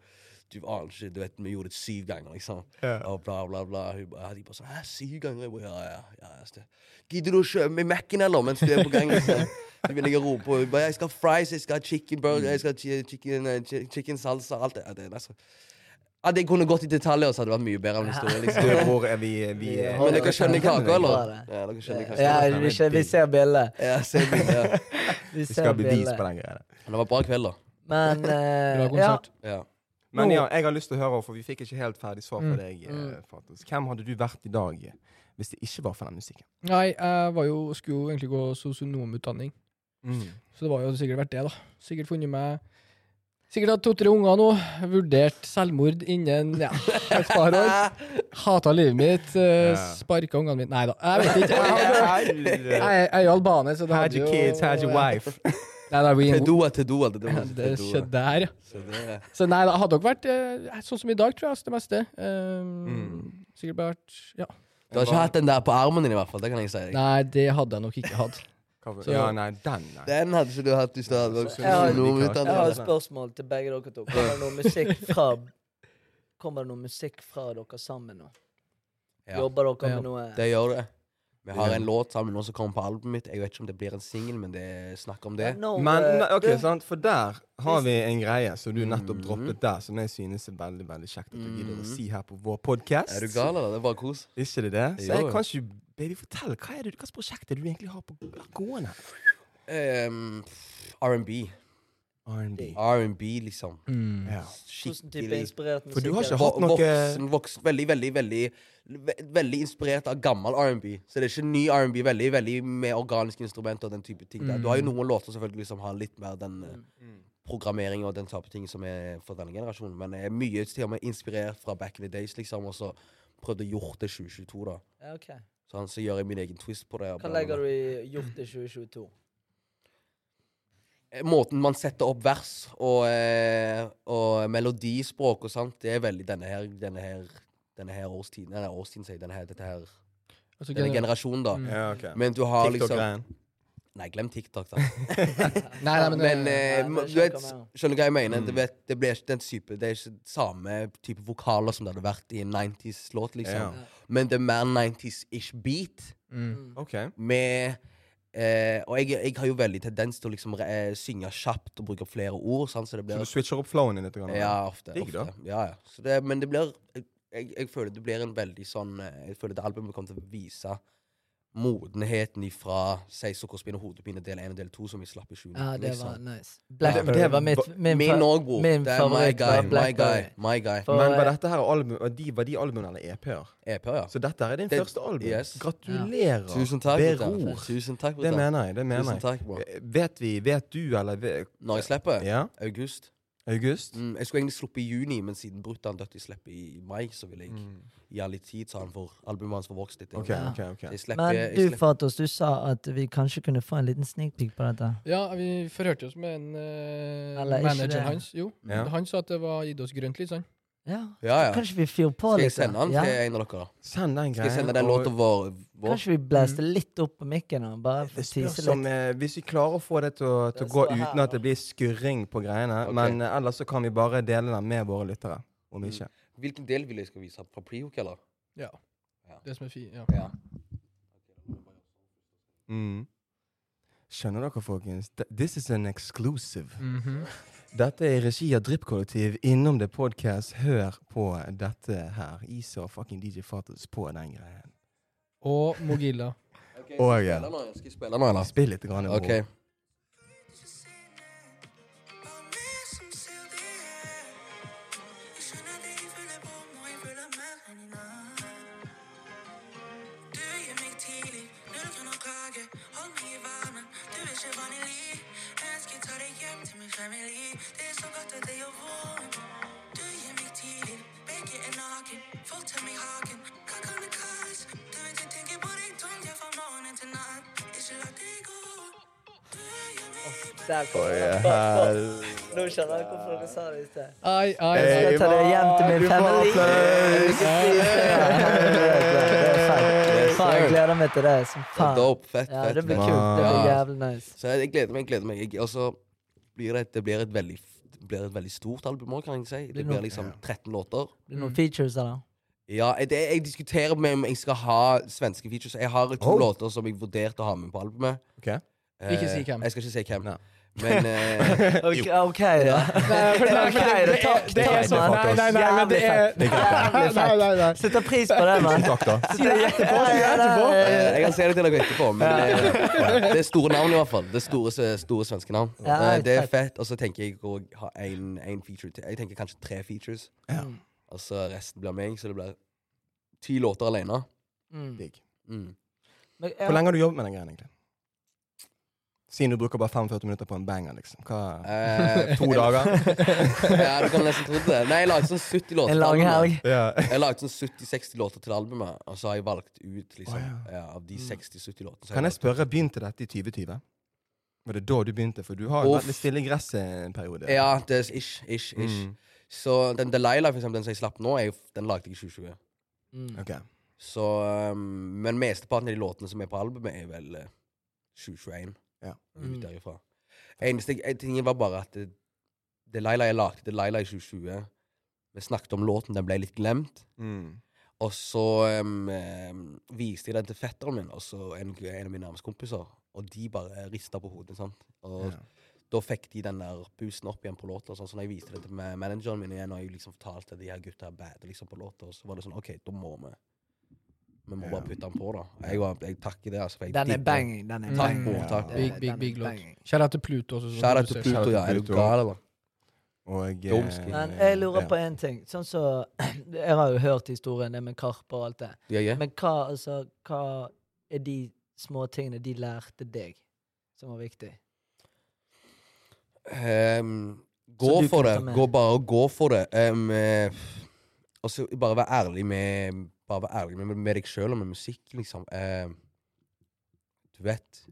Speaker 2: du aner ikke, du vet, vi gjorde det syv ganger, liksom. Og bla, bla, bla. Hun bare, de bare sånn, hæ, syv ganger? Jeg bare, ja, ja, ja. ja, så det- Gidder du å kjøpe meg Mac-en, eller? Mens du er på gang, liksom. Så begynner jeg å rope, og hun bare, jeg skal ha fries, jeg skal ha chicken burger, jeg skal ha chi- chicken, eh, chi- chicken salsa, alt det. Ja, det er nesten... Hadde jeg kunne gått i detaljer, så hadde det vært mye bedre om historien, liksom.
Speaker 3: Du, bror, er vi, vi
Speaker 1: Ja.
Speaker 2: Men dere skjønner kaka, eller?
Speaker 1: Bra, det.
Speaker 2: Ja, dere skjønner kaka.
Speaker 1: Ja,
Speaker 3: det
Speaker 1: vi,
Speaker 3: er
Speaker 1: ser- vi
Speaker 3: digg.
Speaker 1: ser bildet.
Speaker 2: Ja, se bildet, ja.
Speaker 1: Vi
Speaker 3: Vi
Speaker 1: ser
Speaker 3: skal ha bevis
Speaker 1: bildet.
Speaker 3: på den greia.
Speaker 2: Men det var bra kveld, da.
Speaker 1: Men eh,
Speaker 4: Bra
Speaker 1: ja,
Speaker 4: konsert.
Speaker 2: Ja.
Speaker 3: Men
Speaker 1: Nå-
Speaker 3: ja, jeg har lyst til å høre, for vi fikk ikke helt ferdig svar fra
Speaker 4: Mm.
Speaker 3: deg. eh,
Speaker 1: Mm.
Speaker 3: Fatos. Hvem hadde du vært i dag hvis det ikke var for den musikken?
Speaker 4: Nei, jeg var jo, skulle jo egentlig gå sosionomutdanning,
Speaker 3: Mm.
Speaker 4: så det var jo sikkert vært det, da. Sikkert funnet meg Sikkert hatt to-tre unger nå. Vurdert selvmord innen ja, et par år. Hata livet mitt.
Speaker 3: Ja.
Speaker 4: Uh, Sparka ungene mine Nei da, jeg vet ikke. Jeg, hadde-
Speaker 3: Helvete.
Speaker 4: jeg, jeg er jo albaner, så det
Speaker 3: Had your kids, had your wife.
Speaker 4: Nei, nei, we,
Speaker 2: Tedoa, Tedoa. Det, var-
Speaker 4: det
Speaker 2: Tedoa.
Speaker 4: skjedde der, ja.
Speaker 2: Så det-
Speaker 4: Så nei, det hadde nok vært eh, sånn som i dag, tror jeg, altså, det meste. Um,
Speaker 3: Mm.
Speaker 4: Sikkert bare vært Ja.
Speaker 2: Du har ikke hatt den der på armen din, i hvert fall. Det kan jeg si. deg.
Speaker 4: Nei, det hadde jeg nok ikke hatt.
Speaker 3: Så- Ja, nei, den, nei.
Speaker 2: Den hadde ikke du hatt hvis du hadde vært
Speaker 1: Jeg har- jeg har
Speaker 2: sosionomutdannet.
Speaker 1: et spørsmål til begge dere to. Kommer det noe musikk fra Kommer det noe musikk fra dere sammen nå?
Speaker 2: Ja.
Speaker 1: Jobber dere
Speaker 4: Ja.
Speaker 1: med noe
Speaker 2: Det gjør det. Vi har en låt sammen nå som kommer på albumet mitt. Jeg vet ikke om det blir en singel, men det er snakk om det. Mm.
Speaker 1: No,
Speaker 3: Men
Speaker 1: eh,
Speaker 3: nei,
Speaker 1: du,
Speaker 3: ok, sant, for der har vi en greie som du nettopp droppet der, som jeg synes er veldig veldig kjekt at du gidder å si her på vår podkast.
Speaker 2: Er du gal, eller? Det er bare kos.
Speaker 3: Ikke det det? Så
Speaker 2: Jo,
Speaker 3: jeg
Speaker 2: jo.
Speaker 3: kan ikke Baby, fortell. Hva er det, hva slags prosjekt er det du egentlig har på gående?
Speaker 2: Ehm, R&B.
Speaker 3: R&B.
Speaker 2: R&B, liksom.
Speaker 3: Ja.
Speaker 1: Hvordan sånn type
Speaker 2: Skikkelig.
Speaker 1: inspirert musikk?
Speaker 3: For du har
Speaker 1: er
Speaker 3: ikke
Speaker 1: det?
Speaker 3: hatt noe
Speaker 2: Voksen, voksen, veldig, veldig, veldig ve- Veldig inspirert av gammel R&B. Så det er ikke ny R&B, veldig veldig med organiske instrumenter og den type ting. der. Du har jo
Speaker 3: Mm.
Speaker 2: noen låter selvfølgelig som har litt mer den
Speaker 1: Mm.
Speaker 2: eh, programmeringen og den type ting som er for denne generasjonen, men er mye til og med inspirert fra back in the days, liksom, og så prøvde å gjort det 2022, da.
Speaker 1: Ja, ok.
Speaker 2: Sånn, så gjør jeg min egen twist på det. og
Speaker 1: Hva
Speaker 2: bla, bla, bla.
Speaker 1: legger du i gjort i 2022?
Speaker 2: Eh, Måten man setter opp vers og, eh, og melodispråk og sånt, det er veldig denne her, denne her, denne her årstiden. Denne årstiden, sier jeg. Denne her, dette her
Speaker 4: Altså,
Speaker 2: denne
Speaker 1: Eh,
Speaker 4: gener-
Speaker 2: generasjonen, da.
Speaker 4: Mm.
Speaker 3: Ja, ok.
Speaker 2: Men du har liksom
Speaker 3: TikTok-greien.
Speaker 2: Nei, glem TikTok, da.
Speaker 4: nei, nei, men,
Speaker 2: Men
Speaker 4: eh,
Speaker 2: eh,
Speaker 1: Nei,
Speaker 2: ma-
Speaker 1: det
Speaker 2: du vet,
Speaker 1: skjønner jeg jo.
Speaker 2: skjønner du hva jeg mener?
Speaker 3: Mm.
Speaker 2: Du vet, det, blir ikke den type, det er ikke samme type vokaler som det hadde vært i en 90s-låt, liksom.
Speaker 3: Ja.
Speaker 2: Men det er mer 90s-ish beat.
Speaker 4: mm.
Speaker 3: OK.
Speaker 2: med eh, Og jeg, jeg har jo veldig tendens til å liksom eh, synge kjapt og bruke flere ord. Sant? Så det
Speaker 3: Så
Speaker 2: blir
Speaker 3: du switcher opp flowen din litt? Grann,
Speaker 2: Ja, ofte.
Speaker 3: Digg, da.
Speaker 2: ofte. Ja, ja. Så det, men det blir jeg, jeg føler det blir en veldig sånn eh, Jeg føler det albumet kommer til å vise modenheten ifra Si sukkerspinn og hodepine del 1 og del 2, som vi slapp i 2019.
Speaker 1: Ja, det var
Speaker 2: liksom.
Speaker 1: nice.
Speaker 3: Ja,
Speaker 1: Blackberry
Speaker 3: det
Speaker 1: var mitt min,
Speaker 2: Min
Speaker 1: fa-
Speaker 2: òg, bror.
Speaker 1: min
Speaker 2: Det er my
Speaker 1: favoritt
Speaker 2: guy.
Speaker 1: var
Speaker 2: My guy.
Speaker 1: Blackberry.
Speaker 2: My guy.
Speaker 1: For-
Speaker 3: Men var dette her album, og de, var de albumene eller EP-er?
Speaker 2: EP, ja.
Speaker 3: Så dette her er din
Speaker 2: Det-
Speaker 3: første album.
Speaker 2: yes.
Speaker 3: Gratulerer.
Speaker 2: Tusen takk, bror.
Speaker 3: Beror.
Speaker 2: Tusen takk,
Speaker 3: Det
Speaker 2: bror.
Speaker 3: mener jeg. det mener
Speaker 2: Tusen
Speaker 3: jeg.
Speaker 2: takk, bror.
Speaker 3: Vet vi, vet du, eller ve-
Speaker 2: Når jeg slipper?
Speaker 3: Ja?
Speaker 2: August.
Speaker 3: August?
Speaker 2: Mm, jeg skulle egentlig sluppe i juni, men siden brutter'n døde slipper i i mai, så vil jeg
Speaker 1: Mm,
Speaker 2: gi han litt tid, sa han, for albumet hans får vokse litt.
Speaker 3: OK,
Speaker 1: Ja.
Speaker 3: OK. ok.
Speaker 2: Så Jeg slipper,
Speaker 1: Men du,
Speaker 2: jeg slipper.
Speaker 1: Fatos, du sa at vi kanskje kunne få en liten sneak peek på dette.
Speaker 4: ja, vi forhørte oss med en eh,
Speaker 1: Eller ikke det.
Speaker 4: manager hans. Jo,
Speaker 3: Ja.
Speaker 4: Han sa at det var gitt oss grønt lys, han.
Speaker 1: Ja,
Speaker 2: Ja, ja.
Speaker 1: Kanskje vi fyrer på
Speaker 2: Skal jeg
Speaker 1: litt? da?
Speaker 2: sende han
Speaker 1: Ja.
Speaker 2: til en av dere? da?
Speaker 3: Send den greien.
Speaker 2: Skal jeg sende den
Speaker 3: og-
Speaker 2: låta vår? vår?
Speaker 1: Kanskje vi blaster litt opp på mikken og bare
Speaker 3: Det
Speaker 1: får
Speaker 3: spørs
Speaker 1: tise
Speaker 3: om,
Speaker 1: litt?
Speaker 3: eh, hvis vi klarer å få det til å, til å
Speaker 1: Det
Speaker 3: gå
Speaker 1: står her,
Speaker 3: uten at
Speaker 1: da.
Speaker 3: det blir skurring på greiene.
Speaker 2: Ok.
Speaker 3: Men eh, ellers så kan vi bare dele den med våre lyttere. Om ikke.
Speaker 2: Hvilken del vil jeg skal vise? Fra prehook, eller?
Speaker 4: Ja. Det som er fint. Ja.
Speaker 2: Ja.
Speaker 3: Mm. Skjønner dere, folkens? Th- This is an exclusive.
Speaker 4: Mhm.
Speaker 3: Dette er i regi av Dryppkollektiv innom det podcast. Hør på dette her. Isa og fucking DJ Fatus på den greien.
Speaker 4: Og Mogilla.
Speaker 2: Ok,
Speaker 3: Å, ja.
Speaker 2: Skal jeg spille nå, eller?
Speaker 3: Spill litt. Grann,
Speaker 2: OK.
Speaker 5: ikke holde meg i varmen. Du er ikke vanlig. Jeg skal ta deg hjem til min family. Det er så godt at det gjør vondt. Du gir meg tiden, begge er naken. Folk tar meg i haken. Hva kan det kalles? Du vet jeg tenker på deg tungt, jeg fra morgen til natt. Ikke la det gå. Du gjør meg
Speaker 1: Der kom den. Nå skjønner jeg hvorfor dere sa det i sted.
Speaker 4: Ai, ai,
Speaker 2: Eh.
Speaker 1: Jeg
Speaker 4: ai.
Speaker 1: skal ta det hjem til min family.
Speaker 2: Yes,
Speaker 1: Faen, jeg
Speaker 2: sir.
Speaker 1: gleder meg til det som
Speaker 2: Ja,
Speaker 1: faen.
Speaker 2: dope. Fett,
Speaker 1: Ja,
Speaker 2: fett.
Speaker 1: det blir
Speaker 2: fett.
Speaker 1: kult. Det blir
Speaker 4: Ja.
Speaker 1: jævlig nice.
Speaker 2: Så jeg jeg gleder meg. jeg gleder meg. Jeg- Og så blir det, et- det blir et veldig f- det blir et veldig stort album òg, kan jeg si. Det
Speaker 1: Blir
Speaker 2: blir
Speaker 1: nok-
Speaker 2: liksom 13 låter.
Speaker 1: Blir det Noen features, eller?
Speaker 2: Ja, det jeg diskuterer med om jeg skal ha svenske features. Jeg har to
Speaker 3: Oh.
Speaker 2: låter som jeg vurderte å ha med på albumet.
Speaker 3: Ok.
Speaker 2: Eh,
Speaker 4: Ikke si hvem.
Speaker 2: Jeg skal ikke si hvem.
Speaker 3: Nei.
Speaker 2: Men eh,
Speaker 1: Ok, ok, da.
Speaker 4: Nei, for- nei, for
Speaker 1: Ok, takk,
Speaker 4: det- det er- det er
Speaker 1: takk,
Speaker 4: sånn-
Speaker 3: Markus.
Speaker 4: Nei, nei, nei, men det er
Speaker 3: Det er greit.
Speaker 4: Nei, nei, nei.
Speaker 1: Setter pris på det, mann.
Speaker 3: Takk, da.
Speaker 1: Si det etterpå. Si det etterpå.
Speaker 2: eh, jeg kan si det til dere etterpå, men eh, det er store navn i hvert fall. Det er store, s- store svenske navn.
Speaker 1: Ja,
Speaker 2: Eh, det er
Speaker 1: fett.
Speaker 2: fett. Og så tenker jeg å ha en, en feature til. Jeg tenker kanskje tre features.
Speaker 3: Ja.
Speaker 2: Og så resten blir meg, så det blir ti låter alene.
Speaker 1: Mm.
Speaker 3: Digg.
Speaker 2: Mm.
Speaker 1: Men
Speaker 3: Hvor
Speaker 1: jeg-
Speaker 3: lenge har du jobbet med den greien, egentlig? Siden du bruker bare 45 minutter på en banger, liksom. Hva?
Speaker 2: Eh,
Speaker 3: To dager?
Speaker 2: ja, du kan nesten tro det. Nei, jeg lagde sånn 70 låter.
Speaker 1: En
Speaker 2: til
Speaker 1: lang
Speaker 2: albumet.
Speaker 1: helg.
Speaker 3: Ja.
Speaker 2: Jeg lagde sånn 70-60 låter til albumet, og så har jeg valgt ut liksom,
Speaker 3: Å, Mm.
Speaker 2: ja, av de 60-70 låtene. så har
Speaker 3: Kan jeg
Speaker 2: jeg valgt-
Speaker 3: spørre, begynte dette i 2020? Var det da du begynte? For du har jo
Speaker 2: Uff.
Speaker 3: vært litt stille i gresset en periode.
Speaker 2: Ja, det er ish, ish, ish.
Speaker 3: Mm.
Speaker 2: Så den Delilah, for eksempel, den som jeg slapp nå, er jo, den lagde jeg i 2020.
Speaker 3: Ok.
Speaker 2: Så, um, men mesteparten av de låtene som er på albumet, er vel eh, 2021.
Speaker 3: Ja.
Speaker 2: Ut derifra. Eneste jeg- tingen var bare at eh, Delilah jeg lagde Delilah i 2020. Vi snakket om låten, den ble litt glemt.
Speaker 3: Mm.
Speaker 2: Og så um, um, viste jeg den til fetteren min og så en, en av mine nærmeste kompiser. Og de bare rista på hodet. sant? Og
Speaker 3: Ja.
Speaker 2: da fikk de den der boosten opp igjen på låta. Sånn, så når jeg viste det til ma- manageren min igjen, og jeg liksom fortalte at de her gutta er bad liksom på låta, så var det sånn OK, da må vi Vi må bare putte den på, da. Jeg, var, jeg takker det. altså, for jeg
Speaker 1: Den er
Speaker 2: digger-
Speaker 1: banging. Den er
Speaker 2: Takk,
Speaker 1: banging.
Speaker 2: bror. takk.
Speaker 1: Den-
Speaker 4: Big, big,
Speaker 1: den er
Speaker 4: big låt.
Speaker 1: banging.
Speaker 4: Shout out til Pluto. også, som
Speaker 2: Shout out til
Speaker 4: produserer.
Speaker 2: Pluto, ja. Er du
Speaker 3: Pluto.
Speaker 2: gal, eller?
Speaker 3: Og, eh,
Speaker 2: Domsky.
Speaker 1: Men jeg lurer på en ting. Sånn så, Jeg har jo hørt historien det med Karpe og alt det.
Speaker 2: Ja, ja.
Speaker 1: Men hva, altså, hva er de små tingene de lærte deg, som var viktig?
Speaker 2: Ehm,
Speaker 1: Så
Speaker 2: gå
Speaker 1: du
Speaker 2: for
Speaker 1: kan ta
Speaker 2: det.
Speaker 1: med.
Speaker 2: Gå bare og gå for det. Ehm, eh, og så bare være ærlig med Bare være ærlig med, med deg sjøl og med musikk, liksom. Ehm, du vet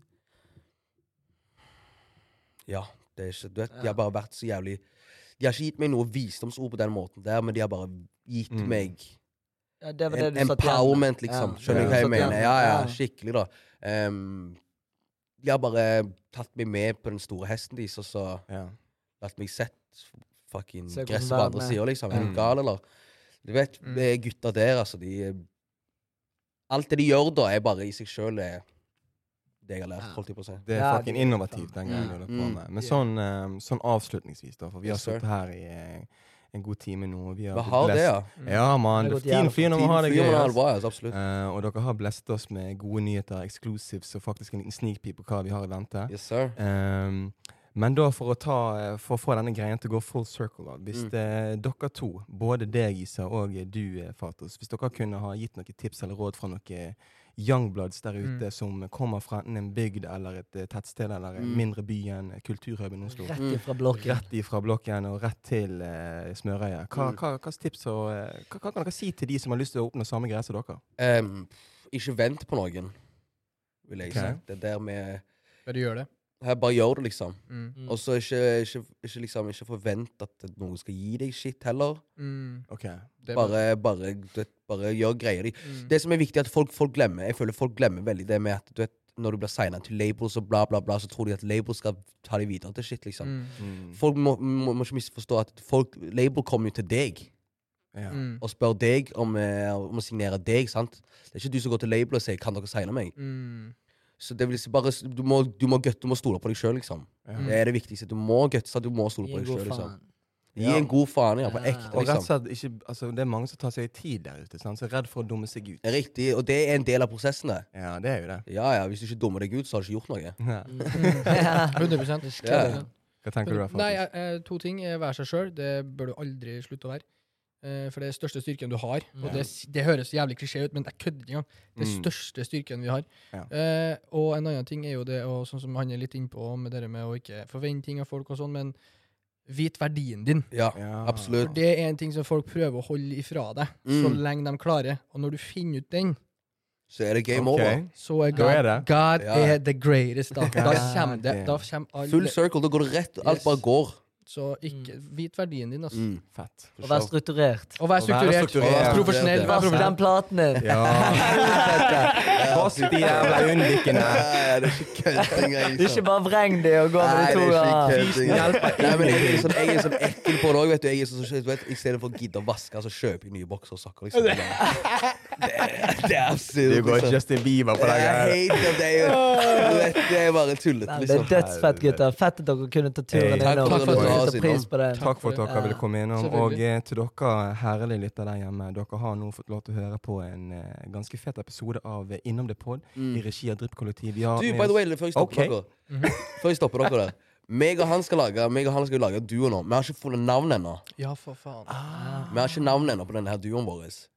Speaker 2: Ja, det er ikke Du vet, de har bare vært så jævlig De har ikke gitt meg noe visdomsord på den måten der, men de har bare gitt
Speaker 3: Mm.
Speaker 2: meg
Speaker 1: Ja, det var det
Speaker 2: en,
Speaker 1: du satt igjen med.
Speaker 2: empowerment, liksom.
Speaker 1: Ja.
Speaker 2: Skjønner du
Speaker 3: Ja.
Speaker 2: hva jeg
Speaker 1: Satt igjen
Speaker 2: mener?
Speaker 1: med.
Speaker 2: Ja, ja,
Speaker 1: Ja.
Speaker 2: skikkelig, da. Ehm, de har bare tatt meg med på den store hesten deres, og så
Speaker 3: Ja.
Speaker 2: latt meg sett fucking
Speaker 1: Se hvordan
Speaker 2: gresset på
Speaker 1: verden
Speaker 2: andre
Speaker 1: er.
Speaker 2: sida, liksom. Er
Speaker 3: Mm.
Speaker 2: du gal, eller? Du vet,
Speaker 4: Mm.
Speaker 2: det er gutta der, altså, de eh, Alt det de gjør da, er bare i seg sjøl eh, det jeg har lært,
Speaker 1: Ja.
Speaker 2: holdt jeg på å si.
Speaker 3: Det er
Speaker 1: Ja,
Speaker 3: fucking
Speaker 1: det er
Speaker 3: innovativt,
Speaker 1: sant.
Speaker 3: den greien
Speaker 4: Mm.
Speaker 3: du holder på
Speaker 2: Mm.
Speaker 3: med. Men
Speaker 1: Ja.
Speaker 3: sånn, eh, sånn avslutningsvis, da, for vi har
Speaker 2: Yes, sir.
Speaker 3: sittet her i eh, en god time nå. Og vi har
Speaker 2: Vi
Speaker 3: blitt
Speaker 2: har det,
Speaker 3: blessed.
Speaker 2: ja.
Speaker 3: Ja, mann.
Speaker 1: Det har
Speaker 3: Det
Speaker 1: gått
Speaker 3: er Tiden
Speaker 1: jævla
Speaker 3: flyr når man har det
Speaker 2: Fy,
Speaker 3: gøy.
Speaker 2: men
Speaker 3: ass.
Speaker 2: det bra, altså, absolutt.
Speaker 3: Eh, og dere har blesset oss med gode nyheter, exclusives og faktisk en liten sneak peek på hva vi har i vente.
Speaker 2: Yes, sir.
Speaker 3: Ehm, men da for å, ta, eh, for å få denne greien til å gå full circle, da, hvis
Speaker 2: Mm.
Speaker 3: eh, dere to, både deg Isa og eh, du eh, Fatos, hvis dere kunne ha gitt noen tips eller råd fra noen youngbloods der
Speaker 2: Mm.
Speaker 3: ute som kommer fra enten en bygd eller et eh, tettsted eller en
Speaker 2: Mm.
Speaker 3: mindre by enn kulturhøben Oslo,
Speaker 1: Rett ifra blokken.
Speaker 3: rett ifra blokken og rett til eh,
Speaker 2: Mm.
Speaker 3: Smørøya, hva, hva, hva, slags tips og, eh, hva, hva kan dere si til de som har lyst til å oppnå samme greie som dere?
Speaker 2: Em, ikke vent på noen, vil jeg
Speaker 3: Ok.
Speaker 2: si. Det der med
Speaker 4: Bare gjør det.
Speaker 2: her, Bare gjør det, liksom.
Speaker 4: Mm.
Speaker 1: Mm.
Speaker 2: Og så ikke, ikke, ikke, liksom, ikke forvent at noen skal gi deg shit heller.
Speaker 4: Mm.
Speaker 3: Ok,
Speaker 4: Det er bra.
Speaker 2: Bare, bare, du vet, bare gjør greier.
Speaker 4: Mm.
Speaker 2: Det som er viktig, er at folk, folk glemmer Jeg føler folk glemmer veldig det med at du vet, når du blir signa til labels og bla, bla, bla, så tror de at labels skal ta deg videre til shit, liksom.
Speaker 4: Mm.
Speaker 3: mm.
Speaker 2: Folk må, må, må ikke misforstå at folk, label kommer jo til deg
Speaker 3: ja.
Speaker 4: Mm.
Speaker 2: og spør deg om, eh, om å signere deg, sant? Det er ikke du som går til label og sier 'kan dere signe meg'?
Speaker 4: Mm.
Speaker 2: Så det vil si bare, s- du må, du må, gøtte, du må stole på deg sjøl, liksom.
Speaker 3: Ja.
Speaker 2: Det er det viktigste. Du må gutse, du må stole
Speaker 1: Gi
Speaker 2: på
Speaker 1: en
Speaker 2: deg
Speaker 1: god
Speaker 2: sjøl, liksom.
Speaker 1: faen.
Speaker 2: Gi en god faen, ja, på
Speaker 1: Ja.
Speaker 2: ekte,
Speaker 3: Og rett og
Speaker 2: liksom.
Speaker 3: slett ikke, altså, det er mange som tar seg tid der ute, sant? så er redd for å dumme seg ut.
Speaker 2: Riktig. Og det er en del av prosessen, det.
Speaker 3: Ja, det er jo det.
Speaker 2: Ja, ja, hvis du ikke dummer deg ut, så har du ikke gjort noe.
Speaker 3: Ja.
Speaker 4: 100
Speaker 2: Ja.
Speaker 3: Hva tenker du der,
Speaker 4: Nei,
Speaker 3: faktisk?
Speaker 4: eh, eh, to ting. Eh, Vær seg sjøl. Det bør du aldri slutte å være. Eh, For det er den største styrken du har. Og det, det høres jævlig klisjé ut, men jeg kødder ikke engang. Det er den
Speaker 3: Mm.
Speaker 4: største styrken vi har.
Speaker 3: Ja.
Speaker 4: Eh, og en annen ting er jo det, og sånn som han er litt innpå, med det med å ikke forvente ting av folk og sånn, men vit verdien din.
Speaker 2: Ja,
Speaker 3: Ja.
Speaker 4: For
Speaker 2: absolutt.
Speaker 4: det er en ting som folk prøver å holde ifra deg, så
Speaker 2: Mm.
Speaker 4: lenge de klarer. Og når du finner ut den,
Speaker 2: Så er det game
Speaker 3: Ok.
Speaker 2: over.
Speaker 4: så er
Speaker 3: Da
Speaker 4: God,
Speaker 3: er det.
Speaker 4: God
Speaker 2: Ja.
Speaker 4: er the greatest. Da, da kommer det. Da kommer
Speaker 2: Full
Speaker 4: alle.
Speaker 2: circle, da går det rett. Alt
Speaker 4: Yes.
Speaker 2: bare går.
Speaker 4: Så ikke vit verdien din, altså.
Speaker 2: Mm.
Speaker 3: Fett.
Speaker 1: Og vær strukturert.
Speaker 4: Og vær
Speaker 3: Og vær
Speaker 4: strukturert.
Speaker 3: strukturert.
Speaker 4: vær Profesjonell.
Speaker 2: Det er
Speaker 4: Vær
Speaker 1: Vask
Speaker 4: profesjonell.
Speaker 1: den platen din!
Speaker 3: Ja. Vask de jævla øyenvikene.
Speaker 2: Nei, det er ikke kødd engang.
Speaker 1: Det er ikke bare vreng det og gå med
Speaker 2: Nei, det
Speaker 1: de to
Speaker 2: er ikke
Speaker 1: ja.
Speaker 2: kødd engang. Nei, men jeg er sånn, jeg er sånn ekkel på det òg, vet du. Jeg er sånn, så- du vet, I stedet for å gidde å vaske, så kjøper jeg nye boksersokker. Liksom. Det, er- det er absurd.
Speaker 3: Du går
Speaker 2: liksom.
Speaker 3: Justin Bieber på det
Speaker 2: Jeg
Speaker 3: her.
Speaker 2: hater det. Du vet, det er bare tullete,
Speaker 1: Nei, Det er
Speaker 2: liksom.
Speaker 1: dødsfett, gutter. Fett at dere kunne ta turen
Speaker 3: Hey,
Speaker 2: takk
Speaker 1: innom.
Speaker 4: for at
Speaker 1: Vi
Speaker 4: dere
Speaker 1: setter
Speaker 2: var oss
Speaker 1: pris på det.
Speaker 3: Takk for at dere
Speaker 1: Ja.
Speaker 3: ville komme innom. Og
Speaker 4: Selvfølgelig.
Speaker 3: eh, til dere herlige lyttere der hjemme, dere har nå fått lov til å høre på en eh, ganske fet episode av eh, Innom det pod i regi av Dryppkollektiv. Vi har
Speaker 2: Du,
Speaker 3: med
Speaker 2: by the
Speaker 3: oss-
Speaker 2: way, før jeg stopper
Speaker 3: Ok.
Speaker 1: Mhm.
Speaker 2: dere Før jeg stopper dere der meg og han skal lage Meg og han skal jo lage en duo nå. Vi har ikke funnet navn ennå.
Speaker 4: Ja, for faen.
Speaker 2: Vi har ikke navn ennå på denne her duoen vår.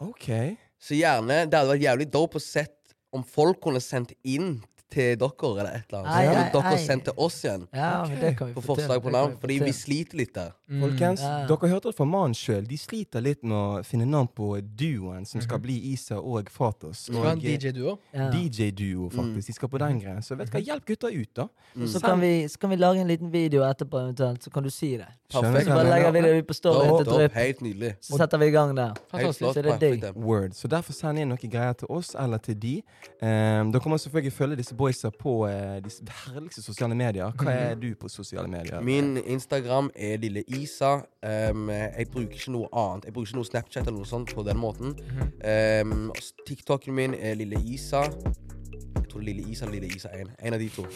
Speaker 3: Ok.
Speaker 2: Så gjerne Det hadde vært jævlig dope å sett om folk kunne sendt inn til dere eller et eller annet.
Speaker 1: Ei,
Speaker 2: Så
Speaker 1: ei,
Speaker 2: hadde dere
Speaker 1: ei.
Speaker 2: sendt til oss igjen
Speaker 1: Ja, men det kan vi
Speaker 2: på
Speaker 1: få til.
Speaker 2: forslag på
Speaker 1: Det kan
Speaker 2: navn,
Speaker 1: vi få
Speaker 2: fordi
Speaker 1: til.
Speaker 2: vi sliter litt der.
Speaker 3: Folkens,
Speaker 1: Ja.
Speaker 3: dere hørte det fra mannen sjøl. De sliter litt med å finne navn på duoen som skal bli Isa og Fatos.
Speaker 4: Skal vi ha en
Speaker 3: Og eh,
Speaker 4: DJ-duo?
Speaker 1: Ja.
Speaker 3: DJ-duo, faktisk. De skal på den greia. Så vet du hva, hjelp gutta ut, da.
Speaker 1: Så kan vi, så kan vi lage en liten video etterpå, eventuelt, så kan du si det.
Speaker 3: Skjønner
Speaker 2: Perfekt.
Speaker 1: Så bare
Speaker 3: Ja.
Speaker 1: legger vi det ut på storyen
Speaker 2: Dope,
Speaker 1: til
Speaker 2: dope,
Speaker 1: Drypp,
Speaker 2: helt nydelig.
Speaker 1: så setter vi i gang der.
Speaker 2: Helt
Speaker 4: Fantastisk.
Speaker 2: flott.
Speaker 1: Så det er
Speaker 2: perfekt,
Speaker 1: digg.
Speaker 2: ja.
Speaker 3: Word. Så derfor send inn noen greier til oss eller til de. Um, dere må selvfølgelig følge disse boysa på eh, disse herligste sosiale medier. Hva er du på sosiale medier?
Speaker 2: Min Instagram er lille Isa. Ehm, jeg bruker ikke noe annet. Jeg bruker ikke noe Snapchat eller noe sånt på den måten. Ehm, og s- TikToken min er lille Isa. Jeg tror lille Isa eller lille Isa 1. En av de to.
Speaker 3: Ok,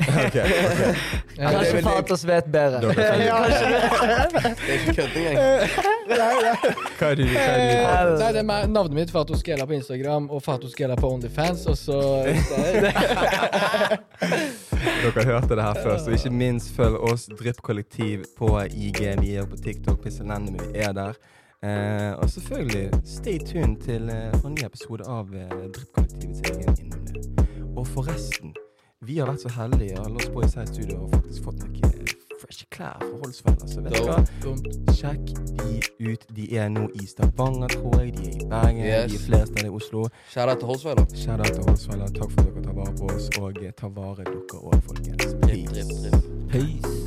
Speaker 3: ok.
Speaker 4: Ja,
Speaker 2: det er
Speaker 1: Kanskje
Speaker 2: veldig-
Speaker 1: Fatos vet bedre.
Speaker 3: Dere kan-
Speaker 2: Det er ikke kødd engang.
Speaker 3: Hva er du? Hva er du?
Speaker 1: Ja,
Speaker 4: Nei, det er meg- navnet mitt Fato Skela på Instagram og Fato Skela på Onlyfans. Og så
Speaker 3: Dere hørte det her først. Og ikke minst følg oss Dryppkollektiv på IG. Vi er på TikTok, Pisselende, men vi er der. Eh, og selvfølgelig, stay tuned til eh, en ny episode av eh, Dryppkollektivets egen Innom det. Og forresten, vi har vært så heldige og Lost Boys her i studio har faktisk fått noen eh, fresh klær fra Holsfeller. Så vet du hva? Sjekk de ut. De er nå i Stavanger, tror jeg. De er i Bergen.
Speaker 2: Yes.
Speaker 3: De er flere steder i Oslo.
Speaker 2: Kjære til Holsweiler.
Speaker 3: Shout-out til Holsfeller. Takk for at dere tar vare på oss, og eh, ta vare dere òg, folkens.
Speaker 2: Dripp, dripp, dripp.
Speaker 3: Peace.